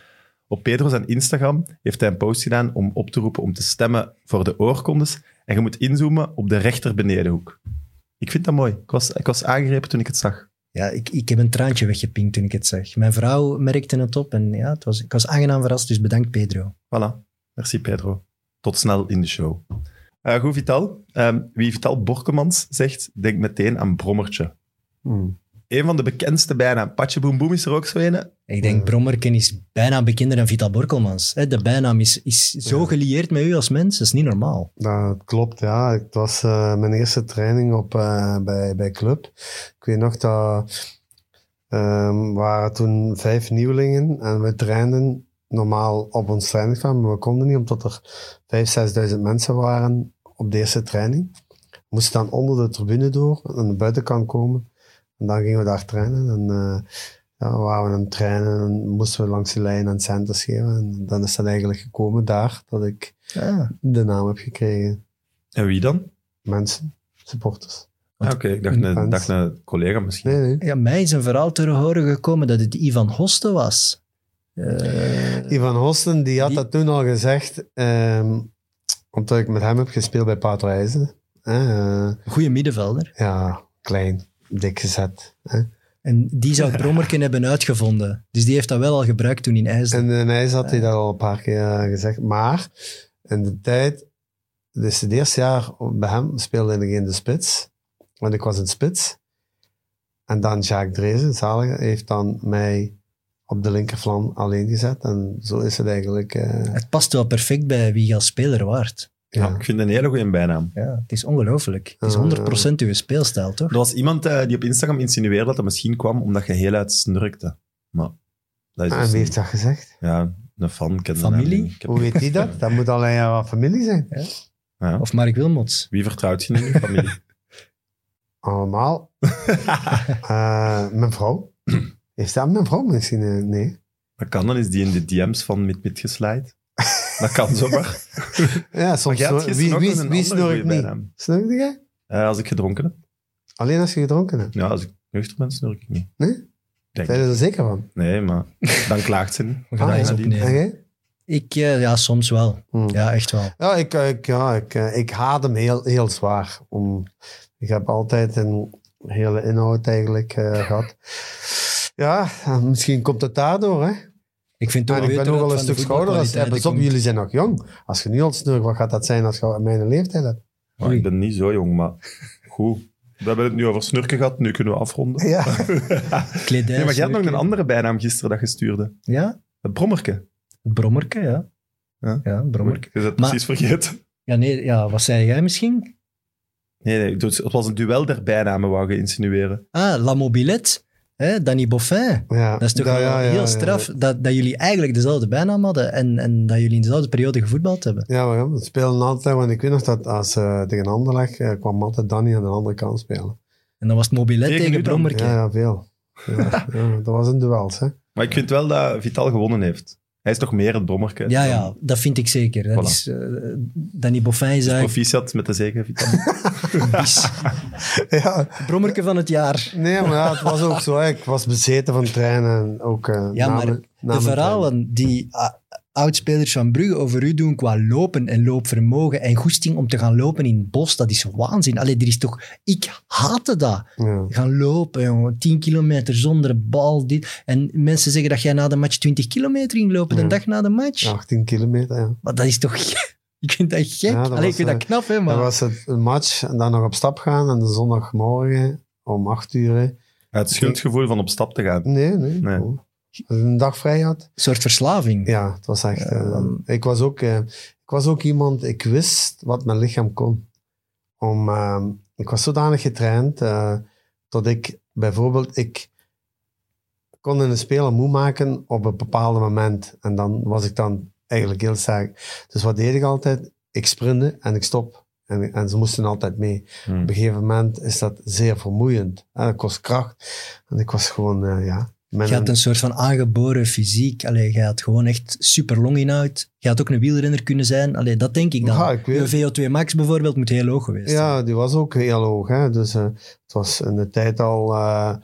Speaker 1: op Pedro zijn Instagram heeft hij een post gedaan om op te roepen om te stemmen voor de oorkondes. En je moet inzoomen op de rechter benedenhoek. Ik vind dat mooi. Ik was, ik was aangegrepen toen ik het zag.
Speaker 2: Ja, ik, ik heb een traantje weggepinkt toen ik het zag. Mijn vrouw merkte het op en ja, het was, ik was aangenaam verrast, dus bedankt Pedro.
Speaker 1: Voilà. Merci Pedro. Tot snel in de show. Eh, goed, Vital. Ehm, wie Vital Borkemans zegt, denk meteen aan Brommertje.
Speaker 3: Hmm.
Speaker 1: Een van de bekendste bijna. Patje Boem Boem is er ook zo een.
Speaker 2: Ik denk,
Speaker 1: Mm.
Speaker 3: Ja.
Speaker 2: Brommerken is bijna bekender dan Vita Borkelmans. Hè, De bijnaam is, is zo
Speaker 3: Ja.
Speaker 2: gelieerd met u als mens, dat is niet normaal.
Speaker 3: Dat klopt, ja. Het was eh, mijn eerste training op, eh, bij, bij Club. Ik weet nog dat ehm waren toen vijf nieuwelingen en we trainden normaal op ons trainingsveld, maar we konden niet omdat er vijf, zesduizend mensen waren op de eerste training. We moesten dan onder de tribune door, aan de buitenkant komen. En dan gingen we daar trainen en eh, ja, waren we aan het trainen en moesten we langs de lijn aan centers geven. En dan is dat eigenlijk gekomen daar, dat ik
Speaker 2: Ja.
Speaker 3: de naam heb gekregen.
Speaker 1: En wie dan?
Speaker 3: Mensen, supporters.
Speaker 1: Ah, Oké, ik dacht een,
Speaker 3: Fans.
Speaker 1: dacht een collega misschien.
Speaker 3: Nee, nee.
Speaker 2: Ja, mij is een verhaal te horen gekomen dat het Ivan Hoste was. Eh,
Speaker 3: Ivan Hosten die had
Speaker 2: Die-
Speaker 3: dat toen al gezegd, ehm, omdat ik met hem heb gespeeld bij Paardrijzen. Eh, eh,
Speaker 2: goede middenvelder.
Speaker 3: ja, klein, dik gezet. hè.
Speaker 2: En die zou Brommerken hebben uitgevonden. Dus die heeft dat wel al gebruikt toen in IJsland.
Speaker 3: En in IJs had hij dat al een paar keer eh, gezegd. Maar in de tijd, dus het eerste jaar bij hem speelde ik in de spits. Want ik was in spits. En dan Jacques Drezen, zalige, heeft dan mij op de linkerflan alleen gezet. En zo is het eigenlijk. eh,
Speaker 2: Het past wel perfect bij wie je als speler waard.
Speaker 1: Ja,
Speaker 3: ja.
Speaker 1: Ah, ik vind het een hele goede bijnaam.
Speaker 2: Ja, het is ongelooflijk. Het is
Speaker 3: Oh, Ja, ja.
Speaker 2: 100% uw speelstijl, toch?
Speaker 1: Er was iemand eh, die op Instagram insinueerde dat dat misschien kwam omdat je heel uit snurkte. Maar Dat is
Speaker 3: Ah,
Speaker 1: dus
Speaker 3: wie
Speaker 1: een-
Speaker 3: heeft dat gezegd?
Speaker 1: Ja, een fan. ik ken de naam
Speaker 2: Familie?
Speaker 1: niet. Ik heb-
Speaker 3: Hoe weet die dat? Dat moet alleen jouw familie zijn.
Speaker 1: Ja.
Speaker 2: Of Mark Wilmots.
Speaker 1: Wie vertrouwt je in je familie?
Speaker 3: Allemaal. Eh, mijn vrouw. Heeft dat mijn vrouw misschien? eh, nee.
Speaker 1: Dat kan, dan is die in de DM's van Mit Mit geslijt. Dat kan zomaar.
Speaker 3: Ja,
Speaker 1: Maar
Speaker 3: soms.
Speaker 1: jij had
Speaker 3: snor-
Speaker 1: gisteren
Speaker 3: Wie,
Speaker 1: ook
Speaker 3: wie,
Speaker 1: nog een andere
Speaker 3: wie snurkt
Speaker 1: goeie
Speaker 3: niet?
Speaker 1: bijnaam.
Speaker 3: Snurkt jij?
Speaker 1: Eh, als ik gedronken heb?
Speaker 3: Alleen als je gedronken hebt.
Speaker 1: Ja, als ik nuchter ben, snurk ik niet.
Speaker 3: Nee?
Speaker 1: Denk
Speaker 3: Ben je
Speaker 1: ik.
Speaker 3: er zeker van?
Speaker 1: Nee, maar dan klaagt ze niet.
Speaker 2: We gaan
Speaker 3: Ah,
Speaker 2: dat eens
Speaker 1: ja, die-
Speaker 3: En
Speaker 2: opnemen.
Speaker 3: jij?
Speaker 2: Ik, eh, ja, soms wel.
Speaker 3: Hm.
Speaker 2: Ja, echt wel.
Speaker 3: Ja, ik, ik, ja, ik, eh, ik haat hem heel, heel zwaar. Om, ik heb altijd een hele inhoud eigenlijk eh, gehad. Ja, eh, misschien komt het daardoor. Hè?
Speaker 2: Ik vind het
Speaker 3: Maar
Speaker 2: ook
Speaker 3: ik
Speaker 2: beter
Speaker 3: ben ook
Speaker 2: dat
Speaker 3: wel
Speaker 2: het
Speaker 3: een
Speaker 2: van
Speaker 3: stuk
Speaker 2: de
Speaker 3: schouder. Als, eh,
Speaker 2: voetbalkwaliteiten
Speaker 3: pas op,
Speaker 2: komt.
Speaker 3: jullie zijn nog jong. Als je nu al snurkt, wat gaat dat zijn als je mijn leeftijd hebt?
Speaker 1: Maar ik ben niet zo jong, maar goed. We hebben het nu over snurken gehad, nu kunnen we afronden.
Speaker 3: Ja.
Speaker 2: Kledij
Speaker 1: Nee, maar
Speaker 2: is
Speaker 1: jij had nog een
Speaker 2: leuk, hè.
Speaker 1: andere bijnaam gisteren dat je stuurde.
Speaker 2: Ja,
Speaker 1: Het brommerke.
Speaker 2: het brommerke, ja.
Speaker 1: Ja.
Speaker 2: Ja, het brommerke.
Speaker 1: Je is het
Speaker 2: Maar-
Speaker 1: precies vergeten.
Speaker 2: Ja, nee, ja, wat zei jij misschien?
Speaker 1: Nee, nee, dus het was een duel der bijnamen, wou je insinueren.
Speaker 2: Ah, La Mobilette, hè, Danny Boffin.
Speaker 3: Ja.
Speaker 2: Dat is toch
Speaker 3: Ja,
Speaker 2: wel
Speaker 3: ja, ja,
Speaker 2: heel
Speaker 3: ja.
Speaker 2: straf dat, dat jullie eigenlijk dezelfde bijnaam hadden en, en dat jullie in dezelfde periode gevoetbald hebben.
Speaker 3: Ja, maar ja, we spelen altijd, want ik weet nog dat als eh tegen Anderlecht lag kwam altijd Danny aan de andere kant spelen.
Speaker 2: En dan was het Mobilet
Speaker 1: Tegen
Speaker 2: tegen,
Speaker 1: u dan?
Speaker 2: Brommerke.
Speaker 3: Ja, ja veel. Ja, ja, dat was een duel, hè.
Speaker 1: Maar ik vind wel dat Vital gewonnen heeft. Hij is toch meer het brommerke.
Speaker 2: Ja,
Speaker 1: dan-
Speaker 2: ja, dat vind ik zeker. Dat
Speaker 1: Voilà.
Speaker 2: is, eh, Danny Boffin is
Speaker 1: Dus
Speaker 2: eigenlijk
Speaker 1: proficiat met de zege, Vital.
Speaker 2: bis.
Speaker 3: Ja,
Speaker 2: Brommerke van het jaar.
Speaker 3: nee, maar ja, het was ook zo. hè. Ik was bezeten van trainen en ook eh
Speaker 2: Ja,
Speaker 3: na
Speaker 2: maar
Speaker 3: mijn- na
Speaker 2: De
Speaker 3: mijn trainen.
Speaker 2: verhalen die ah, oudspelers van Brugge over u doen qua lopen en loopvermogen en goesting om te gaan lopen in het bos, dat is waanzin. Allee, er is toch... Ik haatte dat.
Speaker 3: Ja.
Speaker 2: Gaan lopen, jongen. 10 kilometer zonder bal. Dit. En mensen zeggen dat jij na de match 20 kilometer ging lopen, de
Speaker 3: Ja.
Speaker 2: dag na de match.
Speaker 3: 18 kilometer, ja.
Speaker 2: Maar dat is toch gek? Ik vind dat gek.
Speaker 3: Ja, dat
Speaker 2: Allee, ik
Speaker 3: was,
Speaker 2: vind dat knap, hè, maar...
Speaker 3: Dan was het een match en dan nog op stap gaan en de zondagmorgen om 8 uur. hè.
Speaker 1: Het schuldgevoel van op stap te gaan.
Speaker 3: Nee, nee.
Speaker 1: Nee.
Speaker 3: Oh. Als ik een dag vrij had,
Speaker 2: Een soort verslaving.
Speaker 3: ja, het was echt...
Speaker 2: Ja,
Speaker 3: eh,
Speaker 2: dan-
Speaker 3: ik, was ook, eh, ik was ook iemand, ik wist wat mijn lichaam kon. Om, eh, ik was zodanig getraind eh, dat ik bijvoorbeeld... Ik, kon een speler moe maken op een bepaald moment. En dan was ik dan eigenlijk heel sterk. Dus wat deed ik altijd? Ik sprintte en ik stop. En, en ze moesten altijd mee.
Speaker 1: Hmm.
Speaker 3: Op een gegeven moment is dat zeer vermoeiend. En dat kost kracht. En ik was gewoon, eh, ja... Met
Speaker 2: Je had
Speaker 3: een-
Speaker 2: een soort van aangeboren fysiek. Allee, je had gewoon echt super longinhoud. Je had ook een wielrenner kunnen zijn. Allee, dat denk ik dan.
Speaker 3: Ja, ik weet-
Speaker 2: Je VO2 max bijvoorbeeld moet heel hoog geweest zijn.
Speaker 3: ja, die was ook heel hoog. Hè? Dus eh, het was in de tijd al... eh,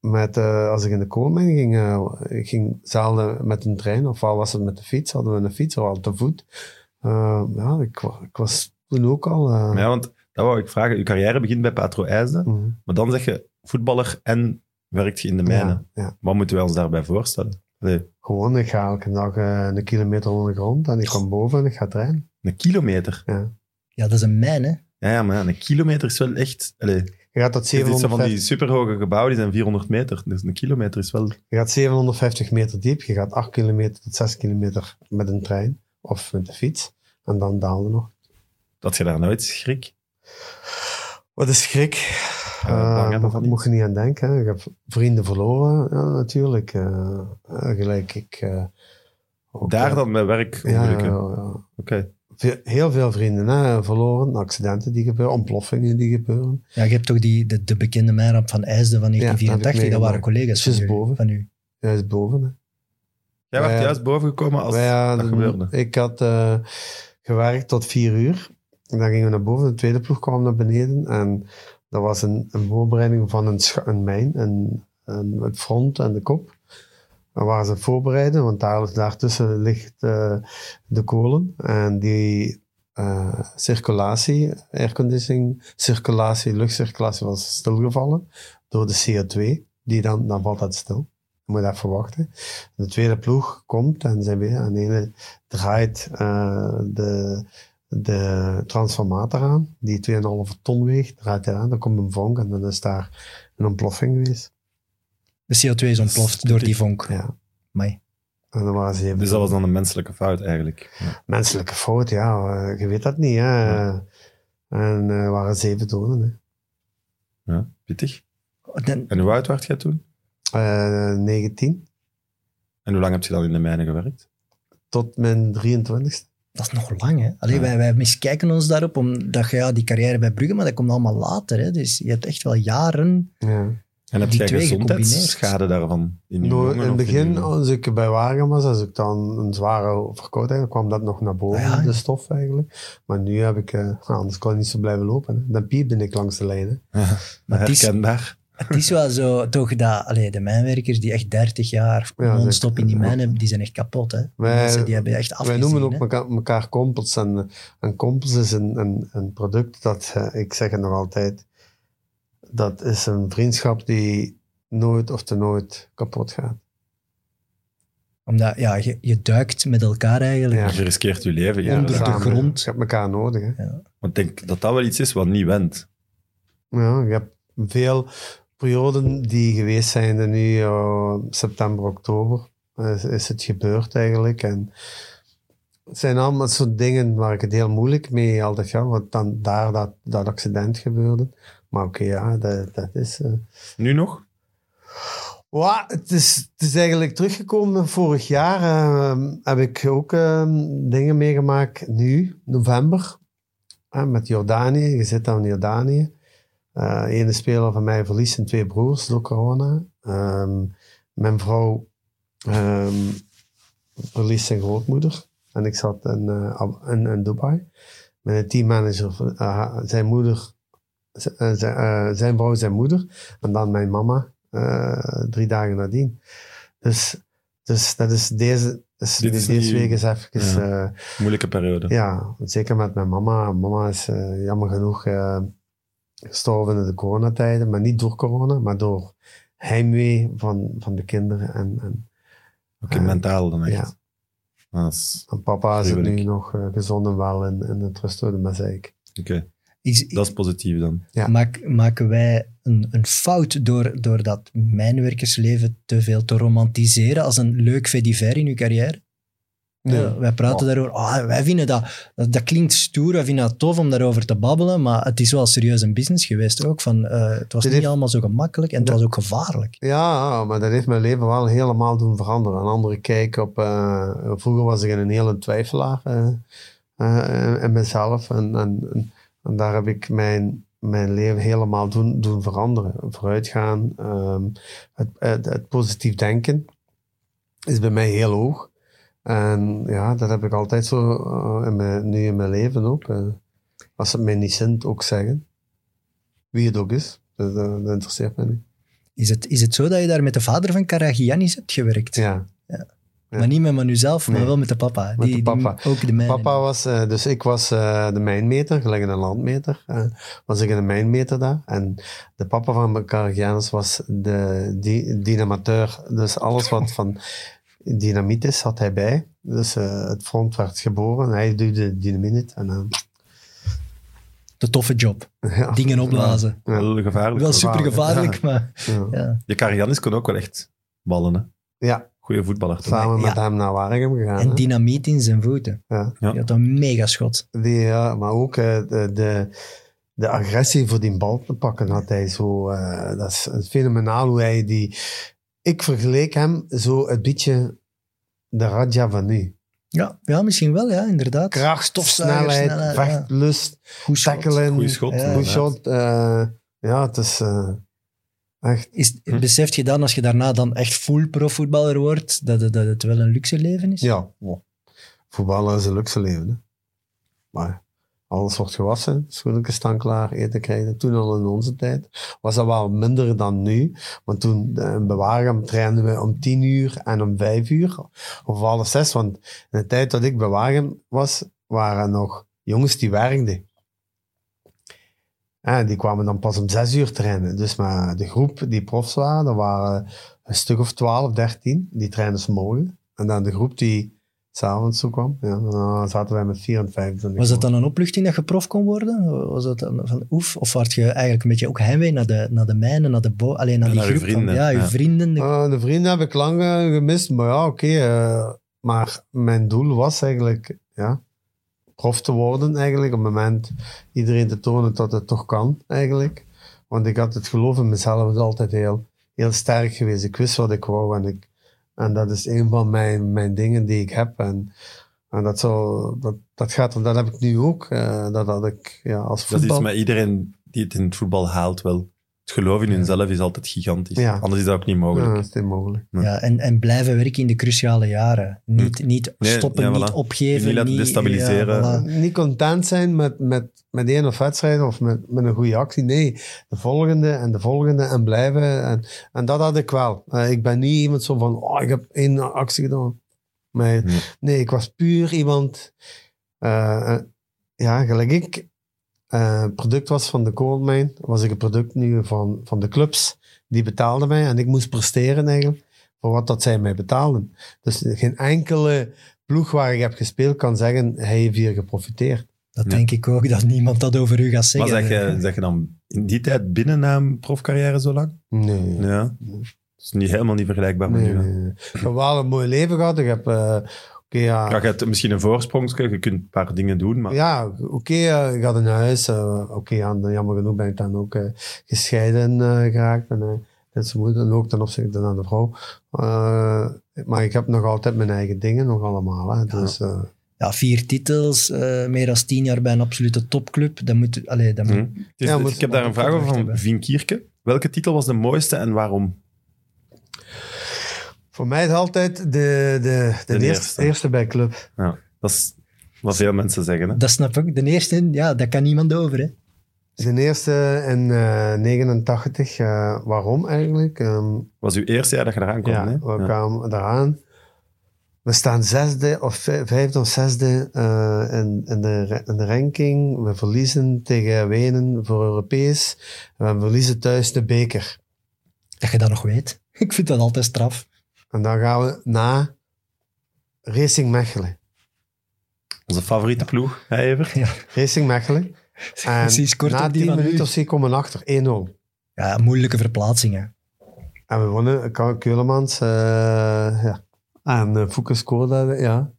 Speaker 3: met, eh, als ik in de koolmijn ging, eh, ik ging zelden met een trein. Ofwel was het met de fiets. Hadden we een fiets, ofwel te voet. Eh, ja, ik, wa- ik was toen ook al... eh,
Speaker 1: Ja, want dat wou ik vragen. Je carrière begint bij Patro IJsden.
Speaker 3: mhm.
Speaker 1: Maar dan zeg je voetballer en werkt je in de mijnen.
Speaker 3: Ja, ja.
Speaker 1: Wat moeten wij ons daarbij voorstellen? Allee,
Speaker 3: Gewoon, ik ga elke dag eh, een kilometer onder de grond en ik kom boven en ik ga trainen.
Speaker 1: een kilometer.
Speaker 2: Ja, dat is een mijn, hè.
Speaker 1: Ja, ja, maar ja, een kilometer is wel echt... Allee,
Speaker 3: Je gaat dat
Speaker 1: dit is zo van
Speaker 3: 750,
Speaker 1: die superhoge gebouwen, die zijn 400 meter. Dus een kilometer is wel...
Speaker 3: je gaat 750 meter diep, je gaat 8 kilometer tot 6 kilometer met een trein of met de fiets. En dan daalde nog.
Speaker 1: Dat je daar nooit schrik.
Speaker 3: Wat is schrik.
Speaker 1: Ja, lang hebben we
Speaker 3: Eh,
Speaker 1: van
Speaker 3: daar
Speaker 1: niet.
Speaker 3: moet je niet aan denken. hè. Ik heb vrienden verloren, ja, natuurlijk. Eh, eh, gelijk ik... eh, ook,
Speaker 1: Daar
Speaker 3: eh,
Speaker 1: dan bij werk
Speaker 3: Ja,
Speaker 1: ongelukken. Oké.
Speaker 3: ja, ja. Ve- heel veel vrienden hè, verloren, accidenten die gebeuren, ontploffingen die gebeuren.
Speaker 2: Ja, je hebt toch die, de, de bekende mijnramp van IJsden van
Speaker 3: dat heb ik
Speaker 2: 1984. dat waren
Speaker 3: meegemaakt.
Speaker 2: collega's van
Speaker 3: Zus
Speaker 2: u,
Speaker 3: boven.
Speaker 2: van u.
Speaker 3: Juist boven. Hè.
Speaker 1: Jij werd
Speaker 3: Wij-
Speaker 1: juist bovengekomen als...
Speaker 3: Wij
Speaker 1: dat
Speaker 3: hadden-
Speaker 1: gebeurde.
Speaker 3: Ik had eh, gewerkt tot vier uur. En dan gingen we naar boven. De tweede ploeg kwam naar beneden. En dat was een, een voorbereiding van een, scha- een mijn. Een, een, het front en de kop. Daar waren ze voorbereiden, want daar, daartussen ligt eh, de kolen. En die eh, circulatie, airconditioning, circulatie, luchtcirculatie was stilgevallen door de CO2. Die dan, dan valt dat stil. Je moet even wachten. De tweede ploeg komt en zijn weer aan de ene draait eh, de, de transformator aan, die 2,5 ton weegt, draait hij aan, dan komt een vonk en dan is daar een ontploffing geweest.
Speaker 2: De CO2 is ontploft door die vonk.
Speaker 3: Ja.
Speaker 2: Amai.
Speaker 3: En dan waren ze even
Speaker 1: Dus dat was dan een menselijke fout eigenlijk. Ja.
Speaker 3: menselijke fout, ja, eh, je weet dat niet. Hè?
Speaker 1: Ja.
Speaker 3: En eh, waren zeven doden. Hè?
Speaker 1: Ja, pittig.
Speaker 2: Oh, Dan-
Speaker 1: En hoe oud werd jij toen?
Speaker 3: Eh, 19.
Speaker 1: En hoe lang heb je dan in de mijnen gewerkt?
Speaker 3: Tot mijn 23ste.
Speaker 2: Dat is nog lang, hè. Allee, wij, wij miskijken ons daarop, omdat je ja, die carrière bij Brugge, maar dat komt allemaal later, hè. Dus je hebt echt wel jaren...
Speaker 3: Ja.
Speaker 1: En heb
Speaker 2: Die
Speaker 1: jij
Speaker 2: twee
Speaker 1: gezondheidsschade daarvan? In, je
Speaker 3: Nou,
Speaker 1: longen
Speaker 3: in
Speaker 1: of
Speaker 3: het begin,
Speaker 1: je-
Speaker 3: als ik bij Wagen was, als ik dan een zware verkoudheid kwam dat nog naar boven,
Speaker 2: Ah Ja, ja.
Speaker 3: de stof eigenlijk. Maar nu heb ik, eh, nou, anders kon ik niet zo blijven lopen. Hè. Dan piepde ik langs de lijnen.
Speaker 2: Maar het is-
Speaker 1: Herkenbaar.
Speaker 2: Het is wel zo, toch, dat allee, de mijnwerkers die echt 30 jaar
Speaker 3: Ja,
Speaker 2: non-stop
Speaker 3: zeker.
Speaker 2: in die mijnen, die zijn echt kapot. Hè.
Speaker 3: Wij-
Speaker 2: Mensen die hebben echt afgezien.
Speaker 3: Wij noemen
Speaker 2: hè.
Speaker 3: ook meka- elkaar kompels. En, eh, en kompels is een, een, een product dat, eh, ik zeg het nog altijd, dat is een vriendschap die nooit of te nooit kapot gaat.
Speaker 2: Omdat ja, je, je duikt met elkaar eigenlijk.
Speaker 3: Ja.
Speaker 1: Je riskeert je leven.
Speaker 2: Ja,
Speaker 1: Ja,
Speaker 2: Onder de
Speaker 1: Want
Speaker 3: samen.
Speaker 2: grond.
Speaker 3: Je hebt elkaar nodig. Hè.
Speaker 1: ik denk dat dat wel iets is wat niet went.
Speaker 3: Ja, je hebt veel perioden die geweest zijn, en nu eh, september, oktober, is, is het gebeurd eigenlijk. En het zijn allemaal soort dingen waar ik het heel moeilijk mee altijd ga, want dan daar dat, dat accident gebeurde. Maar oké, ja, dat, dat is... eh.
Speaker 1: Nu nog?
Speaker 3: Wa, het, is, het is eigenlijk teruggekomen. Vorig jaar eh, heb ik ook eh, dingen meegemaakt. Nu, november, eh, met Jordanië. Je zit dan in Jordanië. Eh ene speler van mij verliest zijn twee broers door corona. Ehm, mijn vrouw ehm, verliest zijn grootmoeder. En ik zat in, eh, Ab- in, in Dubai. Mijn teammanager, eh, zijn moeder, z- eh, z- eh, zijn vrouw, zijn moeder. En dan mijn mama eh, drie dagen nadien. Dus, dus dat is deze, is
Speaker 1: Dit is
Speaker 3: deze
Speaker 1: niet-
Speaker 3: week is even.
Speaker 1: Ja.
Speaker 3: eh,
Speaker 1: Moeilijke periode.
Speaker 3: ja, zeker met mijn mama. Mama is eh, jammer genoeg eh, gestorven in de coronatijden, maar niet door corona, maar door heimwee van, van de kinderen. En, en,
Speaker 1: Oké,
Speaker 3: Ja.
Speaker 1: mentaal dan echt. Ah,
Speaker 3: Ja.
Speaker 1: Dat is-
Speaker 3: en papa is
Speaker 1: Gruwelijk.
Speaker 3: nu nog eh, gezond en wel in, in het rustode Mazeik.
Speaker 1: Oké,
Speaker 2: Is-
Speaker 1: dat is positief dan.
Speaker 3: Ja.
Speaker 2: Maak, maken wij een, een fout door, door dat mijnwerkersleven te veel te romantiseren als een leuk vetiver in uw carrière? Ja, wij
Speaker 3: Oh.
Speaker 2: praten daarover. Ah, wij vinden dat, dat, dat klinkt stoer, wij vinden dat tof om daarover te babbelen, maar het is wel serieus een business geweest ook. Van, eh, het was
Speaker 3: Dit
Speaker 2: niet
Speaker 3: heeft-
Speaker 2: allemaal zo gemakkelijk en het
Speaker 3: Ja.
Speaker 2: was ook gevaarlijk.
Speaker 3: Ja, maar dat heeft mijn leven wel helemaal doen veranderen. Een andere kijk op. eh, vroeger was ik een hele twijfelaar eh, eh, in- in mezelf. En, en, en- en daar heb ik mijn, mijn leven helemaal doen, doen veranderen. Vooruitgaan. ehm, het, het, het positief denken is bij mij heel hoog. En ja, dat heb ik altijd zo eh, in mijn, nu in mijn leven ook. eh, als het mij niet zint, ook zeggen. Wie het ook is. Dat, dat- dat interesseert mij niet.
Speaker 2: Is het, is het zo dat je daar met de vader van Karagiannis hebt gewerkt?
Speaker 3: Ja. ja.
Speaker 2: Maar niet met Manu zelf, maar
Speaker 3: Nee.
Speaker 2: wel met de papa.
Speaker 3: Met
Speaker 2: die,
Speaker 3: de papa.
Speaker 2: die ook de mijnen.
Speaker 3: Papa was, eh, dus ik was eh, de mijnmeter, gelijk in een landmeter, eh, was ik in een mijnmeter daar. En de papa van Caragianus was de di- dynamateur, dus alles wat van dynamiet is, had hij bij. Dus eh, het front werd geboren, hij duwde dynamiet en eh,
Speaker 2: De toffe job.
Speaker 3: ja.
Speaker 2: Dingen opblazen.
Speaker 3: Ja,
Speaker 1: Wel gevaarlijk.
Speaker 2: Wel super gevaarlijk, maar...
Speaker 3: ja.
Speaker 2: Ja.
Speaker 1: Je Kariannis kon ook wel echt ballen, hè?
Speaker 3: Ja.
Speaker 1: Goeie voetballer. toch?
Speaker 3: samen met
Speaker 2: Ja.
Speaker 3: hem naar Waregem gegaan.
Speaker 2: En
Speaker 3: hè.
Speaker 2: dynamiet in zijn voeten.
Speaker 3: Ja.
Speaker 1: Ja.
Speaker 2: Die had een mega schot.
Speaker 3: Die, ja, maar ook eh, de, de, de agressie voor die bal te pakken had hij zo. eh, dat is fenomenaal hoe hij die. Ik vergeleek hem zo een beetje de Raja van nu.
Speaker 2: Ja, ja misschien wel, ja, inderdaad.
Speaker 3: Kracht,
Speaker 2: stofzuiger,
Speaker 3: snelheid,
Speaker 2: snelheid,
Speaker 3: vechtlust,
Speaker 2: Goed schot.
Speaker 3: tackelen.
Speaker 1: Goeie schot,
Speaker 3: ja.
Speaker 1: inderdaad.
Speaker 3: shot, eh, ja, het is eh, echt.
Speaker 2: Is,
Speaker 1: Hm.
Speaker 2: Beseft je dan, als je daarna dan echt full profvoetballer wordt, dat, het- dat het wel een luxe leven is?
Speaker 3: Ja, wow. voetballen is een luxe leven. Hè. Maar alles wordt gewassen, schoenen staan klaar, eten krijgen. Toen al in onze tijd was dat wel minder dan nu. Want toen eh, in Bewaren trainden we om tien uur en om vijf uur. Of half zes, want in de tijd dat ik bij Wagen was, waren er nog jongens die werkten. En die kwamen dan pas om zes uur trainen. Dus maar de groep die profs waren, dat waren een stuk of twaalf, dertien. Die trainden ze morgen. En dan de groep die s'avonds toe kwam. Ja, dan zaten wij met 54.
Speaker 2: Was dat dan een opluchting dat je prof kon worden? Was dat dan van oef? Of had je eigenlijk een beetje ook heimwee naar de, naar de mijnen, naar de bo alleen naar
Speaker 1: En
Speaker 2: die
Speaker 1: naar je
Speaker 2: groep? van-
Speaker 1: vrienden,
Speaker 2: ja, je
Speaker 1: ja.
Speaker 2: vrienden. de-
Speaker 3: Eh, de vrienden heb ik lang eh, gemist, maar ja, oké. eh, maar mijn doel was eigenlijk, ja, prof te worden eigenlijk. Op het moment iedereen te tonen dat het toch kan, eigenlijk. Want ik had het geloof in mezelf is altijd heel, heel sterk geweest. Ik wist wat ik wou en ik, En dat is een van mijn, mijn dingen die ik heb. En, en dat, zal, dat, dat gaat, dat heb ik nu ook. eh, dat had ik ja, als
Speaker 1: Dat is
Speaker 3: voetbal.
Speaker 1: met iedereen die het in het voetbal haalt wel. Het geloof in hunzelf is altijd gigantisch.
Speaker 3: Ja.
Speaker 1: Anders is dat ook niet mogelijk.
Speaker 3: ja, dat is niet mogelijk.
Speaker 1: Ja. Hm.
Speaker 2: Ja, en, en blijven werken in de cruciale jaren. Niet, niet
Speaker 1: Nee,
Speaker 2: stoppen,
Speaker 1: ja,
Speaker 2: niet
Speaker 1: voilà.
Speaker 2: opgeven.
Speaker 1: Niet laten
Speaker 2: ja,
Speaker 1: destabiliseren.
Speaker 2: voilà.
Speaker 3: Niet content zijn met, met, met één of wedstrijd of met, met een goede actie. Nee, de volgende en de volgende en blijven. En, en dat had ik wel. Eh, ik ben niet iemand zo van, oh, ik heb één actie gedaan. Nee,
Speaker 1: Nee.
Speaker 3: nee ik was puur iemand, eh, eh, ja, gelijk ik eh, product was van de koolmijn, was ik een product nu van, van de clubs. Die betaalden mij en ik moest presteren eigenlijk voor wat dat zij mij betaalden. Dus geen enkele ploeg waar ik heb gespeeld kan zeggen, hij heeft hier geprofiteerd.
Speaker 2: Dat
Speaker 1: Ja.
Speaker 2: denk ik ook, dat niemand dat over u gaat
Speaker 1: Maar
Speaker 2: zeggen.
Speaker 1: zeg je, zeg je dan in die tijd binnen na een profcarrière zo lang?
Speaker 3: Nee.
Speaker 1: Ja. Dat is niet, helemaal niet vergelijkbaar met
Speaker 3: nee,
Speaker 1: nu. hè.
Speaker 3: nee, nee. Ik heb wel een mooi leven gehad. Ik heb, eh, oké, ja,
Speaker 1: Ja, je hebt misschien een voorsprong, je kunt een paar dingen doen, maar
Speaker 3: Ah. Ja, oké, eh, ik had een huis. eh, oké, ja, dan- jammer genoeg ben ik dan ook eh, gescheiden eh, geraakt. En, eh, dat is moeilijk, en ook ten opzichte van de vrouw. Eh, maar ik heb nog altijd mijn eigen dingen, nog allemaal. Hè. Dus, eh,
Speaker 2: Ja, vier titels, eh, meer dan tien jaar bij een absolute topclub. Dan moet, allee, dan moet,
Speaker 1: Hm. Het is-
Speaker 3: Ja,
Speaker 1: het-
Speaker 3: moet-
Speaker 1: ik heb daar een vraag over van
Speaker 2: hebben.
Speaker 1: Vien Kierke. Welke titel was de mooiste en waarom?
Speaker 3: voor mij is altijd de, de, de, eerste,
Speaker 1: eerste.
Speaker 3: eerste. bij club.
Speaker 1: Ja, dat is wat veel mensen zeggen. Hè?
Speaker 2: Dat snap ik. De eerste, ja, daar kan niemand over. Hè.
Speaker 3: De eerste in eh 89. eh, waarom eigenlijk? Ehm,
Speaker 1: was uw eerste jaar dat je eraan kwam.
Speaker 3: Ja,
Speaker 1: hè?
Speaker 3: we
Speaker 1: Ja.
Speaker 3: kwamen eraan. We staan zesde of vij- vijfde of zesde eh, in, in, de, ra- in de ranking. We verliezen tegen Wenen voor Europees. En we verliezen thuis de beker.
Speaker 2: Dat je dat nog weet. Ik vind dat altijd straf.
Speaker 3: En dan gaan we na Racing Mechelen.
Speaker 1: Onze favoriete ploeg, hè, Evert?
Speaker 3: Racing Mechelen. En
Speaker 2: Ze scoort
Speaker 3: na
Speaker 2: op die
Speaker 3: 10
Speaker 2: van u.
Speaker 3: minuten of ze komen we achter 1-0.
Speaker 2: Ja, moeilijke verplaatsingen.
Speaker 3: En we wonnen Ka- Keulemans. eh, ja. En eh, Fouke scoorde, ja.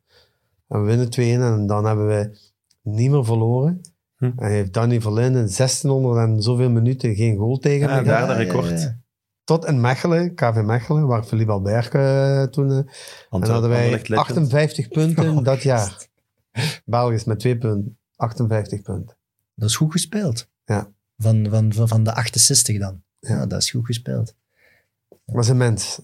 Speaker 3: En we winnen 2-1 en dan hebben we niet meer verloren.
Speaker 1: Hm.
Speaker 3: En heeft Danny Verlijn in 1600 en zoveel minuten geen goal tegen
Speaker 1: Ja,
Speaker 3: me
Speaker 1: daar
Speaker 3: gehad.
Speaker 1: dat record.
Speaker 3: Tot in Mechelen, KV Mechelen, waar Philippe Albert eh, toen... eh, en
Speaker 1: Antwerp-
Speaker 3: dan hadden wij
Speaker 1: Anderlecht legend.
Speaker 3: 58 punten
Speaker 2: Oh,
Speaker 3: dat jaar. Belgisch met 2 punten. 58 punten.
Speaker 2: Dat is goed gespeeld.
Speaker 3: Ja.
Speaker 2: Van, van, van, van de 68 dan. Ja.
Speaker 3: Ja.
Speaker 2: dat is goed gespeeld.
Speaker 3: Dat was immens.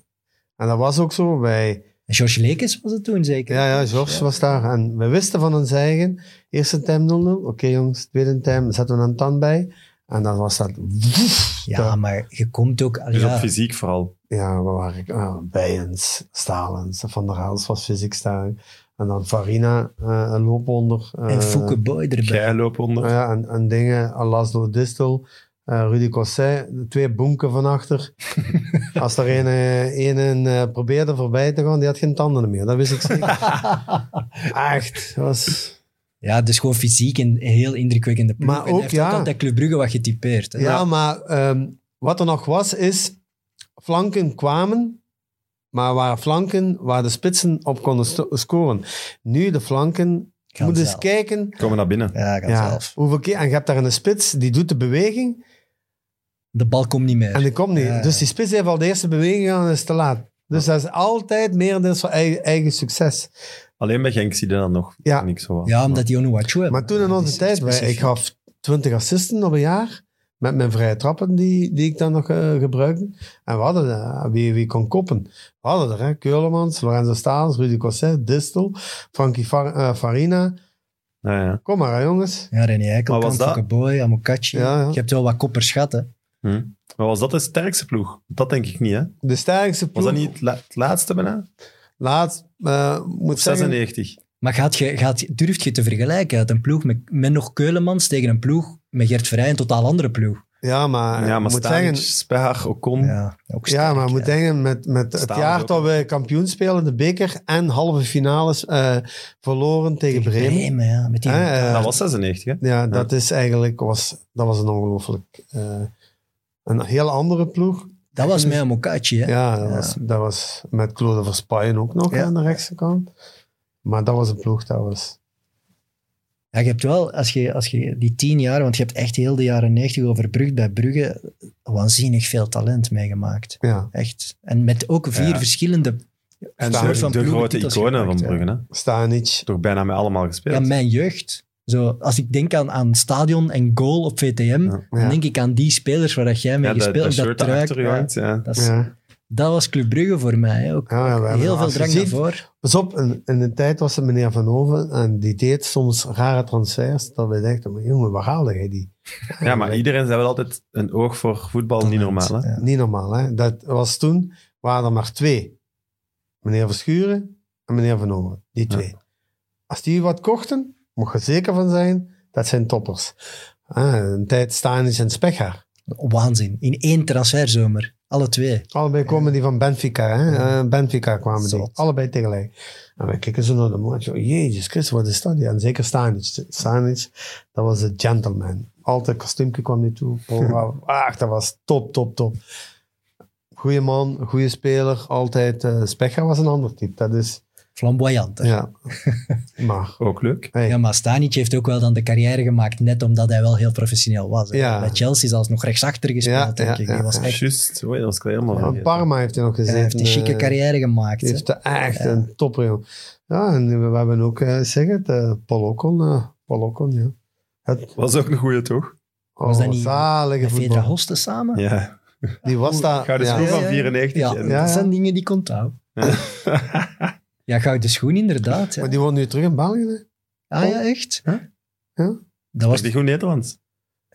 Speaker 3: En dat was ook zo. Wij,
Speaker 2: En George Lekes was het toen zeker?
Speaker 3: Ja, ja, George was daar. En we wisten van ons eigen. Eerste time 0 Oké jongens, tweede time zetten we een tand bij. En dan was dat...
Speaker 2: Ja, maar je komt ook...
Speaker 1: Dus
Speaker 2: ja,
Speaker 1: op fysiek vooral.
Speaker 3: Ja, we waren ah, Bijens, Stalens, Van der Haals was fysiek daar. En dan Farina, eh, een loop onder. eh,
Speaker 2: en Fouke Boy erbij.
Speaker 1: Jij loopt onder.
Speaker 3: ah ja, en, en dingen, Alaslo Distel, eh, Rudy Cosset, twee bonken van achter. Als er een, eh, een, eh, probeerde voorbij te gaan, die had geen tanden meer. Dat wist ik zeker. Echt, dat was...
Speaker 2: Ja, dus gewoon fysiek een heel indrukwekkende ploeg.
Speaker 3: Maar
Speaker 2: En hij
Speaker 3: ook,
Speaker 2: heeft
Speaker 3: ja.
Speaker 2: altijd Club Brugge wat getypeerd. hè.
Speaker 3: Ja, maar ehm, wat er nog was, is flanken kwamen, maar waren flanken waar de spitsen op konden sto- scoren. Nu de flanken,
Speaker 2: Gaan
Speaker 3: moet eens
Speaker 2: zelf.
Speaker 3: kijken.
Speaker 1: Komen naar binnen.
Speaker 2: Ja, gaat
Speaker 3: Ja,
Speaker 2: zelf.
Speaker 3: hoeveel keer, en je hebt daar een spits, die doet de beweging
Speaker 2: De bal komt niet meer.
Speaker 3: en die komt niet.
Speaker 2: Ja, ja.
Speaker 3: Dus die spits heeft al de eerste beweging gedaan en is te laat. Dus dat is altijd meer dan zijn eigen, eigen succes.
Speaker 1: Alleen bij Genk zie je dat nog.
Speaker 3: Ja.
Speaker 1: Niks zo was.
Speaker 2: Ja, omdat die Onuwachu hebben.
Speaker 3: Maar toen in
Speaker 2: Dat
Speaker 3: onze
Speaker 2: is
Speaker 3: tijd, wij-
Speaker 2: specifiek.
Speaker 3: ik gaf 20 assisten op een jaar. Met mijn vrije trappen die, die ik dan nog eh, gebruikte. En we hadden eh, wie, wie kon koppen. We hadden er, hè. Keulemans, Lorenzo Staals, Rudy Cosset, Distel, Frankie Far- eh, Farina.
Speaker 1: Ja, ja.
Speaker 3: Kom maar, hè, jongens.
Speaker 2: Ja, René
Speaker 1: Maar was
Speaker 2: Eikelkamp,
Speaker 1: dat-
Speaker 2: Fouke Boy, Amokachi.
Speaker 3: Ja, ja.
Speaker 2: Je hebt wel wat koppers gehad, hè.
Speaker 1: Hm. Maar was dat de sterkste ploeg? Dat denk ik niet, hè?
Speaker 3: De sterkste
Speaker 1: Was
Speaker 3: ploeg.
Speaker 1: dat niet het, la- het laatste bijna?
Speaker 3: Laat, eh, moet
Speaker 1: Of
Speaker 3: zeggen,
Speaker 1: 96?
Speaker 2: Maar gaat je, gaat, je- durft je te vergelijken uit een ploeg met, met nog Keulemans tegen een ploeg met Gert Vrij, een totaal andere ploeg?
Speaker 3: Ja, maar,
Speaker 1: ja, maar
Speaker 3: Ah, moet
Speaker 1: Stanic,
Speaker 3: zeggen,
Speaker 1: Spaar, Ocon.
Speaker 2: Ja, ook sterk,
Speaker 3: ja, maar moet
Speaker 2: hè.
Speaker 3: denken, met, met het
Speaker 1: Staals
Speaker 3: jaar
Speaker 1: ook.
Speaker 3: dat we kampioen spelen, de beker en halve finales eh, verloren tegen,
Speaker 2: Tegen
Speaker 3: Bremen.
Speaker 2: Bremen, ja. Met die
Speaker 3: Hè, eh,
Speaker 1: Dat was 96, hè?
Speaker 3: Ja, dat is eigenlijk was, dat was een ongelooflijk. eh, een heel andere ploeg.
Speaker 2: dat was met Amokachi, hè.
Speaker 3: Ja, dat,
Speaker 2: Ja.
Speaker 3: Was, dat was met Claude Verspayen ook nog
Speaker 2: Ja.
Speaker 3: aan de rechtse kant. Maar dat was een ploeg, dat was.
Speaker 2: Ja, je hebt wel, als je, als je die tien jaar, want je hebt echt heel de jaren negentig overbrugd bij Brugge, waanzinnig veel talent meegemaakt.
Speaker 3: Ja.
Speaker 2: Echt. En met ook vier
Speaker 1: Ja.
Speaker 2: verschillende
Speaker 1: En
Speaker 3: Staan.
Speaker 1: de,
Speaker 2: Soort van
Speaker 1: de
Speaker 2: ploegen
Speaker 1: grote
Speaker 2: titels
Speaker 1: iconen van
Speaker 2: gepakt, ja.
Speaker 1: Brugge, hè?
Speaker 3: Stanic.
Speaker 1: Toch bijna met allemaal
Speaker 2: Ja,
Speaker 1: gespeeld.
Speaker 2: mijn jeugd. Zo, als ik denk aan, aan stadion en goal op VTM,
Speaker 3: Ja.
Speaker 2: dan denk ik aan die spelers waar dat jij mee
Speaker 1: Ja, dat,
Speaker 2: gespeeld
Speaker 1: dat
Speaker 2: hebt. Dat,
Speaker 1: shirt dat
Speaker 2: truik,
Speaker 1: achter je
Speaker 2: ja.
Speaker 1: hangt, ja.
Speaker 2: dat, is-
Speaker 3: Ja.
Speaker 2: dat was Club Brugge voor mij. hè, Ook.
Speaker 3: Ja, we hebben
Speaker 2: Heel veel
Speaker 3: laatst
Speaker 2: drang
Speaker 3: gezien.
Speaker 2: naar voren.
Speaker 3: Pas op, in, in de tijd was het meneer Van Hoven en die deed soms rare transfers. Dat wij dachten, maar jongen, waar haalde hij die?
Speaker 1: Ja, maar iedereen heeft wel altijd een oog voor voetbal, niet normaal. Hè?
Speaker 2: Ja.
Speaker 3: Niet normaal, hè? Dat was toen, waren er maar twee. Meneer Verschuren en meneer Van Hoven. Die
Speaker 1: Ja.
Speaker 3: twee. Als die wat kochten, mocht je zeker van zijn, dat zijn toppers. Ah, een tijd Stanis en Spechaar.
Speaker 2: Waanzin. In één transferzomer. Alle twee.
Speaker 3: Allebei komen die van Benfica, hè? Eh, Benfica kwamen die.
Speaker 2: Zot.
Speaker 3: Allebei tegelijk. En we kijken zo naar de match. Oh, jezus Christus, wat is dat? hier? En zeker Stanic. Stanic, dat was een gentleman. Altijd kostuumje kwam niet toe. Polra. Ach, dat was top, top, top. Goeie man, goede speler. Altijd. eh Specha was een ander type. Dat is,
Speaker 2: Flamboyant. hè.
Speaker 3: ja. maar,
Speaker 1: Ook leuk.
Speaker 3: hey.
Speaker 2: Ja, maar Stanic heeft ook wel dan de carrière gemaakt, net omdat hij wel heel professioneel was. hè.
Speaker 3: Ja.
Speaker 2: Bij Chelsea zelfs nog rechtsachter gespeeld,
Speaker 3: Ja,
Speaker 2: denk
Speaker 3: ja,
Speaker 2: ik. Die
Speaker 3: ja,
Speaker 2: was
Speaker 3: ja.
Speaker 2: echt,
Speaker 1: Juist, oei, dat was ik helemaal
Speaker 3: Ja,
Speaker 1: vergeten.
Speaker 3: Parma heeft hij nog
Speaker 2: hij
Speaker 3: gezeten.
Speaker 2: heeft een chique
Speaker 3: eh,
Speaker 2: carrière gemaakt.
Speaker 3: Die
Speaker 2: hè.
Speaker 3: heeft echt een topper, joh. Ja, en we, we hebben ook, eh, zeg het, eh Paul Ocon. eh, Paul Ocon, ja. Het,
Speaker 1: Was ook een goeie, toch?
Speaker 3: oh,
Speaker 2: Was dat niet
Speaker 3: zalige
Speaker 2: Met Vedra
Speaker 3: voetbal.
Speaker 2: Hosten samen?
Speaker 1: Ja.
Speaker 3: Die was daar.
Speaker 1: Gouden
Speaker 3: ja.
Speaker 1: schoen
Speaker 2: Ja,
Speaker 1: van
Speaker 2: ja.
Speaker 1: 94.
Speaker 2: Ja,
Speaker 1: en-
Speaker 3: Ja,
Speaker 2: dat
Speaker 3: ja.
Speaker 2: zijn dingen die ik onthoud. Ja, gouden schoen inderdaad. Ja.
Speaker 3: Maar die woont nu terug in België, hè?
Speaker 2: Ah ja, echt?
Speaker 1: Huh?
Speaker 3: Ja.
Speaker 2: Dat
Speaker 1: Was
Speaker 2: was
Speaker 1: die goed Nederlands?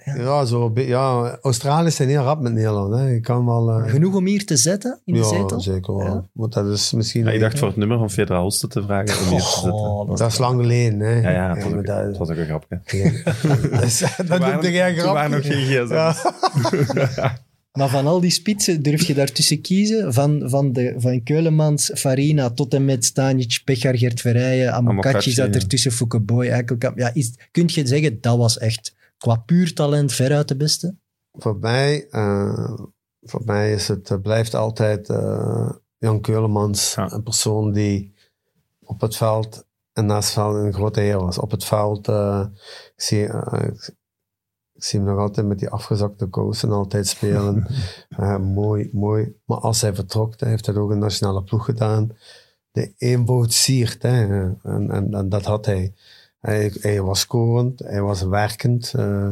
Speaker 3: Ja, zo, een be- ja, Australiërs zijn heel rap met Nederland. Hè. Je kan wel... eh,
Speaker 2: genoeg om hier te zetten in de
Speaker 3: ja,
Speaker 2: zetel?
Speaker 3: zeker wel.
Speaker 2: Ja.
Speaker 3: Want dat is misschien...
Speaker 1: Ja, ik dacht voor het nummer van Fedra Holsten te vragen om hier te zetten.
Speaker 2: Oh, dat
Speaker 3: Dat
Speaker 2: is-
Speaker 3: is lang geleden, hè.
Speaker 1: Ja, ja, dat was
Speaker 3: maar
Speaker 1: ook,
Speaker 3: dat,
Speaker 1: dat was ook een grapje.
Speaker 3: dat is- dat
Speaker 1: Toen
Speaker 3: doet
Speaker 1: waren-
Speaker 3: ik geen
Speaker 1: Toen waren
Speaker 3: grap.
Speaker 1: nog geen gsm's.
Speaker 3: Ja.
Speaker 2: Maar van al die spitsen durf je daartussen kiezen? Van, van, de, van Keulemans, Farina tot en met Stanic, Pechar, Gert Verrijen, Amokachi
Speaker 1: Amokachi,
Speaker 2: zat
Speaker 1: ja.
Speaker 2: ertussen, Foucaboy, Eikelkamp. Ja, is, kun je zeggen, dat was echt qua puur talent veruit de beste?
Speaker 3: Voor mij, eh, voor mij is het, eh, blijft altijd eh, Jan Keulemans
Speaker 1: Ja.
Speaker 3: een persoon die op het veld en naast het veld een grote heer was. Op het veld, eh, ik, zie, eh, ik, ik zie hem nog altijd met die afgezakte kousen altijd spelen. Eh, mooi, mooi. Maar als hij vertrok, dan heeft hij ook een nationale ploeg gedaan. De eenboot siert. Hè. En, en, en dat had hij. hij. Hij was scorend, hij was werkend. eh,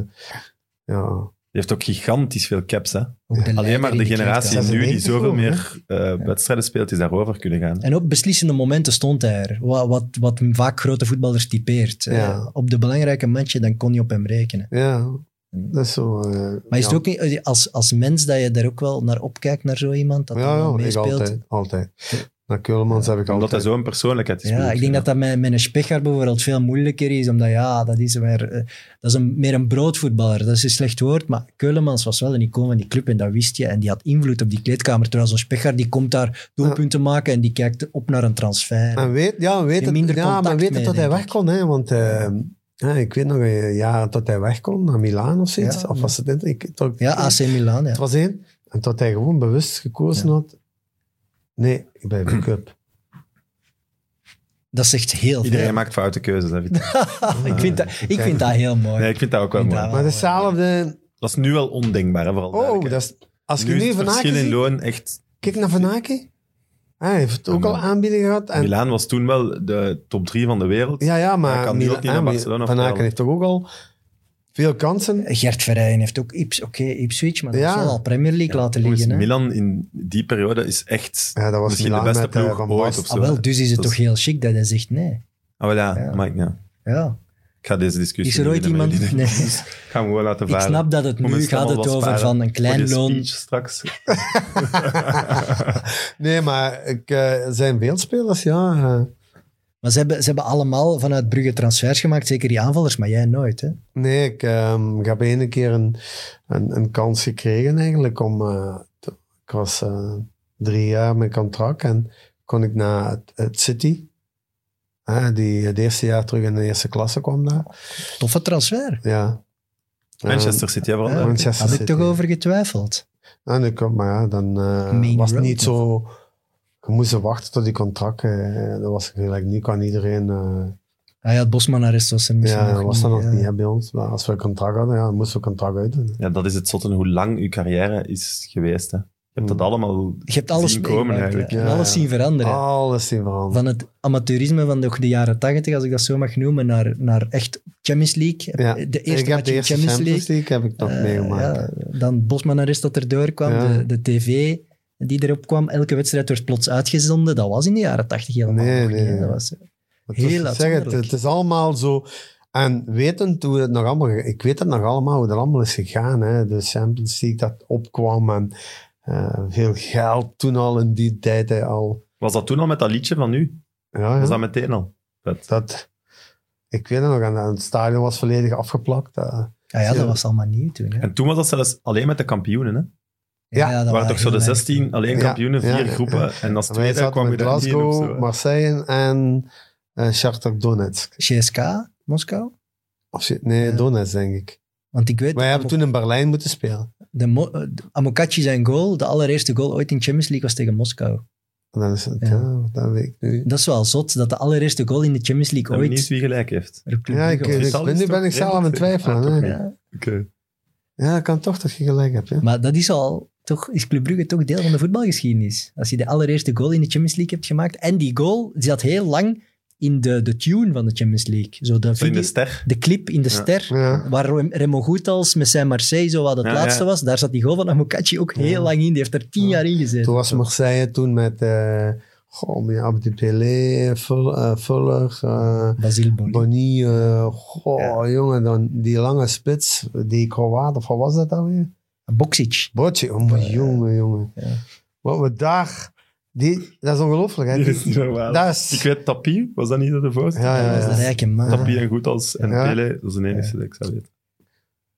Speaker 3: ja,
Speaker 1: Die heeft ook gigantisch veel caps, hè?
Speaker 2: Ook de
Speaker 1: Alleen
Speaker 2: leider
Speaker 1: maar
Speaker 2: in
Speaker 1: de
Speaker 2: die
Speaker 1: generatie
Speaker 2: kleedkamer.
Speaker 1: nu die
Speaker 3: 96
Speaker 1: zoveel
Speaker 3: ook, hè?
Speaker 1: meer eh, wedstrijden speelt, is daarover kunnen gaan.
Speaker 2: En op beslissende momenten stond hij er. Wat, wat, wat vaak grote voetballers typeert.
Speaker 3: Ja.
Speaker 2: Eh, op de belangrijke matchen, dan kon je op hem rekenen.
Speaker 3: Ja, dat is zo. eh,
Speaker 2: Mm. Maar is het
Speaker 3: ja.
Speaker 2: ook niet, eh, als, als mens dat je daar ook wel naar opkijkt, naar zo iemand, dat hij
Speaker 3: Ja,
Speaker 2: wel
Speaker 3: ja, ik
Speaker 2: meespeelt?
Speaker 3: altijd. altijd. Naar Keulemans heb ik
Speaker 1: Omdat hij
Speaker 3: altijd.
Speaker 1: zo'n persoonlijkheid is.
Speaker 2: Ja,
Speaker 1: bedoel
Speaker 2: ik denk
Speaker 1: ja.
Speaker 2: dat dat met, met een Spechaar bijvoorbeeld veel moeilijker is, omdat ja, dat is, weer, eh, dat is een, meer een broodvoetballer. Dat is een slecht woord, maar Keulemans was wel een icoon van die club en dat wist je. En die had invloed op die kleedkamer, terwijl zo'n Spechaar die komt daar doelpunten maken en die kijkt op naar een transfer.
Speaker 3: En weet, ja, weet
Speaker 2: Je
Speaker 3: het,
Speaker 2: minder
Speaker 3: ja, maar
Speaker 2: contact
Speaker 3: weet het
Speaker 2: mee,
Speaker 3: dat hij
Speaker 2: denk
Speaker 3: weg kon. Hè, want eh, ja, ik weet nog een jaar dat hij weg kon naar Milaan of zoiets.
Speaker 2: Ja,
Speaker 3: of was het dit? Ik, tot,
Speaker 2: Ja, AC Milan, ja.
Speaker 3: Het was één. En dat hij gewoon bewust gekozen had. Nee, ik blijf een cup.
Speaker 2: Ah, Dat zegt heel veel.
Speaker 1: Iedereen maakt foute keuzes. Hè, Vito.
Speaker 2: ik, vind dat, ik vind dat heel mooi.
Speaker 1: nee, ik vind dat ook wel
Speaker 2: Ik vind
Speaker 1: mooi.
Speaker 2: dat
Speaker 3: Maar hetzelfde.
Speaker 1: Dat is nu wel ondenkbaar, hè, vooral.
Speaker 3: Oh, dat is, als je nu
Speaker 1: het
Speaker 3: Van Aken
Speaker 1: verschil in
Speaker 3: ziet,
Speaker 1: loon echt...
Speaker 3: Kijk naar Van Aken. Hij heeft ook
Speaker 1: Ja,
Speaker 3: al
Speaker 1: maar-
Speaker 3: aanbiedingen gehad. En
Speaker 1: Milaan was toen wel de top 3 van de wereld.
Speaker 3: Ja, ja, maar
Speaker 1: Hij kan nu
Speaker 3: Mila-
Speaker 1: ook niet naar
Speaker 3: ah, maar
Speaker 1: Barcelona
Speaker 3: Van Aken
Speaker 1: vertrouwen.
Speaker 3: heeft toch ook al veel kansen.
Speaker 2: Gert Verrijen heeft ook Ips, oké, Ipswich, maar dat
Speaker 3: Ja.
Speaker 2: is wel al Premier League laten
Speaker 1: Volgens
Speaker 2: liggen. Hè?
Speaker 1: Milan in die periode is echt
Speaker 3: Ja, dat was
Speaker 1: misschien de
Speaker 3: Milan
Speaker 1: beste
Speaker 3: met, eh,
Speaker 1: ploeg
Speaker 3: Van
Speaker 1: ooit
Speaker 3: Basten.
Speaker 1: of zo.
Speaker 2: Ah, wel, dus is het
Speaker 1: Dat
Speaker 2: toch heel chic dat hij zegt nee.
Speaker 1: Ah, wel, ja,
Speaker 2: Ja.
Speaker 1: maakt niet uit.
Speaker 2: Ja.
Speaker 1: Ik ga deze discussie
Speaker 2: Is er
Speaker 1: niet
Speaker 2: ooit
Speaker 1: winnen met
Speaker 2: iemand-
Speaker 1: jullie, denk ik.
Speaker 2: Nee.
Speaker 1: Dus ik ga hem gewoon laten
Speaker 2: Ik
Speaker 1: varen.
Speaker 2: snap dat het
Speaker 1: Om een
Speaker 2: nu gaat
Speaker 1: stammen
Speaker 2: het
Speaker 1: wat
Speaker 2: over
Speaker 1: sparen
Speaker 2: van een
Speaker 1: Voor
Speaker 2: klein
Speaker 1: die
Speaker 2: loon.
Speaker 1: speech straks.
Speaker 3: nee, maar ik, eh, er zijn veel spelers, ja. eh.
Speaker 2: Maar ze hebben, ze hebben allemaal vanuit Brugge transfers gemaakt, zeker die aanvallers, maar jij nooit. Hè?
Speaker 3: nee, ik, ehm, ik heb één keer een, een, een kans gekregen eigenlijk om... eh, te- ik was eh, drie jaar mijn contract en kon ik naar het, het City. Eh, die het eerste jaar terug in de eerste klasse kwam daar.
Speaker 2: Toffe transfer.
Speaker 3: Ja.
Speaker 1: Manchester City, hè,
Speaker 3: Eh,
Speaker 1: vooral.
Speaker 3: Manchester
Speaker 2: Had ik
Speaker 3: City.
Speaker 2: toch over getwijfeld.
Speaker 3: En ik, maar ja, dan eh,
Speaker 2: Main
Speaker 3: was het
Speaker 2: road
Speaker 3: niet zo... Je moest wachten tot die contract... eh, dat was gelijk niet aan iedereen... eh,
Speaker 2: Hij had Ah Bosman arrest was er misschien
Speaker 3: ja,
Speaker 2: nog eh,
Speaker 3: was dat nog
Speaker 2: ja.
Speaker 3: niet hè, bij ons. Maar als we een contract hadden, ja, dan moesten we een contract uitdoen.
Speaker 1: Ja, dat is het zotte, hoe lang uw carrière is geweest. Hè. Je hebt
Speaker 2: Hmm.
Speaker 1: dat allemaal
Speaker 2: Je hebt alles
Speaker 1: zien komen
Speaker 2: meegemaakt,
Speaker 1: eigenlijk.
Speaker 2: ja.
Speaker 3: Ja,
Speaker 2: alles
Speaker 3: ja.
Speaker 2: zien veranderen.
Speaker 3: Ah. Alles in veranderd.
Speaker 2: Van het amateurisme van de, de jaren 80, als ik dat zo mag noemen, naar, naar echt Champions League.
Speaker 3: Ja.
Speaker 2: De
Speaker 3: ik
Speaker 2: eerste
Speaker 3: heb
Speaker 2: match
Speaker 3: de
Speaker 2: in
Speaker 3: eerste
Speaker 2: Champions League.
Speaker 3: heb ik nog
Speaker 2: Eh,
Speaker 3: meegemaakt.
Speaker 2: ja, dan Bosman Arrest dat erdoor kwam,
Speaker 3: Ja.
Speaker 2: de, de tv die erop kwam. Elke wedstrijd werd plots uitgezonden. Dat was in de jaren 80 helemaal
Speaker 3: Nee,
Speaker 2: nog
Speaker 3: nee,
Speaker 2: niet, hè.
Speaker 3: nee.
Speaker 2: Dat was,
Speaker 3: Het
Speaker 2: Heel
Speaker 3: is- ik zeg het,
Speaker 2: uitzonderlijk.
Speaker 3: het is allemaal zo. En wetend hoe het nog allemaal... ge- Ik weet het nog allemaal hoe dat allemaal is gegaan. Hè. De Champions League dat opkwam en eh, veel geld toen al in die tijd hè, al.
Speaker 1: Was dat toen al met dat liedje van nu?
Speaker 3: Ja, ja.
Speaker 1: Was
Speaker 3: Dat...
Speaker 1: dat meteen al? Vet.
Speaker 3: ik weet het nog, en het stadion was volledig afgeplakt. eh.
Speaker 2: ah ja,
Speaker 3: Ja.
Speaker 2: dat was allemaal nieuw toen. Hè.
Speaker 1: En toen was dat zelfs alleen met de kampioenen. Hè?
Speaker 3: Ja,
Speaker 2: dat
Speaker 1: Er waren toch zo de
Speaker 2: heel erg- eh,
Speaker 1: 16 alleen
Speaker 3: Ja,
Speaker 1: kampioenen,
Speaker 3: ja,
Speaker 1: vier
Speaker 3: ja,
Speaker 1: groepen. En als
Speaker 3: En wij
Speaker 1: tweede
Speaker 3: zaten
Speaker 1: kwam je
Speaker 3: met
Speaker 1: dan die in of zo.
Speaker 3: Glasgow,
Speaker 1: hè?
Speaker 3: Marseille en eh Shakhtar Donetsk.
Speaker 2: CSK, Moskou.
Speaker 3: Of, shit, nee,
Speaker 2: Ja.
Speaker 3: Donetsk, denk ik.
Speaker 2: Want ik weet,
Speaker 3: Wij hebben
Speaker 2: Amo-
Speaker 3: toen in Berlijn moeten spelen.
Speaker 2: de Mo- eh, de Amokachi zijn goal, de allereerste goal ooit in Champions League was tegen Moskou.
Speaker 3: En dan is het,
Speaker 2: Ja.
Speaker 3: ja. dat weet ik nu.
Speaker 2: Dat is wel zot, dat de allereerste goal in de
Speaker 1: Ik
Speaker 2: Champions League
Speaker 1: weet niet
Speaker 2: ooit...
Speaker 1: wie gelijk heeft.
Speaker 2: voor Club
Speaker 3: Ja, ik,
Speaker 2: Brugge was.
Speaker 1: Is
Speaker 3: ik
Speaker 1: dat
Speaker 3: ben,
Speaker 1: iets
Speaker 3: nu
Speaker 1: toch?
Speaker 3: ben ik zelf aan het
Speaker 1: Nee, dat
Speaker 3: twijfelen.
Speaker 1: vind ik-
Speaker 3: hè.
Speaker 1: ah, toch
Speaker 3: ja.
Speaker 2: Ja.
Speaker 1: Oké.
Speaker 3: dat kan toch dat je gelijk hebt. Ja.
Speaker 2: Maar dat is al, toch, is Club Brugge toch deel van de voetbalgeschiedenis. Als je de allereerste goal in de Champions League hebt gemaakt. En die goal die zat heel lang in de, de tune van de Champions League. Zo de,
Speaker 1: Zo in de
Speaker 2: video-
Speaker 1: ster.
Speaker 2: de clip in de
Speaker 1: Ja.
Speaker 2: ster.
Speaker 3: Ja.
Speaker 2: Waar Rem- Remo Goethals met zijn Marseille zo wat het
Speaker 1: Ja,
Speaker 2: laatste
Speaker 1: ja.
Speaker 2: was. Daar zat die goal van Amokachi ook heel
Speaker 3: Ja.
Speaker 2: lang in. Die heeft er tien
Speaker 3: Ja.
Speaker 2: jaar in gezeten.
Speaker 3: Toen was Marseille toen met eh goh, met Abdi Pelé, Vul- eh, Vuller, eh
Speaker 2: Basile Boli.
Speaker 3: Bonny. eh, goh, jongen, dan die lange spits, die Kroaat, of wat was dat alweer?
Speaker 2: Boksic.
Speaker 3: Bocci, oh, maar jongen, jongen.
Speaker 2: Ja.
Speaker 3: Wat we daar... Die, dat is ongelooflijk, hè?
Speaker 1: Die
Speaker 3: Die-
Speaker 1: is niet normaal.
Speaker 3: dat is-
Speaker 1: Ik weet Tapie, was dat niet de voorste?
Speaker 3: Ja, ja,
Speaker 2: Dat was de
Speaker 3: ja.
Speaker 2: rijke man.
Speaker 1: Tapie en Goethals en
Speaker 3: Ja.
Speaker 1: Pele, dat is de enige die ik zou weten. Die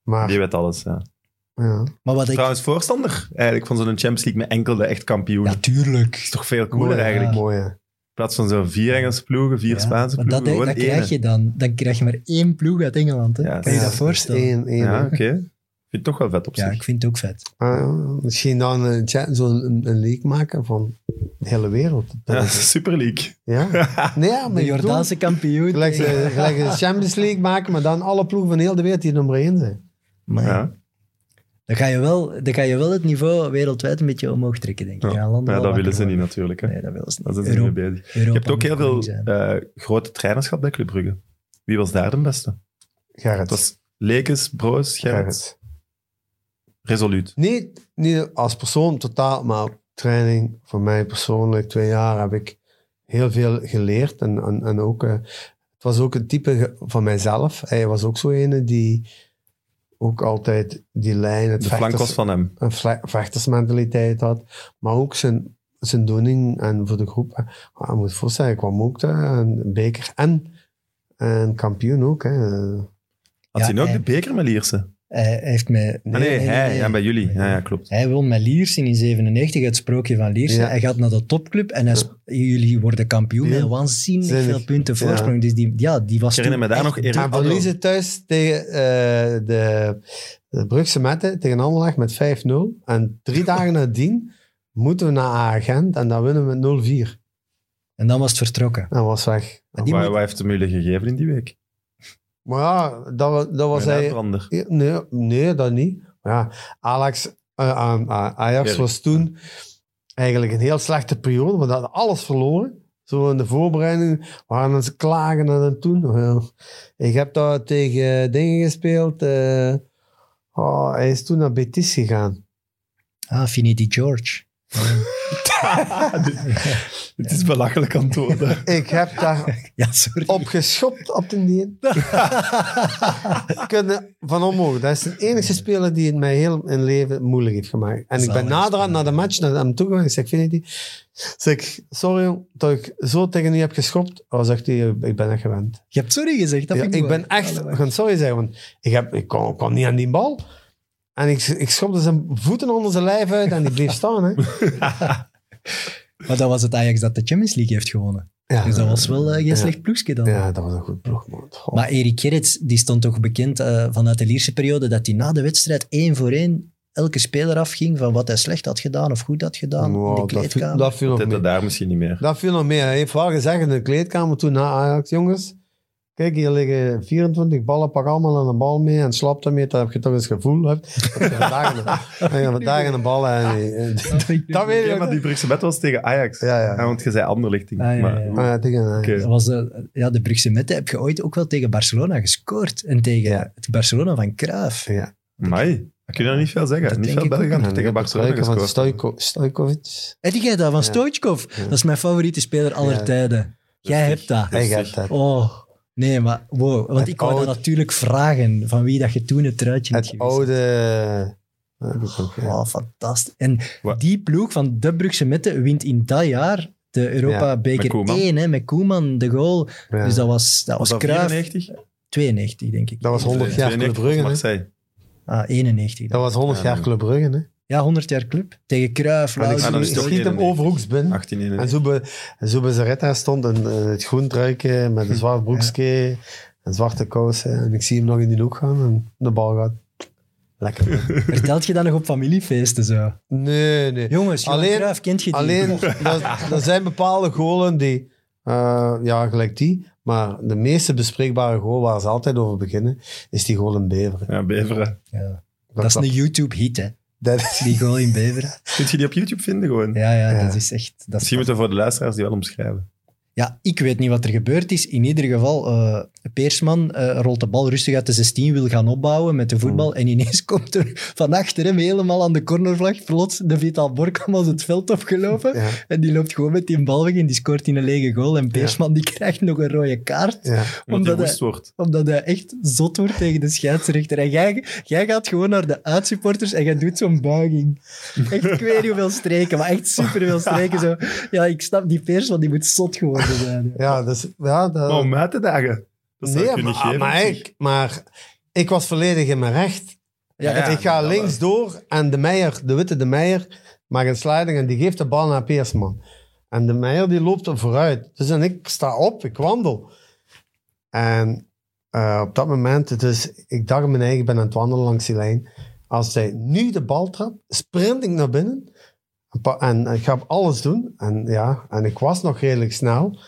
Speaker 3: Maar,
Speaker 1: weet alles, ja.
Speaker 3: ja.
Speaker 2: Maar wat ik...
Speaker 1: Trouwens, voorstander eigenlijk van zo'n Champions League met enkel de echt kampioenen. Dat
Speaker 2: Natuurlijk.
Speaker 1: is toch veel cooler
Speaker 3: Mooi,
Speaker 1: eigenlijk.
Speaker 3: Mooi, hè.
Speaker 1: In plaats van zo'n vier Engelse ploegen, vier Spaanse
Speaker 2: maar dat,
Speaker 1: ploegen, gewoon
Speaker 2: dat krijg
Speaker 1: één.
Speaker 2: je dan. Dan krijg je maar één ploeg uit Engeland. Hè?
Speaker 1: Ja,
Speaker 2: kan je
Speaker 1: ja.
Speaker 2: dat voorstellen?
Speaker 3: Eén, één, hè.
Speaker 1: Ja, oké. Ik vind het toch wel vet op
Speaker 2: Ja,
Speaker 1: zich.
Speaker 2: ik vind het ook vet.
Speaker 3: Ah, misschien dan een, cha- zo'n een, een leak maken van de hele wereld.
Speaker 1: Ja, Super League.
Speaker 3: Ja? Nee, ja, maar
Speaker 2: De
Speaker 3: ik bedoel,
Speaker 2: Jordaanse kampioen.
Speaker 3: Gelijk, ze- gelijk de Champions League maken, maar dan alle ploegen van heel de wereld die er maar in zijn.
Speaker 2: Maar
Speaker 1: Ja.
Speaker 2: dan, ga je wel, dan ga je wel het niveau wereldwijd een beetje omhoog trekken, denk ik.
Speaker 1: Ja.
Speaker 2: Ja, landen
Speaker 1: Ja,
Speaker 2: wel
Speaker 1: dat willen ze
Speaker 2: wakker
Speaker 1: niet natuurlijk. Hè.
Speaker 2: worden. Nee, dat willen ze
Speaker 1: Daar
Speaker 2: niet.
Speaker 1: zijn ze niet mee
Speaker 2: Europa-
Speaker 1: bezig. Je
Speaker 2: Europa
Speaker 1: hebt ook heel
Speaker 2: moet koning
Speaker 1: veel
Speaker 2: zijn.
Speaker 1: eh, grote trainers gehad bij Club Brugge. Wie was daar de beste?
Speaker 3: Gerrit.
Speaker 1: Het was Lekes, Broos, Gerrit.
Speaker 3: Gerrit.
Speaker 1: Resoluut.
Speaker 3: Niet, niet als persoon totaal, maar training voor mij persoonlijk. Twee jaar heb ik heel veel geleerd. En, en, en ook, eh, het was ook een type ge- van mijzelf. Hij was ook zo ene die ook altijd die lijn... Het
Speaker 1: De flank
Speaker 3: vechters-
Speaker 1: was van hem.
Speaker 3: een vle- vechtersmentaliteit had, maar ook zijn, zijn doening en voor de groep. hè. Maar Je moet je voorstellen, ik kwam ook daar, een beker en, en kampioen ook. Hè.
Speaker 1: Had
Speaker 2: Ja,
Speaker 1: hij nou ook
Speaker 2: hij-
Speaker 1: de beker met Lierse?
Speaker 2: Hij hij heeft me...
Speaker 1: Ah, nee, hij. Ja, bij jullie.
Speaker 2: Nee.
Speaker 1: Ja, ja, klopt.
Speaker 2: Hij won met Liersen in 97, het sprookje van Liersen.
Speaker 3: Ja.
Speaker 2: Hij gaat naar de topclub en hij sp- jullie worden kampioen
Speaker 3: Ja.
Speaker 2: met waanzinnig
Speaker 3: Zinnig.
Speaker 2: veel punten voorsprong. Dus die, ja, die was
Speaker 1: Ik herinner me
Speaker 2: toen
Speaker 1: daar
Speaker 2: echt
Speaker 1: nog Erik
Speaker 3: En
Speaker 1: Addo.
Speaker 3: verliezen thuis tegen eh, de, de Brugse Metten, tegen Anderlecht met 5-0. En drie dagen nadien moeten we naar Agent en dan winnen we met 0-4.
Speaker 2: En dan was het vertrokken.
Speaker 3: En was weg.
Speaker 2: Maar die
Speaker 1: Waar,
Speaker 2: moet-
Speaker 1: waar heeft hem jullie gegeven in die week?
Speaker 3: Maar ja, dat, wa- dat was
Speaker 1: Een
Speaker 3: hij...
Speaker 1: uitbrander.
Speaker 3: Ja, Nee, nee dat niet. Maar ja, Alex, eh, eh, eh, Ajax
Speaker 1: Erik.
Speaker 3: was toen eigenlijk een heel slechte periode, want we hadden alles verloren. Zo in de voorbereiding waren ze klagen en dan toen. eh, Ik heb daar tegen dingen gespeeld. eh, oh, hij is toen naar Betis gegaan.
Speaker 2: Ah, Finiti George.
Speaker 1: Het is belachelijk antwoord. hè.
Speaker 3: Ik heb daar
Speaker 2: Ja, sorry.
Speaker 3: op geschopt op de dien. Kunnen van omhoog. Dat is de enige speler die het mij heel in leven moeilijk heeft gemaakt. En ik
Speaker 2: Zalig.
Speaker 3: ben naderhand na de match naar hem toe gegaan. Ik zeg, Vinity, zeg, ik, sorry jong, dat ik zo tegen u heb geschopt. Oh, zegt hij, ik ben echt gewend.
Speaker 2: Je hebt sorry gezegd. Dat
Speaker 3: Ja,
Speaker 2: vind
Speaker 3: ik
Speaker 2: wel-
Speaker 3: ben echt,
Speaker 2: Allee,
Speaker 3: ik kan sorry zeggen, want ik, heb, ik, kwam, ik kwam niet aan die bal. En ik, ik schopte zijn voeten onder zijn lijf uit en die bleef staan. Hè.
Speaker 2: Maar dat was het Ajax dat de Champions League heeft gewonnen.
Speaker 3: Ja,
Speaker 2: Dus dat was wel eh, geen
Speaker 3: Ja.
Speaker 2: slecht ploegje dan.
Speaker 3: ja, dat was een goed ploeg, man. Goh.
Speaker 2: Maar Erik Gerrits, die stond toch bekend eh, vanuit de Lierse periode, dat hij na de wedstrijd één voor één elke speler afging van wat hij slecht had gedaan of goed had gedaan
Speaker 3: Wow,
Speaker 2: in de
Speaker 3: dat, viel,
Speaker 2: kleedkamer.
Speaker 3: dat viel nog
Speaker 1: Dat
Speaker 3: mee.
Speaker 1: daar misschien niet meer.
Speaker 3: Dat viel nog meer. Hij heeft wel gezegd in de kleedkamer toen na Ajax, jongens. Kijk, hier liggen 24 ballen, pak allemaal aan de bal mee en slap ermee, dat heb je toch eens gevoel. Hebt. Dat je vandaag aan de- dat je vandaag aan de bal en, en- dat weet
Speaker 1: Ja,
Speaker 3: ik
Speaker 1: maar
Speaker 3: nog.
Speaker 1: die Brugse bet was tegen Ajax.
Speaker 3: Ja, ja.
Speaker 1: want je zei anderlichting.
Speaker 2: Ah, ja,
Speaker 1: maar,
Speaker 2: ja.
Speaker 3: Ah, ja, tegen, eh,
Speaker 1: Oké.
Speaker 2: Dat was de, ja, de Brugse Mette heb je ooit ook wel tegen Barcelona gescoord. En tegen
Speaker 3: Ja.
Speaker 2: het Barcelona van Cruijff.
Speaker 3: ja.
Speaker 1: Amai, dat kun je nog niet veel zeggen.
Speaker 2: Dat
Speaker 1: niet
Speaker 2: denk
Speaker 1: veel
Speaker 2: ik ook.
Speaker 1: Belgen hebben
Speaker 3: En
Speaker 1: tegen
Speaker 3: het
Speaker 1: Barcelona
Speaker 3: gebruiken van
Speaker 1: gescoord.
Speaker 3: Stojko- Stojkovic.
Speaker 2: Heb jij dat van
Speaker 3: Ja.
Speaker 2: Stoichkov?
Speaker 3: Ja.
Speaker 2: Dat is mijn favoriete speler aller
Speaker 3: Ja.
Speaker 2: tijden. Jij hebt dat.
Speaker 3: Hij gaat dat.
Speaker 2: Oh, nee, maar wow. Want
Speaker 3: Het
Speaker 2: ik wou dat
Speaker 3: oude-
Speaker 2: natuurlijk vragen van wie dat je toen het truitje had
Speaker 3: Het
Speaker 2: gewist.
Speaker 3: oude... Ah, Ja, dat is ook, ja.
Speaker 2: Oh, fantastisch. En
Speaker 1: Wat?
Speaker 2: die ploeg van de Brugse Mette wint in dat jaar de Europa
Speaker 1: met
Speaker 2: Beker
Speaker 1: Koeman.
Speaker 2: 1 hè, met Koeman, de goal.
Speaker 3: Ja.
Speaker 2: Dus dat was, dat
Speaker 1: Was
Speaker 2: was,
Speaker 1: dat
Speaker 2: Cruijff.
Speaker 1: 94?
Speaker 2: 92, denk ik.
Speaker 3: Dat was 100 jaar Club
Speaker 1: 92
Speaker 3: Brugge.
Speaker 1: was
Speaker 3: hè.
Speaker 1: Marseille.
Speaker 2: Ah, 91.
Speaker 3: Dat was 100
Speaker 1: Ja.
Speaker 3: jaar Club Brugge. Hè.
Speaker 2: Ja, 100 jaar club. Tegen Cruijff,
Speaker 3: En ik
Speaker 1: Ah, dat
Speaker 2: Lau-
Speaker 3: schiet-
Speaker 1: is toch
Speaker 3: schiet hem
Speaker 1: 91.
Speaker 3: overhoeks binnen.
Speaker 1: 18 in
Speaker 3: En zo bij, zo bij Zaretta stond een, eh, het groen truikje met een zwart broekje en zwarte kousen. En ik zie hem nog in die hoek gaan en de bal gaat. Lekker.
Speaker 2: Vertelt je dat nog op familiefeesten zo?
Speaker 3: Nee, nee.
Speaker 2: Jongens, Johan
Speaker 3: Alleen-
Speaker 2: Cruijff kent je die.
Speaker 3: Alleen, dat- er zijn bepaalde golen die, eh, ja, gelijk die, maar de meeste bespreekbare goal waar ze altijd over beginnen, is die goal in Beveren.
Speaker 1: Ja, Beveren.
Speaker 2: Ja. Dat is een YouTube-hit, hè?
Speaker 3: Dat is
Speaker 2: Die goal in Beveren.
Speaker 1: Kun je die op YouTube vinden gewoon?
Speaker 2: Ja, ja,
Speaker 3: Ja.
Speaker 2: dat is echt... Dat is
Speaker 1: Misschien moeten we voor de luisteraars die wel omschrijven.
Speaker 2: Ja, ik weet niet wat er gebeurd is. In ieder geval, eh, Peersman eh, rolt de bal rustig uit de 16, wil gaan opbouwen met de
Speaker 3: Mm.
Speaker 2: voetbal. En ineens komt er van achter hem helemaal aan de cornervlag plots de Vital Borkham als het veld opgelopen.
Speaker 3: Ja,
Speaker 2: En die loopt gewoon met die bal weg en die scoort in een lege goal. En Peersman die krijgt nog een rode kaart.
Speaker 3: ja.
Speaker 1: Omdat die
Speaker 2: Omdat
Speaker 1: woest wordt.
Speaker 2: Omdat hij echt zot wordt tegen de scheidsrechter. En jij, jij gaat gewoon naar de uitsupporters en jij doet zo'n buiging. Echt, ik weet niet hoeveel streken, maar echt super veel streken. Zo. Ja, ik snap die peers, want die moet zot geworden zijn.
Speaker 3: ja, dus, ja dat,
Speaker 1: Maar om uit te dagen. Dat zou
Speaker 3: nee,
Speaker 1: ik je
Speaker 3: maar,
Speaker 1: niet geven. dus.
Speaker 3: maar,
Speaker 1: op zich.
Speaker 3: ik, maar ik was volledig in mijn recht.
Speaker 2: Ja,
Speaker 1: Ja,
Speaker 3: ik ga
Speaker 1: dat
Speaker 3: links door en de Meijer, de witte de Meijer, maakt een sliding en die geeft de bal naar Peersman. En de Meijer die loopt er vooruit. Dus en ik sta op, ik wandel. En eh, op dat moment, dus ik dacht in mijn eigen, ik ben aan het wandelen langs die lijn. Als zij nu de bal trapt, sprint ik naar binnen. En pa- En ik ga alles doen. En ja, en ik was nog redelijk snel.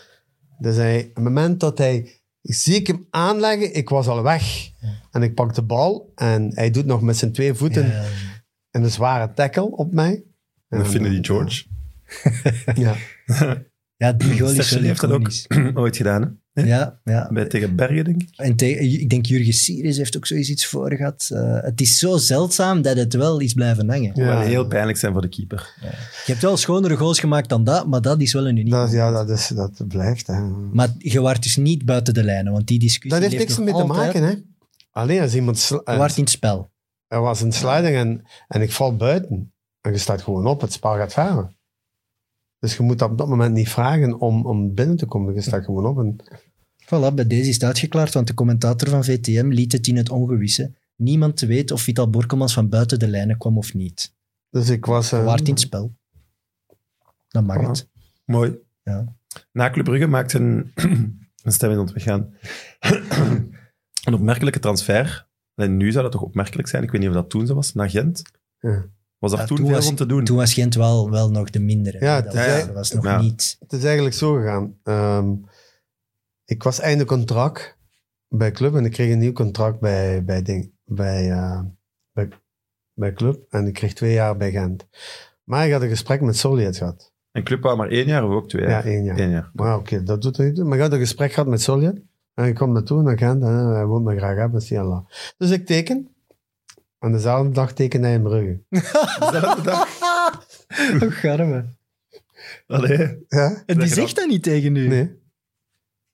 Speaker 3: Dus hij, op het moment dat hij, zie ik hem aanleggen, ik was al weg. En ik pak de bal en hij doet nog met zijn twee voeten
Speaker 2: Ja.
Speaker 3: een zware tackle op mij.
Speaker 1: En dan vinden die
Speaker 3: George.
Speaker 1: George.
Speaker 3: Ja.
Speaker 2: Ja, die goal is
Speaker 1: Sessie
Speaker 2: wel
Speaker 1: heeft dat ook
Speaker 2: iconisch.
Speaker 1: ooit gedaan. hè?
Speaker 2: Ja, ja.
Speaker 1: Bij tegen Bergen, denk ik.
Speaker 2: En tegen- ik denk Jurgen Sirius heeft ook zoiets iets voor gehad. Eh, het is zo zeldzaam dat het wel is blijven hangen.
Speaker 1: Wel
Speaker 3: Ja.
Speaker 1: heel pijnlijk zijn voor de keeper.
Speaker 2: Je hebt wel schonere goals gemaakt dan dat, maar dat is wel een uniek.
Speaker 3: Dat, is- ja, dat, is, dat blijft. Hè.
Speaker 2: Maar je waart dus niet buiten de lijnen, want die discussie
Speaker 3: Dat heeft
Speaker 2: leeft
Speaker 3: niks
Speaker 2: nog
Speaker 3: mee te
Speaker 2: altijd.
Speaker 3: maken. Hè. Alleen als iemand... sla-
Speaker 2: Je waart in het spel.
Speaker 3: Er was een sliding en, en ik val buiten. En je staat gewoon op, het spel gaat verder. Dus je moet dat op dat moment niet vragen om, om binnen te komen. Je staat gewoon op. En,
Speaker 2: Voilà, bij deze is het uitgeklaard, want de commentator van VTM liet het in het ongewisse. Niemand weet of Vital Borkelmans van buiten de lijnen kwam of niet.
Speaker 3: dus ik was... eh,
Speaker 2: Je waart in het spel. Dan mag
Speaker 1: Voilà.
Speaker 2: het.
Speaker 1: Mooi.
Speaker 2: Ja.
Speaker 1: Na Club Brugge maakt een, een stem in het ontweggaan. een opmerkelijke transfer. En nu zou dat toch opmerkelijk zijn? Ik weet niet of dat toen zo was. Naar Gent.
Speaker 3: Ja.
Speaker 1: Was dat
Speaker 2: Ja,
Speaker 1: toen,
Speaker 2: toen
Speaker 1: veel
Speaker 2: was-
Speaker 1: om te doen?
Speaker 2: Toen was Gent wel, wel nog de mindere.
Speaker 3: Ja,
Speaker 2: dat,
Speaker 3: ja,
Speaker 2: was,
Speaker 1: ja.
Speaker 2: dat was nog
Speaker 1: Ja.
Speaker 2: niet.
Speaker 3: Het is eigenlijk zo gegaan. Ehm, ik was einde contract bij Club en ik kreeg een nieuw contract bij, bij, ding, bij, eh, bij, bij Club. En ik kreeg twee jaar bij Gent. Maar ik had een gesprek met Soliet gehad.
Speaker 1: En Club wou maar één jaar of ook twee
Speaker 3: Ja,
Speaker 1: jaar?
Speaker 3: één jaar.
Speaker 1: Eén jaar.
Speaker 3: Maar ja, oké, dat doet er niet toe. Maar ik had een gesprek gehad met Soliet. En ik kwam naartoe naar Gent en eh, hij wil me graag hebben. Siala. Dus ik teken. En dezelfde dag tekende hij in Brugge.
Speaker 1: Dezelfde dag.
Speaker 2: Hoe gaan we?
Speaker 1: Allee.
Speaker 3: Ja?
Speaker 2: En
Speaker 1: Zeg
Speaker 2: die
Speaker 1: je
Speaker 2: zegt dat niet tegen u.
Speaker 3: Nee.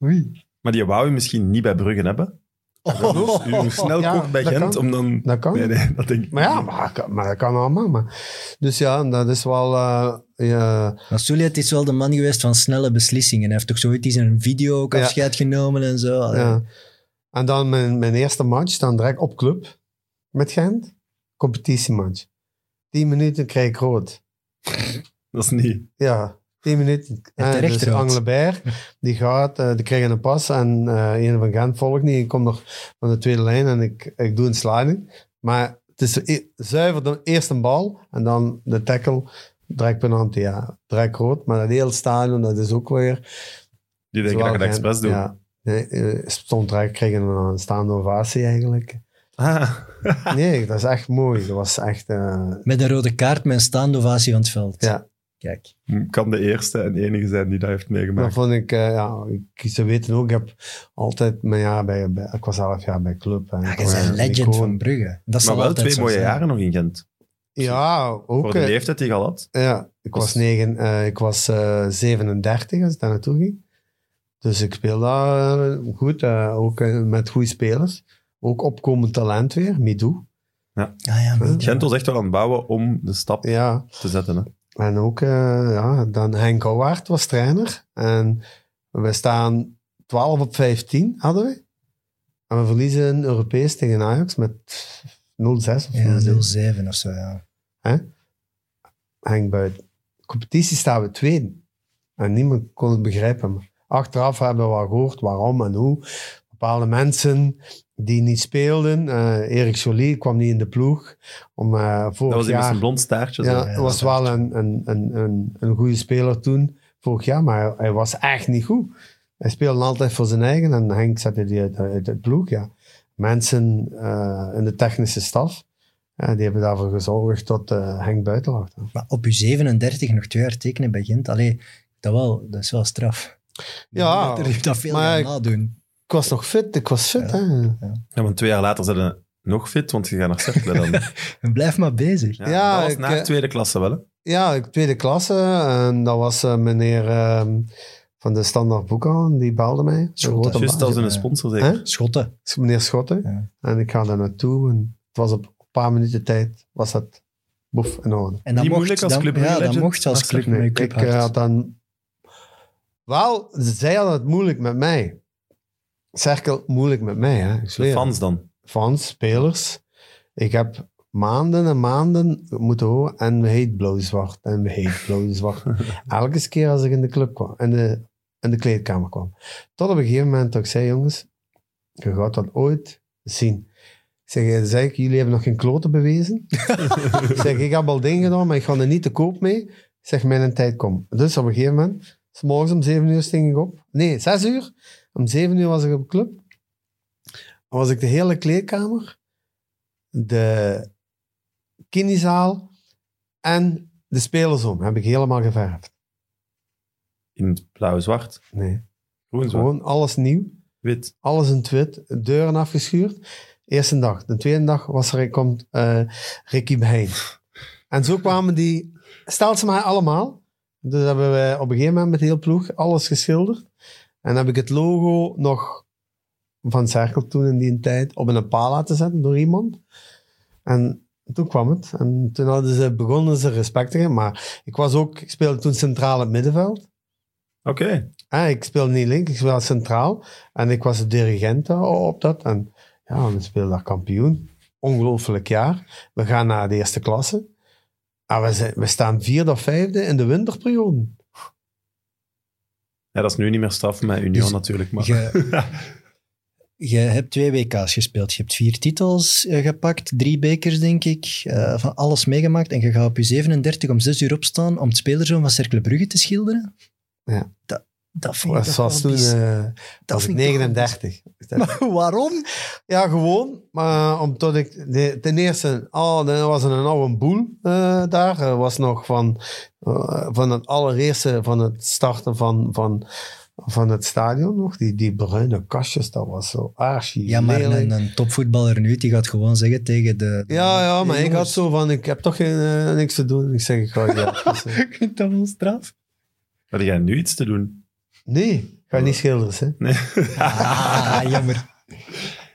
Speaker 2: Oei.
Speaker 1: Maar die wou je misschien niet bij Bruggen hebben.
Speaker 2: Oh.
Speaker 1: U nog snel
Speaker 3: Ja,
Speaker 1: koopt bij
Speaker 3: dat
Speaker 1: Gent
Speaker 3: kan.
Speaker 1: om dan...
Speaker 3: Dat kan.
Speaker 1: Nee, nee, dat denk ik
Speaker 3: Maar ja,
Speaker 1: niet.
Speaker 3: maar, maar dat kan allemaal. Maar. Dus ja, dat is wel... eh, ja,
Speaker 2: Maar Souliet is wel de man geweest van snelle beslissingen. Hij heeft toch zoiets in een video ook
Speaker 3: Ja.
Speaker 2: afscheid genomen en zo.
Speaker 3: Ja. En dan mijn, mijn eerste match, dan direct op club met Gent. Competitiematch. 10 minuten krijg ik rood.
Speaker 1: Dat is niet...
Speaker 3: Ja, 10 minuten.
Speaker 2: En
Speaker 3: Eh,
Speaker 2: terecht
Speaker 3: dus
Speaker 2: rood.
Speaker 3: Anglebert, die gaat, eh, die krijgen een pas en eh een van Gent volgt niet. Ik kom nog van de tweede lijn en ik, ik doe een sliding. Maar het is e- zuiver de eerste bal en dan de tackle. Direct penalty, ja. Direct rood. Maar dat hele stadion, dat is ook weer...
Speaker 1: Die denken dat je dat
Speaker 3: Gent-
Speaker 1: expres doet.
Speaker 3: Ja, Nee, eh, stond er, kreeg een, een staande ovatie eigenlijk.
Speaker 1: Ah,
Speaker 3: Nee, dat is echt mooi. Dat was echt... eh,
Speaker 2: Met een rode kaart, met een staande ovatie van het veld.
Speaker 3: Ja.
Speaker 2: Kijk.
Speaker 1: Hm, kan de eerste en enige zijn die dat heeft meegemaakt.
Speaker 3: Dat vond ik, eh, ja, ik, ze weten ook, ik heb altijd mijn jaar bij, bij- ik was elf jaar bij club. en
Speaker 2: Ja,
Speaker 3: ik
Speaker 2: je
Speaker 3: was
Speaker 2: bent Ah, een
Speaker 3: een
Speaker 2: legend
Speaker 3: icoon.
Speaker 2: van Brugge. Dat zal
Speaker 1: maar wel
Speaker 2: altijd
Speaker 1: twee
Speaker 2: zo
Speaker 1: mooie
Speaker 2: zijn.
Speaker 1: jaren nog in Gent.
Speaker 3: Ja, ook.
Speaker 1: Voor de
Speaker 3: eh,
Speaker 1: leeftijd die je al had.
Speaker 3: Ja, ik was, negen, eh, ik was eh, 37 als ik daar naartoe ging. Dus ik speelde daar eh, goed, eh, ook eh, met goede spelers. Ook opkomend talent weer, Midou.
Speaker 2: Ah, ja, maar-
Speaker 1: Gent was echt wel aan het bouwen om de stap
Speaker 3: Ja,
Speaker 1: te zetten. Hè.
Speaker 3: en ook eh, ja, dan Henk Houwaard was trainer. En we staan 12 op 15, hadden we. En we verliezen een Europees tegen Ajax met 0-6 of
Speaker 2: Ja,
Speaker 3: 0-7.
Speaker 2: 07 of zo, ja.
Speaker 3: Henk buiten. Competitie staan we tweede. En niemand kon het begrijpen. Maar achteraf hebben we wel gehoord waarom en hoe. Bepaalde mensen die niet speelden. eh Erik Jolie kwam niet in de ploeg. Om, eh vorig
Speaker 1: Dat was die met
Speaker 3: jaar,
Speaker 1: zijn blond staartje. zo.
Speaker 3: ja,
Speaker 2: hè,
Speaker 3: het was wel een, een, een, een, een goede speler toen, vorig jaar, maar hij, hij was echt niet goed. Hij speelde altijd voor zijn eigen en Henk zette die uit, uit het ploeg. Ja. Mensen eh, in de technische staf, eh, die hebben daarvoor gezorgd dat eh, Henk buiten lag.
Speaker 2: Maar op je 37 nog twee jaar tekenen bij Gent, allee, dat, wel, dat is wel straf.
Speaker 3: Ja,
Speaker 2: Dat er dat veel
Speaker 3: maar
Speaker 2: gaan
Speaker 3: ik-
Speaker 2: nadoen.
Speaker 3: Ik was nog fit, ik was fit.
Speaker 2: Ja.
Speaker 3: Hè. Ja,
Speaker 1: Ja, want twee jaar later zijn ze nog fit, want je gaat naar cirkelen dan.
Speaker 2: En blijf maar bezig.
Speaker 1: Ja,
Speaker 3: Ja,
Speaker 1: dat was
Speaker 3: ik,
Speaker 1: na
Speaker 3: eh,
Speaker 1: tweede klasse wel. Hè.
Speaker 3: ik tweede klasse. En dat was eh, meneer ehm, van de Standaard Boekhouden, die belde mij. De
Speaker 2: Schotten.
Speaker 3: grote
Speaker 1: Juist
Speaker 3: baas.
Speaker 1: als een
Speaker 2: eh,
Speaker 1: sponsor zeker.
Speaker 3: Hè?
Speaker 2: Schotten.
Speaker 3: Meneer Schotten.
Speaker 2: Ja.
Speaker 3: En ik ga daar naartoe. En het was op een paar minuten tijd, was dat boef in orde.
Speaker 2: En
Speaker 1: Niet
Speaker 2: dat mocht,
Speaker 1: moeilijk als
Speaker 2: dan-
Speaker 1: Club
Speaker 2: Ja,
Speaker 1: Brugge
Speaker 2: dat
Speaker 1: legend.
Speaker 2: mocht als
Speaker 1: Ah,
Speaker 2: club,
Speaker 1: zeg, nee,
Speaker 2: met
Speaker 3: Ik
Speaker 2: club
Speaker 3: eh, had
Speaker 2: hard.
Speaker 3: dan... Wel, zij hadden het moeilijk met mij. Cirkel moeilijk met mij, hè. Ik
Speaker 1: De
Speaker 3: zweer.
Speaker 1: fans dan.
Speaker 3: fans, spelers. Ik heb maanden en maanden moeten horen en we heet blauw-zwart en we heet blauw-zwart. Elke keer als ik in de club kwam, in de, in de kleedkamer kwam. Tot op een gegeven moment dat ik zei, jongens, je gaat dat ooit zien. Ik zeg, eh, zei ik, jullie hebben nog geen kloten bewezen. ik zeg, ik heb al dingen gedaan, maar ik ga er niet te koop mee. Ik zeg, mijn tijd komt. Dus op een gegeven moment, s morgens om zeven uur sting ik op. Nee, zes uur. Om zeven uur was ik op de club. Dan was ik de hele kleedkamer, de kindyzaal en de spelersom heb ik helemaal geverfd.
Speaker 1: In het blauw-zwart,
Speaker 3: Nee,
Speaker 1: groen-zwart,
Speaker 3: gewoon alles nieuw,
Speaker 1: wit.
Speaker 3: alles in twit, deuren afgeschuurd. Eerste dag. De tweede dag was er, komt eh, Ricky Beijn. En zo kwamen die, stel ze maar allemaal. Dus hebben we op een gegeven moment met heel ploeg alles geschilderd. En heb ik het logo nog van Cerkel toen in die tijd op een paal laten zetten door iemand. En toen kwam het. En toen hadden ze, begonnen ze respect te geven. Maar ik was ook, ik speelde toen centraal het middenveld.
Speaker 1: Oké.
Speaker 3: Ah, ik speel niet link, ik speel centraal. En ik was de dirigent daar op dat. En ja, we speelden daar kampioen. Ongelooflijk jaar. We gaan naar de eerste klasse. En we, zijn, we staan vierde of vijfde in de winterperiode.
Speaker 1: Ja, dat is nu niet meer straf met Union
Speaker 2: Dus
Speaker 1: natuurlijk. Maar...
Speaker 3: eh,
Speaker 2: Je, je hebt twee WK's gespeeld. Je hebt vier titels eh, gepakt, drie bekers, denk ik. eh, van alles meegemaakt. En je gaat op je 37 om 6 uur opstaan om het spelerzoon van Cercle Brugge te schilderen.
Speaker 3: Ja.
Speaker 2: Dat, dat vind ik
Speaker 3: Dat
Speaker 2: toch
Speaker 3: was
Speaker 2: wel
Speaker 3: toen
Speaker 2: bizar.
Speaker 3: eh,
Speaker 2: Dat
Speaker 3: was ik
Speaker 2: vind ik toch wel
Speaker 3: 39.
Speaker 2: bizar. Waarom?
Speaker 3: Ja, gewoon. Maar omdat ik... de- ten eerste, oh, dat was een oude boel eh, daar. Er was nog van, eh, van het allereerste, van het starten van, van, van het stadion nog. Die, die bruine kastjes, dat was zo archi
Speaker 2: Ja, maar
Speaker 3: lelijk.
Speaker 2: een, een topvoetballer nu, die gaat gewoon zeggen tegen de...
Speaker 3: Ja, ja, maar
Speaker 2: Hey,
Speaker 3: ik
Speaker 2: jongens,
Speaker 3: had zo van, ik heb toch geen, eh, niks te doen. Ik zeg, ik ga ja.
Speaker 2: Ik vind dat wel straf.
Speaker 1: Had jij nu iets te doen?
Speaker 3: Nee, ik ga niet schilderen, hè.
Speaker 1: Nee.
Speaker 2: Ah, jammer.
Speaker 1: En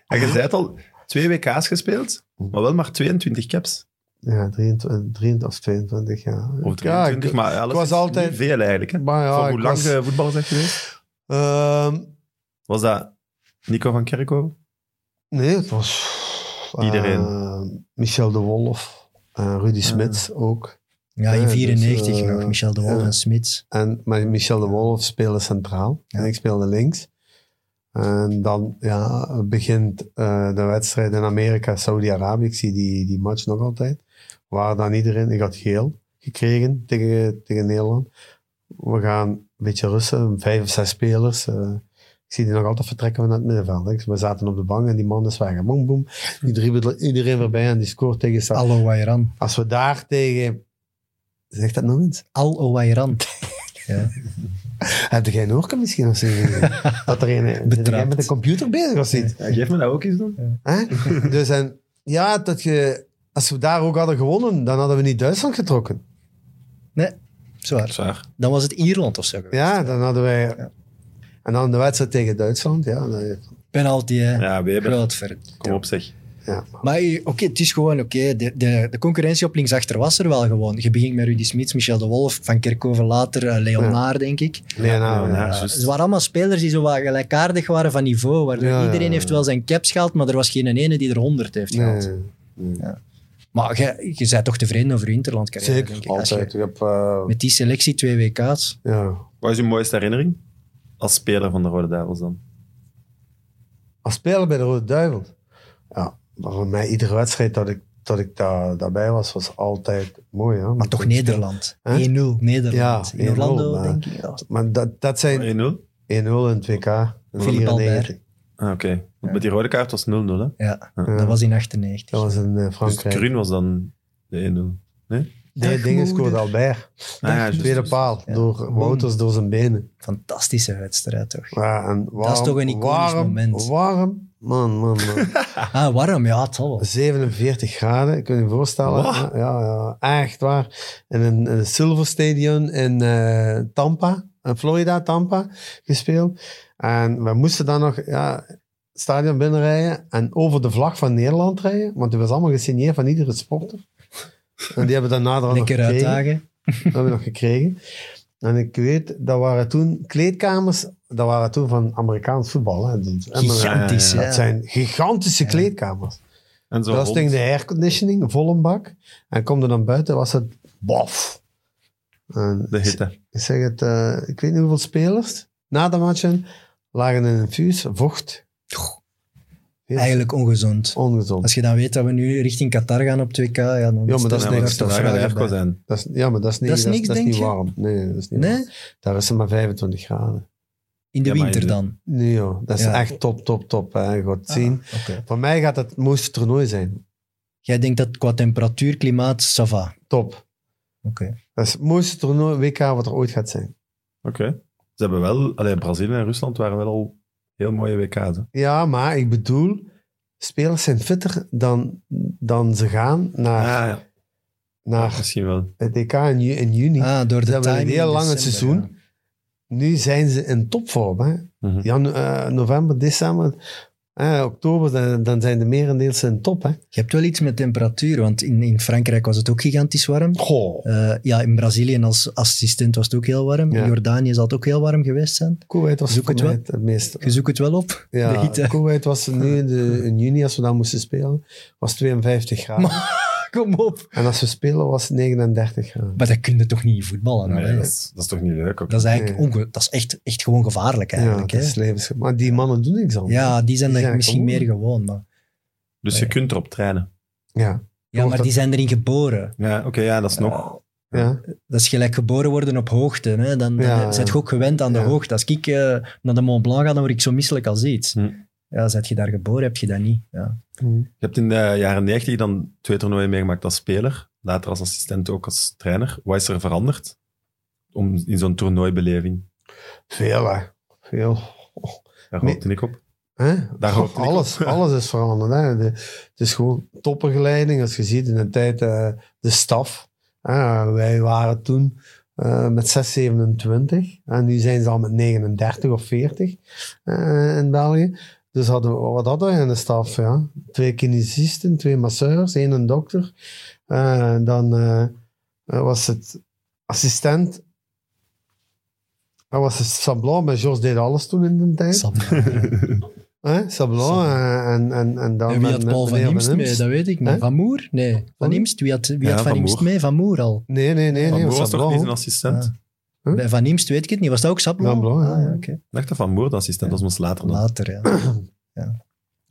Speaker 3: Ah.
Speaker 1: je zei het al, twee WK's gespeeld, maar wel maar 22 caps.
Speaker 3: Ja, 23, 23 of 22, ja.
Speaker 1: Of
Speaker 3: ja,
Speaker 1: 23,
Speaker 3: ik,
Speaker 1: maar alles
Speaker 3: was
Speaker 1: is
Speaker 3: altijd-
Speaker 1: niet veel eigenlijk. Hè?
Speaker 3: maar ja,
Speaker 1: Voor hoe
Speaker 3: ik
Speaker 1: lang eh,
Speaker 3: was-
Speaker 1: je voetballer bent geweest?
Speaker 3: Ehm,
Speaker 1: Was dat Nico van Kerkhoven?
Speaker 3: nee, het was... eh,
Speaker 1: Iedereen.
Speaker 3: Michel de Wolf, eh, Rudy Smits ook.
Speaker 2: Ja,
Speaker 3: Ja,
Speaker 2: in
Speaker 3: dus,
Speaker 2: 94 nog,
Speaker 3: eh,
Speaker 2: Michel de Wol
Speaker 3: ja.
Speaker 2: en Smits.
Speaker 3: En, maar Michel de Wolf speelde centraal
Speaker 2: Ja.
Speaker 3: en ik speelde links. En dan ja, begint eh, de wedstrijd in Amerika, Saudi-Arabië. Ik zie die, die match nog altijd. Waar dan iedereen, ik had geel gekregen tegen, tegen Nederland. We gaan een beetje rusten, vijf of zes spelers. eh, ik Ik zie die nog altijd vertrekken vanuit het middenveld. Hè. We zaten op de bank en die man is weg. En boem, boem. Die dribbelt iedereen voorbij en die scoort tegen Sa-
Speaker 2: Al Owairan.
Speaker 3: Als we daar tegen... Zeg dat nog eens.
Speaker 2: Al Owairan.
Speaker 3: Heb jij een oorkam misschien of zo? dat er een... dat jij met een computer bezig was niet?
Speaker 1: Ja, geef me dat ook eens dan.
Speaker 3: Hè? dus en, ja, dat je, als we daar ook hadden gewonnen, dan hadden we niet Duitsland getrokken.
Speaker 2: Nee, zwaar.
Speaker 5: Zwaar.
Speaker 2: Dan was het Ierland of zo. geweest.
Speaker 3: Ja, dan hadden wij... En dan de wedstrijd tegen Duitsland, ja. dan-
Speaker 2: Penalty, hè.
Speaker 5: Ja, Weber.
Speaker 2: Groot verd.
Speaker 5: Kom op zeg.
Speaker 3: ja.
Speaker 2: Maar eh, oké, het is gewoon oké. De, de, de concurrentie op linksachter was er wel gewoon. Je begint met Rudy Smits, Michel de Wolf, Van Kerkhoven later, eh, Leon
Speaker 3: Ja.
Speaker 2: Naar, denk ik.
Speaker 3: Nee, nou,
Speaker 5: Ja,
Speaker 3: ja.
Speaker 5: juist.
Speaker 1: Dus-
Speaker 2: Het waren allemaal spelers die zo wat gelijkaardig waren van niveau. Waardoor
Speaker 3: Ja, ja,
Speaker 2: iedereen
Speaker 3: ja.
Speaker 2: heeft wel zijn caps gehaald, maar er was geen ene die er 100 heeft
Speaker 3: Nee,
Speaker 2: gehaald. Maar je, je bent toch tevreden over je Interland-carrière,
Speaker 3: zeker.
Speaker 2: denk ik. Als je
Speaker 3: Altijd. Ik heb, eh,
Speaker 2: met die selectie twee WK's.
Speaker 3: ja.
Speaker 5: Wat is je mooiste herinnering? Als speler van de Rode Duivels dan.
Speaker 3: Als speler bij de Rode Duivel. Ja, maar voor mij iedere wedstrijd dat ik, dat ik daar, daarbij was, was altijd mooi. Hè?
Speaker 2: Maar toch Nederland.
Speaker 3: Hè?
Speaker 2: 1-0 Nederland.
Speaker 3: Ja,
Speaker 2: in Orlando,
Speaker 3: 1-0, maar-
Speaker 2: denk ik. Ja.
Speaker 3: Maar dat, dat zijn 1-0
Speaker 5: 1-0?
Speaker 3: in het WK.
Speaker 2: Philippe Albert.
Speaker 3: 94.
Speaker 5: Ah, oké. Want Met die rode kaart was 0-0 hè?
Speaker 2: Ja,
Speaker 5: Ja.
Speaker 2: dat was in 98.
Speaker 3: Dat was in eh,
Speaker 5: Dus
Speaker 3: Frankrijk.
Speaker 5: Kruun was dan de 1-0.
Speaker 3: Nee,
Speaker 2: Dag,
Speaker 3: dingen
Speaker 2: moeder.
Speaker 3: scoorde Albert.
Speaker 5: Ah, ja, juist.
Speaker 3: Tweede paal.
Speaker 2: Ja.
Speaker 3: Door Wouters, door zijn benen.
Speaker 2: Fantastische wedstrijd, toch?
Speaker 3: Ja, en warm,
Speaker 2: is toch een iconisch
Speaker 3: warm,
Speaker 2: moment.
Speaker 3: Warm. Man, man, man.
Speaker 2: Ah, warm, ja, het zal wel.
Speaker 3: 47 graden, ik kan je voorstellen.
Speaker 5: Wat?
Speaker 3: Ja, ja, ja, echt waar. In een, in een Silver Stadium in eh, Tampa, in Florida, Tampa, gespeeld. En we moesten dan nog ja, het stadion binnenrijden en over de vlag van Nederland rijden, want die was allemaal gesigneerd van iedere sporter. En die hebben daarna dan nog
Speaker 2: Lekker
Speaker 3: gekregen.
Speaker 2: uitdagen.
Speaker 3: Dat hebben we nog gekregen. En ik weet, dat waren toen kleedkamers, dat waren toen van Amerikaans voetbal. Hè. Dus-
Speaker 2: Gigantisch,
Speaker 5: Ja,
Speaker 2: ja.
Speaker 3: Dat zijn gigantische kleedkamers.
Speaker 5: En zo
Speaker 3: Dat was
Speaker 5: rond.
Speaker 3: tegen de airconditioning, vol een bak. En kom er dan buiten, was het bof. En
Speaker 5: De hitte.
Speaker 3: Ik zeg het, eh, ik weet niet hoeveel spelers na de matchen lagen in een vuur, vocht. Heel
Speaker 2: Eigenlijk ongezond.
Speaker 3: ongezond.
Speaker 2: Als je dan weet dat we nu richting Qatar gaan op 2K, ja, dan
Speaker 3: Ja, maar dat is
Speaker 5: Ja, maar
Speaker 3: niks.
Speaker 2: daar
Speaker 5: dat
Speaker 2: toch
Speaker 5: zou
Speaker 2: vragen
Speaker 5: erg
Speaker 2: bij.
Speaker 5: zijn.
Speaker 3: Dat is, ja, maar dat is niet,
Speaker 2: Dat is
Speaker 3: dat is,
Speaker 2: niks,
Speaker 3: dat is
Speaker 2: denk
Speaker 3: niet
Speaker 2: je?
Speaker 3: warm. Nee, dat is niet warm.
Speaker 2: Nee?
Speaker 3: Daar is het maar 25 graden.
Speaker 2: In de
Speaker 5: Ja, maar
Speaker 2: winter
Speaker 5: in de-
Speaker 2: dan?
Speaker 3: Nee joh, dat is
Speaker 2: Ja.
Speaker 3: echt top, top, top. Hè. Je gaat het
Speaker 2: Ah,
Speaker 3: zien.
Speaker 2: oké.
Speaker 3: Voor mij gaat dat het mooiste toernooi zijn.
Speaker 2: Jij denkt dat qua temperatuur, klimaat, ça va. Oké.
Speaker 3: Top. Dat is het mooiste toernooi WK wat er ooit gaat zijn.
Speaker 5: Oké. Ze hebben wel... Allee, Brazilië en Rusland waren wel al heel mooie WK's. hè.
Speaker 3: Ja, maar ik bedoel, spelers zijn fitter dan, dan ze gaan naar,
Speaker 5: Ah, ja.
Speaker 3: naar
Speaker 5: Ah. Misschien wel.
Speaker 3: het EK in, ju- in juni.
Speaker 2: Ah, door de
Speaker 3: hebben een
Speaker 2: timing
Speaker 3: heel
Speaker 2: in
Speaker 3: lang het
Speaker 2: december,
Speaker 3: seizoen.
Speaker 2: ja.
Speaker 3: Nu zijn ze in topvorm. Hè?
Speaker 5: Mhm.
Speaker 3: Janu- eh, november, december, eh, oktober, dan, dan zijn de merendeels in top. Hè?
Speaker 2: Je hebt wel iets met temperatuur, want in, in Frankrijk was het ook gigantisch warm.
Speaker 3: Goh.
Speaker 2: Eh, ja, in Brazilië als assistent was het ook heel warm.
Speaker 3: Ja.
Speaker 2: In Jordanië zal het ook heel warm geweest zijn.
Speaker 3: Kuwait was
Speaker 2: Zoek
Speaker 3: voor
Speaker 2: het
Speaker 3: mij
Speaker 2: wel.
Speaker 3: het, het meest.
Speaker 2: Je zoekt het wel op, de
Speaker 3: Ja,
Speaker 2: hitte.
Speaker 3: Kuwait was nu in, de- in juni, als we daar moesten spelen, was 52 graden.
Speaker 2: Kom op.
Speaker 3: En als we spelen was het 39 graden.
Speaker 2: Maar dat kun je toch niet voetballen?
Speaker 5: Nee,
Speaker 2: dan, hè?
Speaker 5: dat, is, dat is toch niet leuk ook.
Speaker 2: Dat is eigenlijk
Speaker 3: Nee.
Speaker 2: onge- dat is echt, echt gewoon gevaarlijk
Speaker 3: Ja,
Speaker 2: eigenlijk.
Speaker 3: dat
Speaker 2: Ja,
Speaker 3: is levensgevaarlijk. Maar die mannen doen niks anders.
Speaker 2: ja die zijn
Speaker 3: Die
Speaker 2: er
Speaker 3: zijn
Speaker 2: misschien
Speaker 3: gewoon.
Speaker 2: meer gewoon. Maar,
Speaker 5: Dus je kunt erop trainen.
Speaker 3: Ja.
Speaker 2: ja, maar
Speaker 3: dat-
Speaker 2: die zijn erin geboren. Eh,
Speaker 5: Ja, oké. ja, dat is nog...
Speaker 3: ja.
Speaker 2: Dat is gelijk geboren worden op hoogte. Hè? Dan, dan
Speaker 3: Ja,
Speaker 2: zijn je ook gewend aan de
Speaker 3: ja.
Speaker 2: hoogte. Als ik eh, naar de Mont Blanc ga, dan word ik zo misselijk als iets.
Speaker 5: Hm.
Speaker 2: Ja, zet je daar geboren, heb je dat niet. Ja.
Speaker 3: Hm.
Speaker 5: Je hebt in de jaren 90 dan twee toernooien meegemaakt als speler, later als assistent ook als trainer. Wat is er veranderd om, in zo'n toernooibeleving?
Speaker 3: Veel, hè. Veel.
Speaker 5: Daar
Speaker 3: Nee.
Speaker 5: hoopte ik op.
Speaker 3: Hè?
Speaker 5: Daar hoopte ik
Speaker 3: alles,
Speaker 5: op.
Speaker 3: alles is veranderd. Hè? De- het is gewoon toppergeleiding. Als je ziet in de tijd eh, de staf. hè. wij waren toen eh, met 6, 27. En nu zijn ze al met 39 of 40 eh, in België. Dus hadden we, wat hadden we in de staf? Ja? Twee kinesisten, twee masseurs, één een dokter. Eh, dan eh, was het assistent. Dat was het Sablon, maar Georges deed alles toen in de tijd.
Speaker 2: Sam,
Speaker 3: Hè? Sablon
Speaker 2: Sablon.
Speaker 3: eh, en, en, en dan
Speaker 2: en wie had
Speaker 3: met-
Speaker 2: Paul
Speaker 3: met
Speaker 2: van
Speaker 3: meneer
Speaker 2: Imst mee? Dat weet ik niet.
Speaker 3: Hè?
Speaker 2: Van Moer? Nee. Van
Speaker 3: Wie?
Speaker 2: Imst? Wie had, wie
Speaker 5: Ja,
Speaker 2: had Van,
Speaker 5: Van
Speaker 2: Imst
Speaker 5: Moer.
Speaker 2: mee? Van Moer al.
Speaker 3: Nee, nee, nee.
Speaker 5: Van
Speaker 3: nee
Speaker 5: Moer was toch
Speaker 3: Sablon.
Speaker 5: niet een assistent?
Speaker 2: Ah.
Speaker 5: Ik
Speaker 3: Huh?
Speaker 2: Bij Van Imst weet ik het niet. Was dat ook Sablon?
Speaker 3: Sablon, ja.
Speaker 2: Ah, ja, oké.
Speaker 5: dacht dat Van Moer de assistent was, maar dat is later nog.
Speaker 2: Later, ja.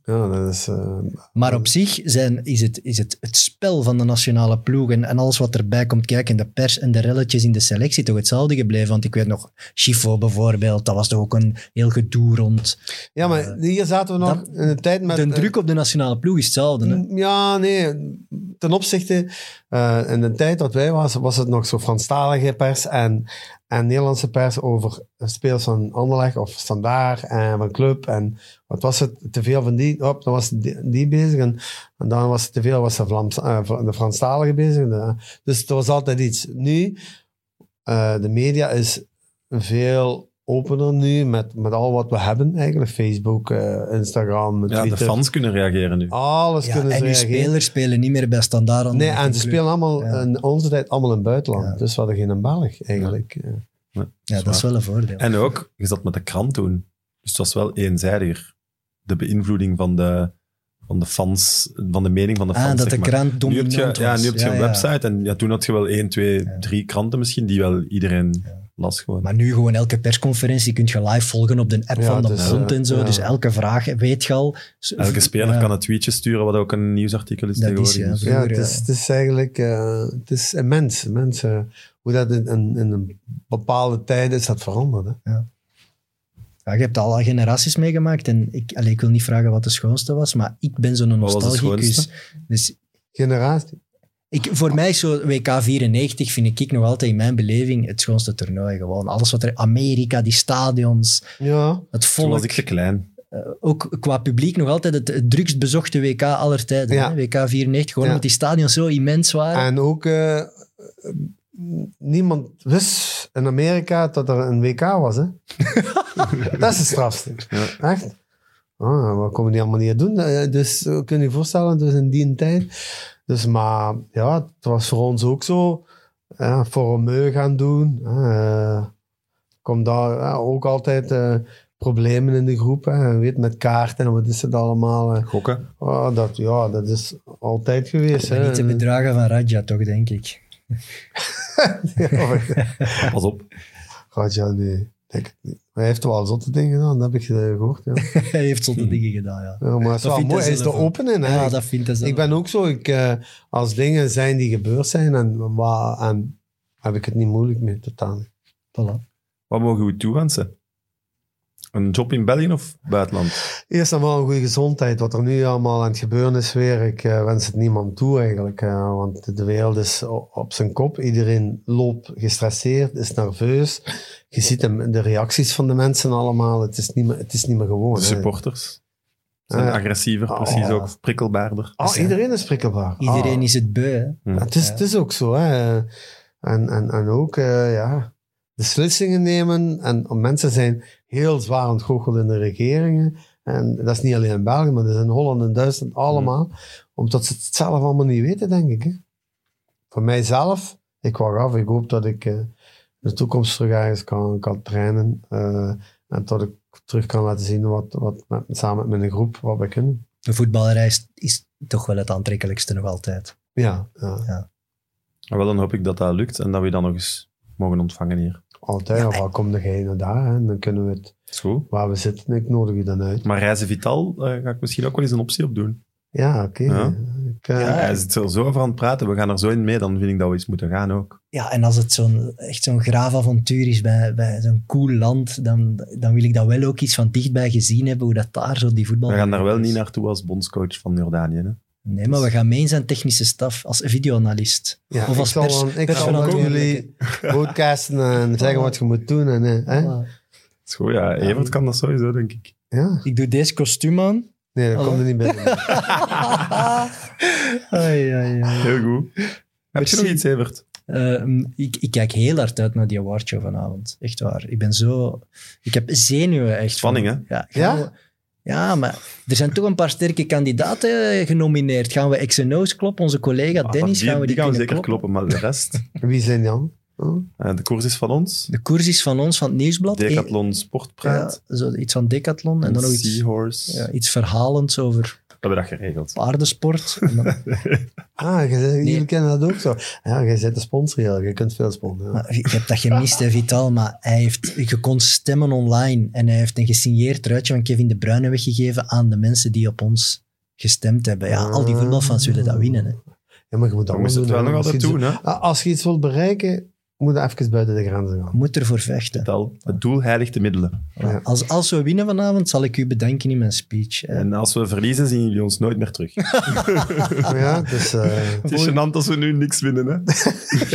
Speaker 3: Ja, dat is... eh,
Speaker 2: Maar op zich zijn, is, het, is het het spel van de nationale ploeg en, en alles wat erbij komt kijken, de pers en de relletjes in de selectie, toch hetzelfde gebleven. Want ik weet nog, Chifo bijvoorbeeld, dat was toch ook een heel gedoe rond.
Speaker 3: ja, maar hier zaten we nog
Speaker 2: dat-
Speaker 3: in de tijd met...
Speaker 2: de
Speaker 3: eh, Mm,
Speaker 2: druk op de nationale ploeg is hetzelfde. Hè?
Speaker 3: Ja, nee. Ten opzichte, eh, in de tijd dat wij was, was het nog zo Franstalige pers en, en Nederlandse pers over speels van Anderlecht of Standaard en van Club. En wat was het? Te veel van die, op, dan was die, die bezig. En, en dan was het te veel was de, Vlaams, eh, de Franstalige bezig. De- dus er was altijd iets. Nu, eh, de media is veel opener nu met, met al wat we hebben eigenlijk. Facebook, eh, Instagram,
Speaker 1: Ja,
Speaker 3: Twitter.
Speaker 1: de fans kunnen reageren nu.
Speaker 3: Alles
Speaker 2: Ja,
Speaker 3: kunnen
Speaker 2: en
Speaker 3: ze
Speaker 2: die
Speaker 3: reageren.
Speaker 2: spelers spelen niet meer bij standaard.
Speaker 3: Nee, en ze spelen allemaal
Speaker 2: Ja.
Speaker 3: in onze tijd allemaal in het buitenland.
Speaker 2: Ja.
Speaker 3: Dus we hadden geen in Belg eigenlijk. Ja.
Speaker 2: Ja, dat is wel een voordeel.
Speaker 1: En ook, je zat met de krant toen. Dus het was wel eenzijdiger. De beïnvloeding van de, van de fans, van de mening van de fans.
Speaker 2: ah, dat
Speaker 1: zeg
Speaker 2: de
Speaker 1: maar.
Speaker 2: krant
Speaker 1: nu heb
Speaker 2: dominant
Speaker 1: je, Ja,
Speaker 2: was.
Speaker 1: nu heb je
Speaker 2: Ja,
Speaker 1: een
Speaker 2: ja.
Speaker 1: website. En ja, toen had je wel één, twee,
Speaker 2: Ja.
Speaker 1: drie kranten misschien die wel iedereen las gewoon.
Speaker 2: Maar nu gewoon elke persconferentie kun je live volgen op de app
Speaker 3: Ja,
Speaker 2: van de
Speaker 3: het is,
Speaker 2: Bond
Speaker 3: eh,
Speaker 2: en zo.
Speaker 3: ja.
Speaker 2: Dus elke vraag weet je al.
Speaker 1: Elke speler
Speaker 2: Ja,
Speaker 1: kan een tweetje sturen, wat ook een nieuwsartikel is
Speaker 2: Dat is,
Speaker 1: tegenwoordig.
Speaker 2: ja,
Speaker 1: Dus-
Speaker 3: Ja,
Speaker 2: Vroeger,
Speaker 3: het, is,
Speaker 2: ja.
Speaker 3: het is eigenlijk eh, het is immens. immens eh, hoe dat in, in, in een bepaalde tijd is dat veranderd. Hè?
Speaker 2: Ja, je hebt al generaties meegemaakt. En ik, allee, ik wil niet vragen wat de schoonste was, maar ik ben zo'n
Speaker 1: was de
Speaker 2: nostalgicus. Dus
Speaker 3: Generatie.
Speaker 2: ik, voor mij is zo WK 94 vind ik nog altijd in mijn beleving het schoonste toernooi. Gewoon alles wat er... Amerika, die stadions,
Speaker 3: Ja,
Speaker 2: het
Speaker 1: Toen was
Speaker 2: volk.
Speaker 1: ik te klein.
Speaker 2: Ook qua publiek nog altijd het, het drukst bezochte WK aller tijden.
Speaker 3: Ja.
Speaker 2: hè. WK 94, gewoon
Speaker 3: Ja.
Speaker 2: omdat die stadions zo immens waren.
Speaker 3: en ook eh, eh, niemand wist in Amerika dat er een WK was. Hè? dat is het strafste. Echt? Ah, wat komen die allemaal niet doen? Eh, Dus eh, kun je je voorstellen, dus in die tijd. Dus, maar ja, het was voor ons ook zo. Ja, voor een meu gaan doen. eh, kom daar ja, ook altijd eh, problemen in de groep. Hè, weet, met kaarten en wat is het allemaal. eh.
Speaker 1: Gokken.
Speaker 3: Ah, dat, ja, dat is altijd geweest.
Speaker 2: Maar
Speaker 3: hè.
Speaker 2: niet de bedragen van Raja, toch, denk ik.
Speaker 3: Ja, maar-
Speaker 1: Pas op.
Speaker 3: God, ja, nee. Denk het niet. Maar hij heeft wel zotte dingen gedaan, dat heb ik eh, gehoord. Ja.
Speaker 2: Hij heeft zotte dingen gedaan, ja.
Speaker 3: Ja, maar het
Speaker 2: Dat
Speaker 3: is wel
Speaker 2: vindt hij
Speaker 3: mooi. Hij is
Speaker 2: zelf
Speaker 3: er
Speaker 2: ook.
Speaker 3: open in. Hè.
Speaker 2: Ja, dat vindt hij zelf.
Speaker 3: Hmm. Ik ben ook zo, ik, eh, als dingen zijn die gebeurd zijn, en, wa- en heb ik het niet moeilijk mee, totaal niet.
Speaker 2: Voilà.
Speaker 1: Wat mogen we toewensen? Een job in België of buitenland?
Speaker 3: Eerst en vooral een goede gezondheid. Wat er nu allemaal aan het gebeuren is weer, ik eh, wens het niemand toe eigenlijk. eh, want de wereld is o- op zijn kop. Iedereen loopt gestresseerd, is nerveus. Je ziet hem, de reacties van de mensen allemaal. Het is niet meer, het is niet meer gewoon.
Speaker 1: De
Speaker 3: hè.
Speaker 1: supporters zijn
Speaker 3: Ja.
Speaker 1: agressiever,
Speaker 3: Oh.
Speaker 1: precies ook. Prikkelbaarder.
Speaker 3: Ah, iedereen is prikkelbaar.
Speaker 2: Iedereen
Speaker 3: Ah.
Speaker 2: is het beu, hè.
Speaker 3: Ja, Het is, het is ook zo. Hè. En, en, en ook eh, ja, beslissingen nemen. En mensen zijn heel zwaar aan het goochelen in de regeringen. En dat is niet alleen in België, maar dat is in Holland en Duitsland allemaal. Omdat ze het zelf allemaal niet weten, denk ik. Hè. Voor mijzelf, ik wacht af. Ik hoop dat ik eh, in de toekomst terug ergens kan, kan trainen. eh, en dat ik terug kan laten zien wat, wat met- samen met mijn groep wat we kunnen.
Speaker 2: De voetbalreis is toch wel het aantrekkelijkste nog altijd.
Speaker 3: Ja, ja.
Speaker 1: Maar wel, dan hoop ik dat dat lukt en dat we je dan nog eens mogen ontvangen hier.
Speaker 3: altijd.
Speaker 2: Ja,
Speaker 3: of al kom jij naar daar hè, en dan kunnen we het
Speaker 1: Is goed.
Speaker 3: waar we zitten. Ik nodig je dan uit.
Speaker 1: Maar reizen Vital eh, ga ik misschien ook wel eens een optie op doen.
Speaker 3: Ja, oké.
Speaker 1: Ja.
Speaker 3: Ik, eh,
Speaker 2: Ja.
Speaker 1: Hij zit er zo over aan het praten, we gaan er zo in mee, dan vind ik dat we iets moeten gaan ook.
Speaker 2: Ja, en als het zo'n, echt zo'n graaf avontuur is bij, bij zo'n cool land, dan, dan wil ik dat wel ook iets van dichtbij gezien hebben, hoe dat daar zo die voetbal...
Speaker 1: We gaan daar wel niet naartoe als bondscoach van Jordanië. Hè?
Speaker 2: Nee, maar we gaan mee in zijn technische staf, als videoanalist.
Speaker 3: ja,
Speaker 2: of
Speaker 3: ik
Speaker 2: als
Speaker 3: zal
Speaker 2: pers,
Speaker 3: dan- ik zal dan
Speaker 2: persverantwoordelijke.
Speaker 3: jullie podcasten en zeggen wat je moet doen. En, eh, hè?
Speaker 2: Voilà.
Speaker 1: Is goed, ja. Evert kan dat sowieso, denk ik.
Speaker 3: Ja.
Speaker 2: Ik doe deze kostuum aan.
Speaker 3: Nee, dat
Speaker 2: Hallo.
Speaker 3: komt er niet binnen.
Speaker 2: Ai, ai, ai.
Speaker 1: Heel goed. Heb je nog iets, Evert?
Speaker 2: Ehm, ik, ik kijk heel hard uit naar die awardshow vanavond. Echt waar. Ik ben zo... Ik heb zenuwen echt. van-
Speaker 1: Spanning, hè?
Speaker 2: Ja, gaan
Speaker 3: Ja?
Speaker 2: we- ja, maar er zijn toch een paar sterke kandidaten genomineerd. Gaan we X&O's kloppen? Onze collega
Speaker 1: Ah,
Speaker 2: Dennis,
Speaker 1: die,
Speaker 2: gaan we die,
Speaker 1: gaan we
Speaker 2: kunnen
Speaker 1: zeker kloppen. maar de rest...
Speaker 3: Wie zijn dan? Hm?
Speaker 1: eh, de koers is van ons.
Speaker 2: De koers is van ons, van het Nieuwsblad. Eh,
Speaker 1: Decathlon
Speaker 2: Eén-
Speaker 1: Sportpraat.
Speaker 2: ja, zo, iets van Decathlon. eh, En dan nog iets,
Speaker 1: Seahorse.
Speaker 2: ja, iets verhalends over
Speaker 1: hebben we dat geregeld.
Speaker 2: paardensport. En dan-
Speaker 3: Ah, je- jullie kennen dat ook zo. Ja, jij zit de sponsor, ja. je kunt veel sponsoren. Ja.
Speaker 2: Maar ik heb dat gemist, hè, Vital. Maar hij heeft, je kon stemmen online. En hij heeft een gesigneerd truitje van Kevin De Bruyne weggegeven aan de mensen die op ons gestemd hebben. Ja, al die voetbalfans willen dat winnen. Hè.
Speaker 3: Ja, maar je moet
Speaker 1: Dan
Speaker 3: dat
Speaker 1: moest
Speaker 3: wel
Speaker 1: het wel
Speaker 3: doen,
Speaker 1: nog
Speaker 3: hè.
Speaker 1: altijd
Speaker 3: Als je
Speaker 1: doen, hè?
Speaker 3: iets- Ah, Als je iets wilt bereiken, moet je even buiten de grenzen gaan.
Speaker 2: Moet ervoor vechten.
Speaker 1: Tel, Het doel heiligt de middelen.
Speaker 3: Ja.
Speaker 2: Als, als we winnen vanavond, zal ik u bedanken in mijn speech. Eh,
Speaker 1: En als we verliezen, zien jullie ons nooit meer terug. Het
Speaker 2: Ah.
Speaker 3: Ja, dus, eh,
Speaker 1: is gênant als we nu niks winnen, hè?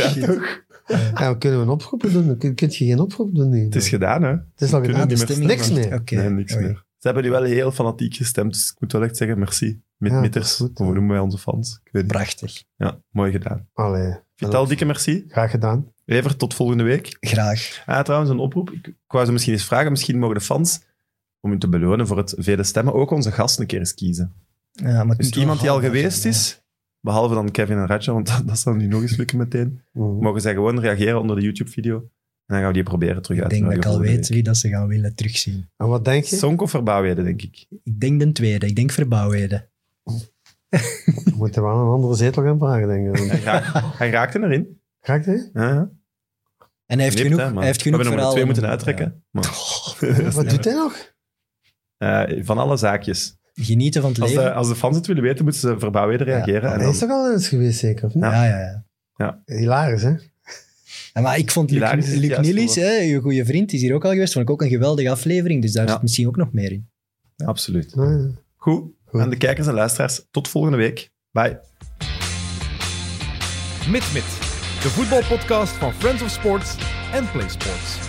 Speaker 1: Ja, toch?
Speaker 3: ja, we kunnen we een oproep doen? Dan kun, kun je geen oproep doen nu.
Speaker 1: Het is gedaan, hè?
Speaker 3: Het is al
Speaker 1: kunnen
Speaker 3: gedaan.
Speaker 1: niet meer
Speaker 3: Niks
Speaker 2: wordt-
Speaker 3: meer.
Speaker 2: Oké.
Speaker 1: Nee, niks
Speaker 2: Oei.
Speaker 1: meer. Ze hebben nu wel heel fanatiek gestemd, dus ik moet wel echt zeggen, merci. Met
Speaker 3: Ja, dat is
Speaker 1: mitters,
Speaker 3: goed,
Speaker 1: hoe noemen wij onze fans? Ik weet niet.
Speaker 2: Prachtig.
Speaker 1: Ja, mooi gedaan.
Speaker 3: Allee,
Speaker 1: Vital, dikke merci.
Speaker 3: graag gedaan.
Speaker 1: Evert, tot volgende week.
Speaker 2: Graag.
Speaker 1: Ah, trouwens, een oproep. Ik, ik wou ze misschien eens vragen. Misschien mogen de fans, om u te belonen voor het vele stemmen, ook onze gast een keer eens kiezen.
Speaker 2: Ja, maar het
Speaker 1: Dus
Speaker 2: moet wel
Speaker 1: iemand die al
Speaker 2: haalbaar
Speaker 1: geweest
Speaker 2: zijn,
Speaker 1: is, behalve dan Kevin en Ratja, want dat, dat zal nu nog eens lukken meteen,
Speaker 3: Mhm.
Speaker 1: mogen zij gewoon reageren onder de YouTube-video. En dan gaan we die proberen terug
Speaker 2: ja. Ik
Speaker 1: uit te
Speaker 2: denk dat
Speaker 1: nodigen
Speaker 2: ik al
Speaker 1: volgende
Speaker 2: weet wie dat ze gaan willen terugzien.
Speaker 3: En wat denk
Speaker 1: week.
Speaker 3: je?
Speaker 1: Sonk of Verbouwheden, denk ik.
Speaker 2: Ik denk de tweede. Ik denk Verbouwheden.
Speaker 3: We moeten wel een andere zetel gaan vragen, denk ik.
Speaker 1: Hij, raak- hij raakte erin.
Speaker 3: Ga ik dit?
Speaker 1: Ja, ja.
Speaker 2: En hij heeft
Speaker 1: Nipt,
Speaker 2: genoeg,
Speaker 1: hè, man.
Speaker 2: hij heeft genoeg
Speaker 1: We hebben er maar twee
Speaker 2: verhalen
Speaker 1: moeten
Speaker 2: om-
Speaker 1: uittrekken. Maar,
Speaker 3: Wat doet hij nog?
Speaker 1: eh, van alle zaakjes.
Speaker 2: ja. Genieten van het
Speaker 1: Als
Speaker 2: leven.
Speaker 1: de, als de fans het willen weten, moeten ze Verbouwheden
Speaker 2: Ja.
Speaker 1: reageren. en
Speaker 3: Hij
Speaker 1: dan-
Speaker 3: is toch al eens geweest, zeker? Of niet?
Speaker 2: Ja, ja, ja.
Speaker 3: Hilarisch, hè?
Speaker 2: Ja, maar ik vond Luc,
Speaker 1: Hilarisch is het
Speaker 2: Luc
Speaker 1: juiste
Speaker 2: Nilis,
Speaker 1: woord.
Speaker 2: hè, je goede vriend, is hier ook al geweest. Vond ik ook een geweldige aflevering, dus daar
Speaker 1: Ja.
Speaker 2: zit misschien ook nog meer in.
Speaker 1: Absoluut.
Speaker 3: Ja, ja.
Speaker 1: Goed.
Speaker 3: Goed.
Speaker 1: Aan de kijkers en luisteraars, tot volgende week. Bye.
Speaker 4: MidMid, de voetbalpodcast van Friends of Sports en Play Sports.